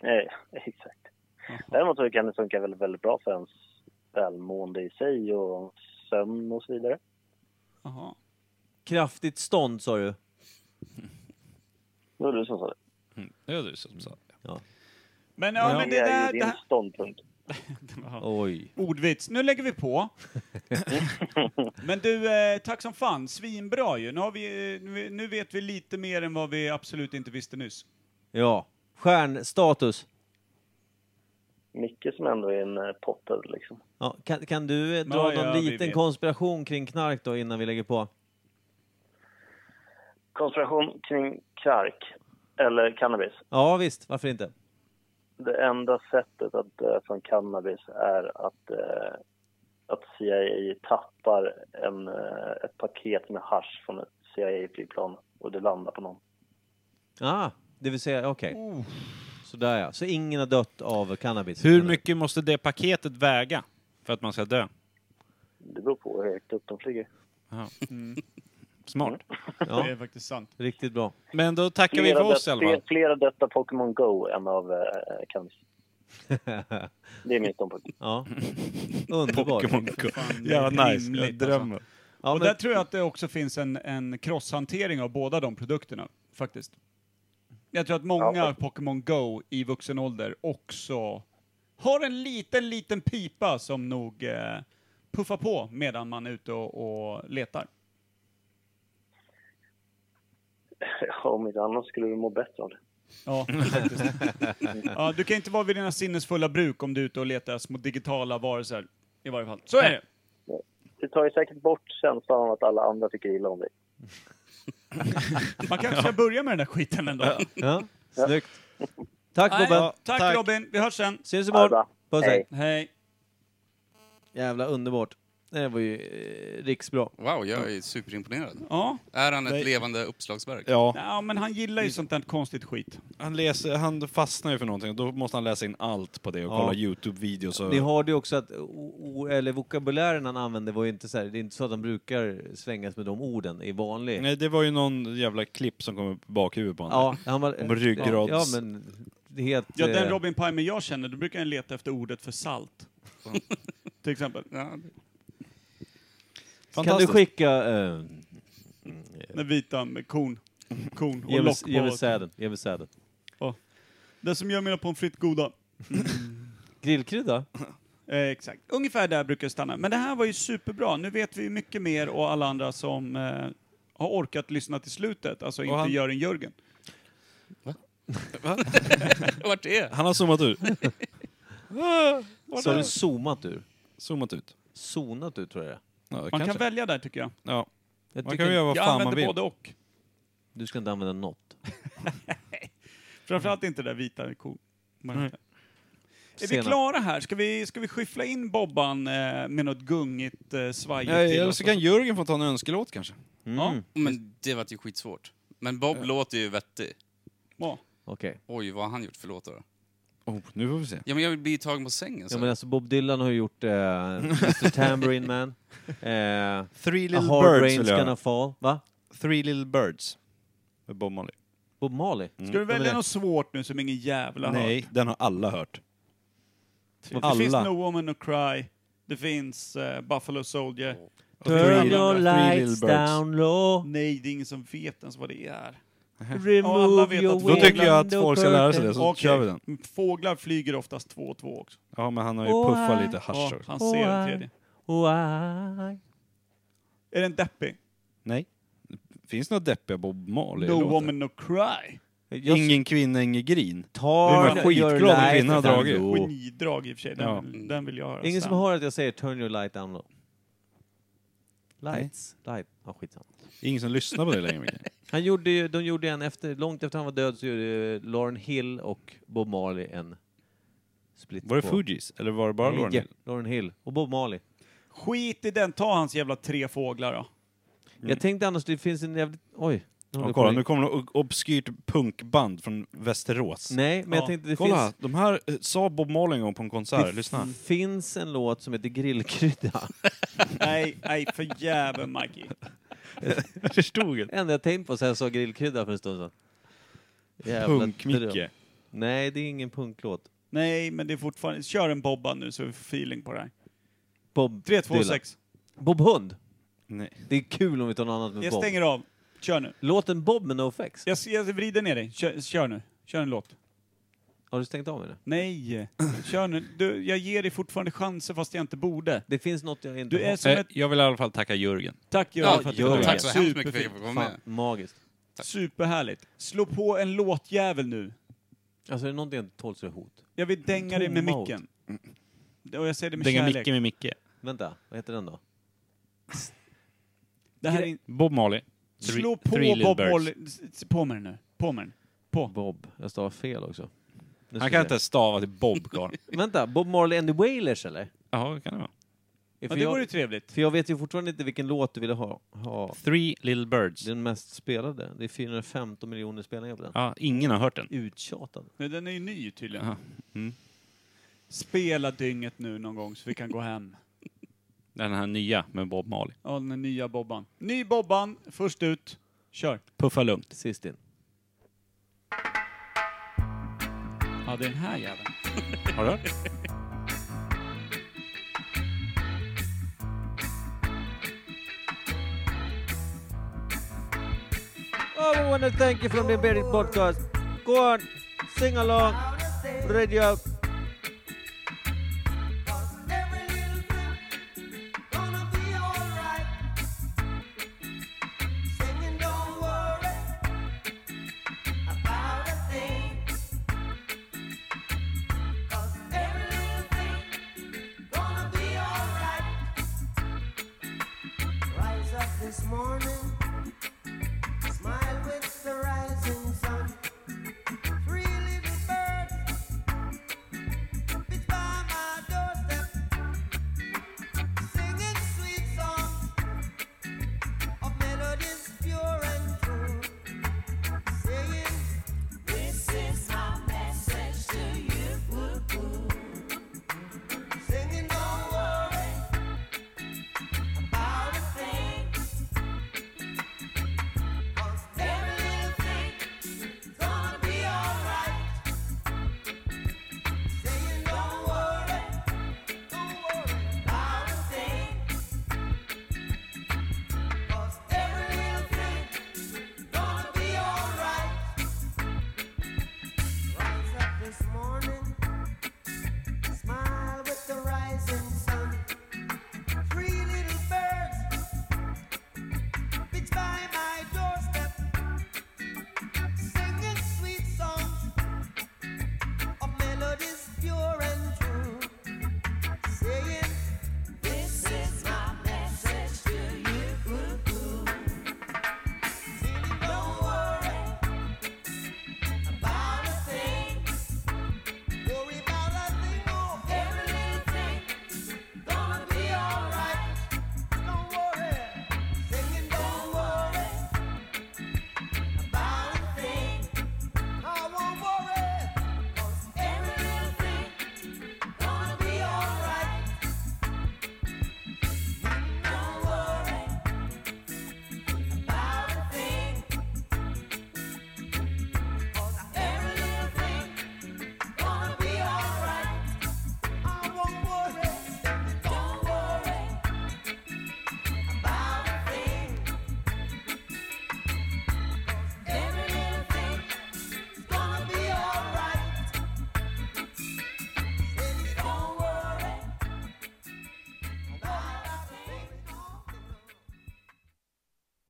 [SPEAKER 5] Eh, exakt. Däremot så kan det funka väldigt, väldigt bra för ens välmående i sig och sömn och så vidare.
[SPEAKER 1] Jaha.
[SPEAKER 2] Kraftigt stånd sa du?
[SPEAKER 5] Det var du som sa det.
[SPEAKER 3] Det var du som sa.
[SPEAKER 1] Men, ja, men
[SPEAKER 5] Det
[SPEAKER 1] det,
[SPEAKER 5] är
[SPEAKER 1] där,
[SPEAKER 5] ju
[SPEAKER 1] det
[SPEAKER 5] din
[SPEAKER 1] här,
[SPEAKER 5] ståndpunkt.
[SPEAKER 1] Jaha.
[SPEAKER 2] Oj.
[SPEAKER 1] Ordvits. Nu lägger vi på. Men du, eh, tack som fan. Svinbra ju. Nu, har vi, eh, nu- nu vet vi lite mer än vad vi absolut inte visste nyss.
[SPEAKER 2] Ja. Stjärnstatus.
[SPEAKER 5] Mycket som ändå är en eh, pottad liksom.
[SPEAKER 2] Ja, kan, kan du eh, dra
[SPEAKER 1] Ja,
[SPEAKER 2] någon
[SPEAKER 1] ja, vi
[SPEAKER 2] liten
[SPEAKER 1] vet.
[SPEAKER 2] konspiration kring knark då innan vi lägger på?
[SPEAKER 5] Konspiration kring knark eller cannabis.
[SPEAKER 2] Ja visst, varför inte?
[SPEAKER 5] Det enda sättet att dö från cannabis är att, eh, att CIA tappar en, eh, ett paket med hasch från ett CIA-flygplan och det landar på någon.
[SPEAKER 2] Ah, det vill säga, okej. Sådär ja. Så ingen har dött av cannabis?
[SPEAKER 3] Hur mycket måste det paketet väga för att man ska dö?
[SPEAKER 5] Det beror på hur högt upp de flyger.
[SPEAKER 3] Smart.
[SPEAKER 2] Ja.
[SPEAKER 1] Det är faktiskt sant.
[SPEAKER 2] Riktigt bra.
[SPEAKER 3] Men då tackar vi för oss i alla
[SPEAKER 5] Mm. flera,
[SPEAKER 3] fall.
[SPEAKER 5] flera döda Pokémon Go än av eh, cannabis. Det är min ståndpunkt.
[SPEAKER 2] ja. Underbart.
[SPEAKER 3] Pokémon Go.
[SPEAKER 1] Fan,
[SPEAKER 3] Jävla nice.
[SPEAKER 1] rimligt,
[SPEAKER 3] Jag drömmer.
[SPEAKER 2] Ja,
[SPEAKER 1] Och
[SPEAKER 2] men,
[SPEAKER 1] där tror jag att det också finns en, en crosshantering av båda de produkterna, faktiskt. Jag tror att många
[SPEAKER 5] Ja.
[SPEAKER 1] Pokémon Go i vuxen ålder också har en liten, liten pipa som nog eh, puffar på medan man är ute och, och letar.
[SPEAKER 5] Om inte annat skulle vi må bättre av det.
[SPEAKER 1] Ja, faktiskt. ja, du kan inte vara vid dina sinnesfulla bruk om du är ute och letar små digitala varelser. I varje fall. Så är det!
[SPEAKER 5] Det tar ju säkert bort känslan av att alla andra tycker illa om dig.
[SPEAKER 1] Man kanske ska börja med den där skiten ändå.
[SPEAKER 2] ja. Snyggt. Tack
[SPEAKER 1] Nej,
[SPEAKER 2] Bobben.
[SPEAKER 1] tack,
[SPEAKER 3] tack.
[SPEAKER 1] Robin, vi hörs sen.
[SPEAKER 2] Syns
[SPEAKER 5] Ha det
[SPEAKER 2] imorgon.
[SPEAKER 5] bra.
[SPEAKER 2] Puss
[SPEAKER 5] Hej.
[SPEAKER 2] hej.
[SPEAKER 1] Hej.
[SPEAKER 2] Jävla underbart. Det var ju eh, riksbra.
[SPEAKER 9] Wow, jag är superimponerad.
[SPEAKER 1] Ja.
[SPEAKER 9] Är han ett
[SPEAKER 4] Nej.
[SPEAKER 9] levande uppslagsverk?
[SPEAKER 4] Ja,
[SPEAKER 1] ja, men han gillar ju sånt där konstigt skit.
[SPEAKER 4] han, läser, han fastnar ju för någonting och då måste han läsa in allt på det och
[SPEAKER 2] Ja.
[SPEAKER 4] kolla Youtube-videos och...
[SPEAKER 2] Ni hörde ju också att o, o, eller vokabulären han använde var ju inte så här, det är inte så att han brukar svängas med de orden i vanlig...
[SPEAKER 4] Nej, det var ju någon jävla klipp som kom upp i bakhuvudet på honom.
[SPEAKER 2] Ja, han var...
[SPEAKER 4] Om ryggrads-
[SPEAKER 2] Ja, men... Helt...
[SPEAKER 1] Ja, den
[SPEAKER 2] eh,
[SPEAKER 1] Robin Palmer jag känner, då brukar han leta efter ordet för salt. Till exempel.
[SPEAKER 9] Ja,
[SPEAKER 2] Kan du
[SPEAKER 4] Fantastiskt.
[SPEAKER 2] skicka... Eh,
[SPEAKER 1] Den vita med korn. Korn
[SPEAKER 2] ge
[SPEAKER 1] och
[SPEAKER 2] mig-
[SPEAKER 1] lock
[SPEAKER 2] ge mig
[SPEAKER 1] på.
[SPEAKER 2] säden, ge mig säden.
[SPEAKER 1] Det som gör mina pommes frites goda.
[SPEAKER 2] Grillkrydda?
[SPEAKER 1] Eh, exakt. Ungefär där brukar jag stanna. Men det här var ju superbra. Nu vet vi mycket mer och alla andra som eh, har orkat lyssna till slutet, alltså inte
[SPEAKER 4] han-
[SPEAKER 1] Göran Jörgen.
[SPEAKER 9] Vart är?
[SPEAKER 4] Han har zoomat ut.
[SPEAKER 2] Så har du zoomat ur.
[SPEAKER 4] Zoomat ut.
[SPEAKER 2] Zonat ut tror jag det är.
[SPEAKER 4] Ja,
[SPEAKER 1] Man
[SPEAKER 4] kanske.
[SPEAKER 1] kan välja där tycker jag.
[SPEAKER 4] ja.
[SPEAKER 2] jag
[SPEAKER 4] Man
[SPEAKER 2] tycker
[SPEAKER 4] kan ju göra vad
[SPEAKER 1] Jag
[SPEAKER 4] fan man
[SPEAKER 1] använder
[SPEAKER 4] vill.
[SPEAKER 1] både och.
[SPEAKER 2] Du ska inte använda något.
[SPEAKER 1] Framförallt inte det där vita ko. Är vi
[SPEAKER 2] Sena.
[SPEAKER 1] klara här? Ska vi, ska vi skyffla in Bobban eh, med något gungigt eh, svajigt
[SPEAKER 4] Nej,
[SPEAKER 1] till
[SPEAKER 4] eller
[SPEAKER 1] oss
[SPEAKER 4] så
[SPEAKER 1] och
[SPEAKER 4] kan Jörgen få ta en önskelåt kanske.
[SPEAKER 2] Mm,
[SPEAKER 4] Mm.
[SPEAKER 1] Ja,
[SPEAKER 9] Men det vart ju skitsvårt. Men Bob låter ju vettig.
[SPEAKER 1] ja.
[SPEAKER 2] Okej.
[SPEAKER 9] Oj, vad har han gjort för låtar då?
[SPEAKER 4] Oh, nu får vi se.
[SPEAKER 9] Ja, men jag vill bli tagen på sängen så.
[SPEAKER 2] Ja, men alltså Bob Dylan har ju gjort eh, Mr Tambourine Man. Eh,
[SPEAKER 4] Three
[SPEAKER 2] A
[SPEAKER 4] Little
[SPEAKER 2] Hard
[SPEAKER 4] Birds vill
[SPEAKER 2] Rain's Gonna
[SPEAKER 4] jag göra.
[SPEAKER 2] Fall. Va?
[SPEAKER 4] Three Little Birds. Med Bob Marley.
[SPEAKER 2] Bob Marley?
[SPEAKER 4] Mm.
[SPEAKER 1] Ska du
[SPEAKER 2] Ja, men
[SPEAKER 1] välja
[SPEAKER 2] det-
[SPEAKER 1] något svårt nu som ingen jävla hör?
[SPEAKER 4] Nej, den har alla hört.
[SPEAKER 1] Det finns
[SPEAKER 4] alla.
[SPEAKER 1] No Woman No Cry. Det finns eh, Buffalo Soldier.
[SPEAKER 2] Turn
[SPEAKER 4] Three
[SPEAKER 2] your
[SPEAKER 4] Little
[SPEAKER 2] lights
[SPEAKER 4] Birds.
[SPEAKER 2] down low.
[SPEAKER 1] Nej, det är ingen som vet ens vad det är. Ja, alla
[SPEAKER 2] Remove
[SPEAKER 1] vet
[SPEAKER 2] your
[SPEAKER 1] att-
[SPEAKER 4] Då tycker jag att
[SPEAKER 2] window
[SPEAKER 4] folk ska lära sig det,
[SPEAKER 2] curtain.
[SPEAKER 4] så
[SPEAKER 1] Okej.
[SPEAKER 4] kör vi den.
[SPEAKER 1] Fåglar flyger oftast två och två också.
[SPEAKER 4] Oh, Ja, Oh. men han har ju
[SPEAKER 2] Åh,
[SPEAKER 4] puffat
[SPEAKER 2] äh.
[SPEAKER 4] lite hasch
[SPEAKER 1] Ja,
[SPEAKER 4] också.
[SPEAKER 1] han ser den
[SPEAKER 2] Why?
[SPEAKER 1] tredje.
[SPEAKER 2] Why?
[SPEAKER 1] Är den deppig?
[SPEAKER 4] Nej. Finns det några deppiga Bob
[SPEAKER 1] No
[SPEAKER 4] Marley-låtar?
[SPEAKER 1] Woman No Cry.
[SPEAKER 2] Jag
[SPEAKER 4] Ingen kvinna, ingen grin.
[SPEAKER 2] tar
[SPEAKER 4] Jag är skitglad
[SPEAKER 2] your
[SPEAKER 4] att
[SPEAKER 2] light
[SPEAKER 4] kvinnan har
[SPEAKER 2] down
[SPEAKER 4] dragit. Alltså.
[SPEAKER 2] low.
[SPEAKER 1] Genidrag i och för sig. Den,
[SPEAKER 4] Ja.
[SPEAKER 1] vill, den vill jag höra.
[SPEAKER 2] Ingen som
[SPEAKER 1] sen.
[SPEAKER 2] hör att jag säger turn your light down low? Lights? Light? Ja, skitsamma.
[SPEAKER 4] Det är ingen som lyssnar på det längre, Micke.
[SPEAKER 2] Han gjorde ju, de gjorde en efter, långt efter han var död så gjorde eh, Lauren Hill och Bob Marley en split.
[SPEAKER 4] Var det
[SPEAKER 2] på-
[SPEAKER 4] Fugees? Eller var det bara
[SPEAKER 2] Nej,
[SPEAKER 4] Lauren Hill? Mm.
[SPEAKER 2] Lauren Hill och Bob Marley.
[SPEAKER 1] Skit i den. Ta hans jävla tre fåglar då.
[SPEAKER 2] Jag tänkte annars, det finns en jävligt... Oj. nu håller
[SPEAKER 4] Ja,
[SPEAKER 2] jag
[SPEAKER 4] kolla,
[SPEAKER 2] på-
[SPEAKER 4] nu kommer det ob- obskyrt punkband från Västerås.
[SPEAKER 2] Nej, men
[SPEAKER 1] Ja,
[SPEAKER 2] jag tänkte det
[SPEAKER 4] kolla,
[SPEAKER 2] finns...
[SPEAKER 4] de här eh, sa Bob Marley en gång på en konsert. Lyssna.
[SPEAKER 2] Det finns en låt som heter Grillkrydda.
[SPEAKER 1] Nej, nej, för jäveln Maggie.
[SPEAKER 4] Förstod det.
[SPEAKER 2] Det enda jag tänkt på sen jag sa grillkrydda för en stund sedan. Jävla dröm.
[SPEAKER 4] Punk-Micke.
[SPEAKER 2] Nej, det är ingen punklåt.
[SPEAKER 1] Nej, men det är fortfarande... Kör en Bobban nu så vi får feeling på det här.
[SPEAKER 2] Bob
[SPEAKER 1] 3, 2,
[SPEAKER 2] Dylan.
[SPEAKER 1] 6.
[SPEAKER 2] Bob Hund.
[SPEAKER 4] Nej.
[SPEAKER 2] Det är kul om vi tar något annat med
[SPEAKER 1] Jag
[SPEAKER 2] Bob.
[SPEAKER 1] stänger av. Kör nu.
[SPEAKER 2] Låten Bob med NoFX.
[SPEAKER 1] Jag, jag vrider ner dig. Kör, kör nu. Kör en låt.
[SPEAKER 2] Har du stängt av den?
[SPEAKER 1] Nej. Kör nu. Du, jag ger dig fortfarande chanser fast jag inte borde.
[SPEAKER 2] Det finns något jag inte
[SPEAKER 1] Du är
[SPEAKER 2] har.
[SPEAKER 1] som
[SPEAKER 3] Eh,
[SPEAKER 1] ett...
[SPEAKER 3] jag vill i alla fall tacka Jörgen.
[SPEAKER 1] Tack Göran
[SPEAKER 9] ja,
[SPEAKER 1] för att du
[SPEAKER 2] gör
[SPEAKER 1] kom.
[SPEAKER 2] det.
[SPEAKER 9] tack så hemskt mycket för att jag
[SPEAKER 1] Superfint.
[SPEAKER 9] fick vara
[SPEAKER 2] Fan,
[SPEAKER 9] med.
[SPEAKER 2] magiskt.
[SPEAKER 1] Superhärligt. Slå på en låtjävel nu.
[SPEAKER 2] Alltså är det någonting jag inte tål så är det hot.
[SPEAKER 1] Jag vill dänga dig med
[SPEAKER 2] Tom out.
[SPEAKER 1] micken. Och jag säger det med
[SPEAKER 4] Dänga
[SPEAKER 1] kärlek.
[SPEAKER 4] Micke med Micke.
[SPEAKER 2] Vänta, vad heter den då?
[SPEAKER 1] Det här är... in-
[SPEAKER 4] Bob Marley. Three-
[SPEAKER 1] Slå på
[SPEAKER 4] Three Little
[SPEAKER 1] Bob
[SPEAKER 4] Birds.
[SPEAKER 1] Marley. S- s- På med den nu. På med den. På.
[SPEAKER 2] Bob. Jag stavar fel också. Nu ska
[SPEAKER 4] Han
[SPEAKER 2] vi
[SPEAKER 4] kan
[SPEAKER 2] se.
[SPEAKER 4] inte ens stava till Bob, karln.
[SPEAKER 2] Vänta, Bob Marley and the Wailers eller?
[SPEAKER 4] Jaha, det kan det vara.
[SPEAKER 1] Ja,
[SPEAKER 2] För,
[SPEAKER 1] det vore ju
[SPEAKER 2] jag,
[SPEAKER 1] trevligt.
[SPEAKER 2] för jag vet ju fortfarande inte vilken låt du ville ha. ha.
[SPEAKER 4] Three Little Birds.
[SPEAKER 2] Den mest spelade. Det är 415 miljoner spelningar på den.
[SPEAKER 4] Ja, ingen har hört den.
[SPEAKER 2] Uttjatad.
[SPEAKER 1] Men Den är ju ny tydligen.
[SPEAKER 4] Jaha. Mm.
[SPEAKER 1] Spela dynget nu någon gång så vi kan gå hem.
[SPEAKER 4] Den här nya med Bob Marley.
[SPEAKER 1] Ja, den nya Bobban. Ny Bobban, först ut. Kör.
[SPEAKER 4] Puffa lugnt.
[SPEAKER 2] Sist in.
[SPEAKER 1] Ja, det är den här jäveln.
[SPEAKER 4] Har du hört?
[SPEAKER 2] Oh, we want to thank you from the Berry Podcast. Go on, sing along, radio.
[SPEAKER 10] Rise up This morning, smile with the right.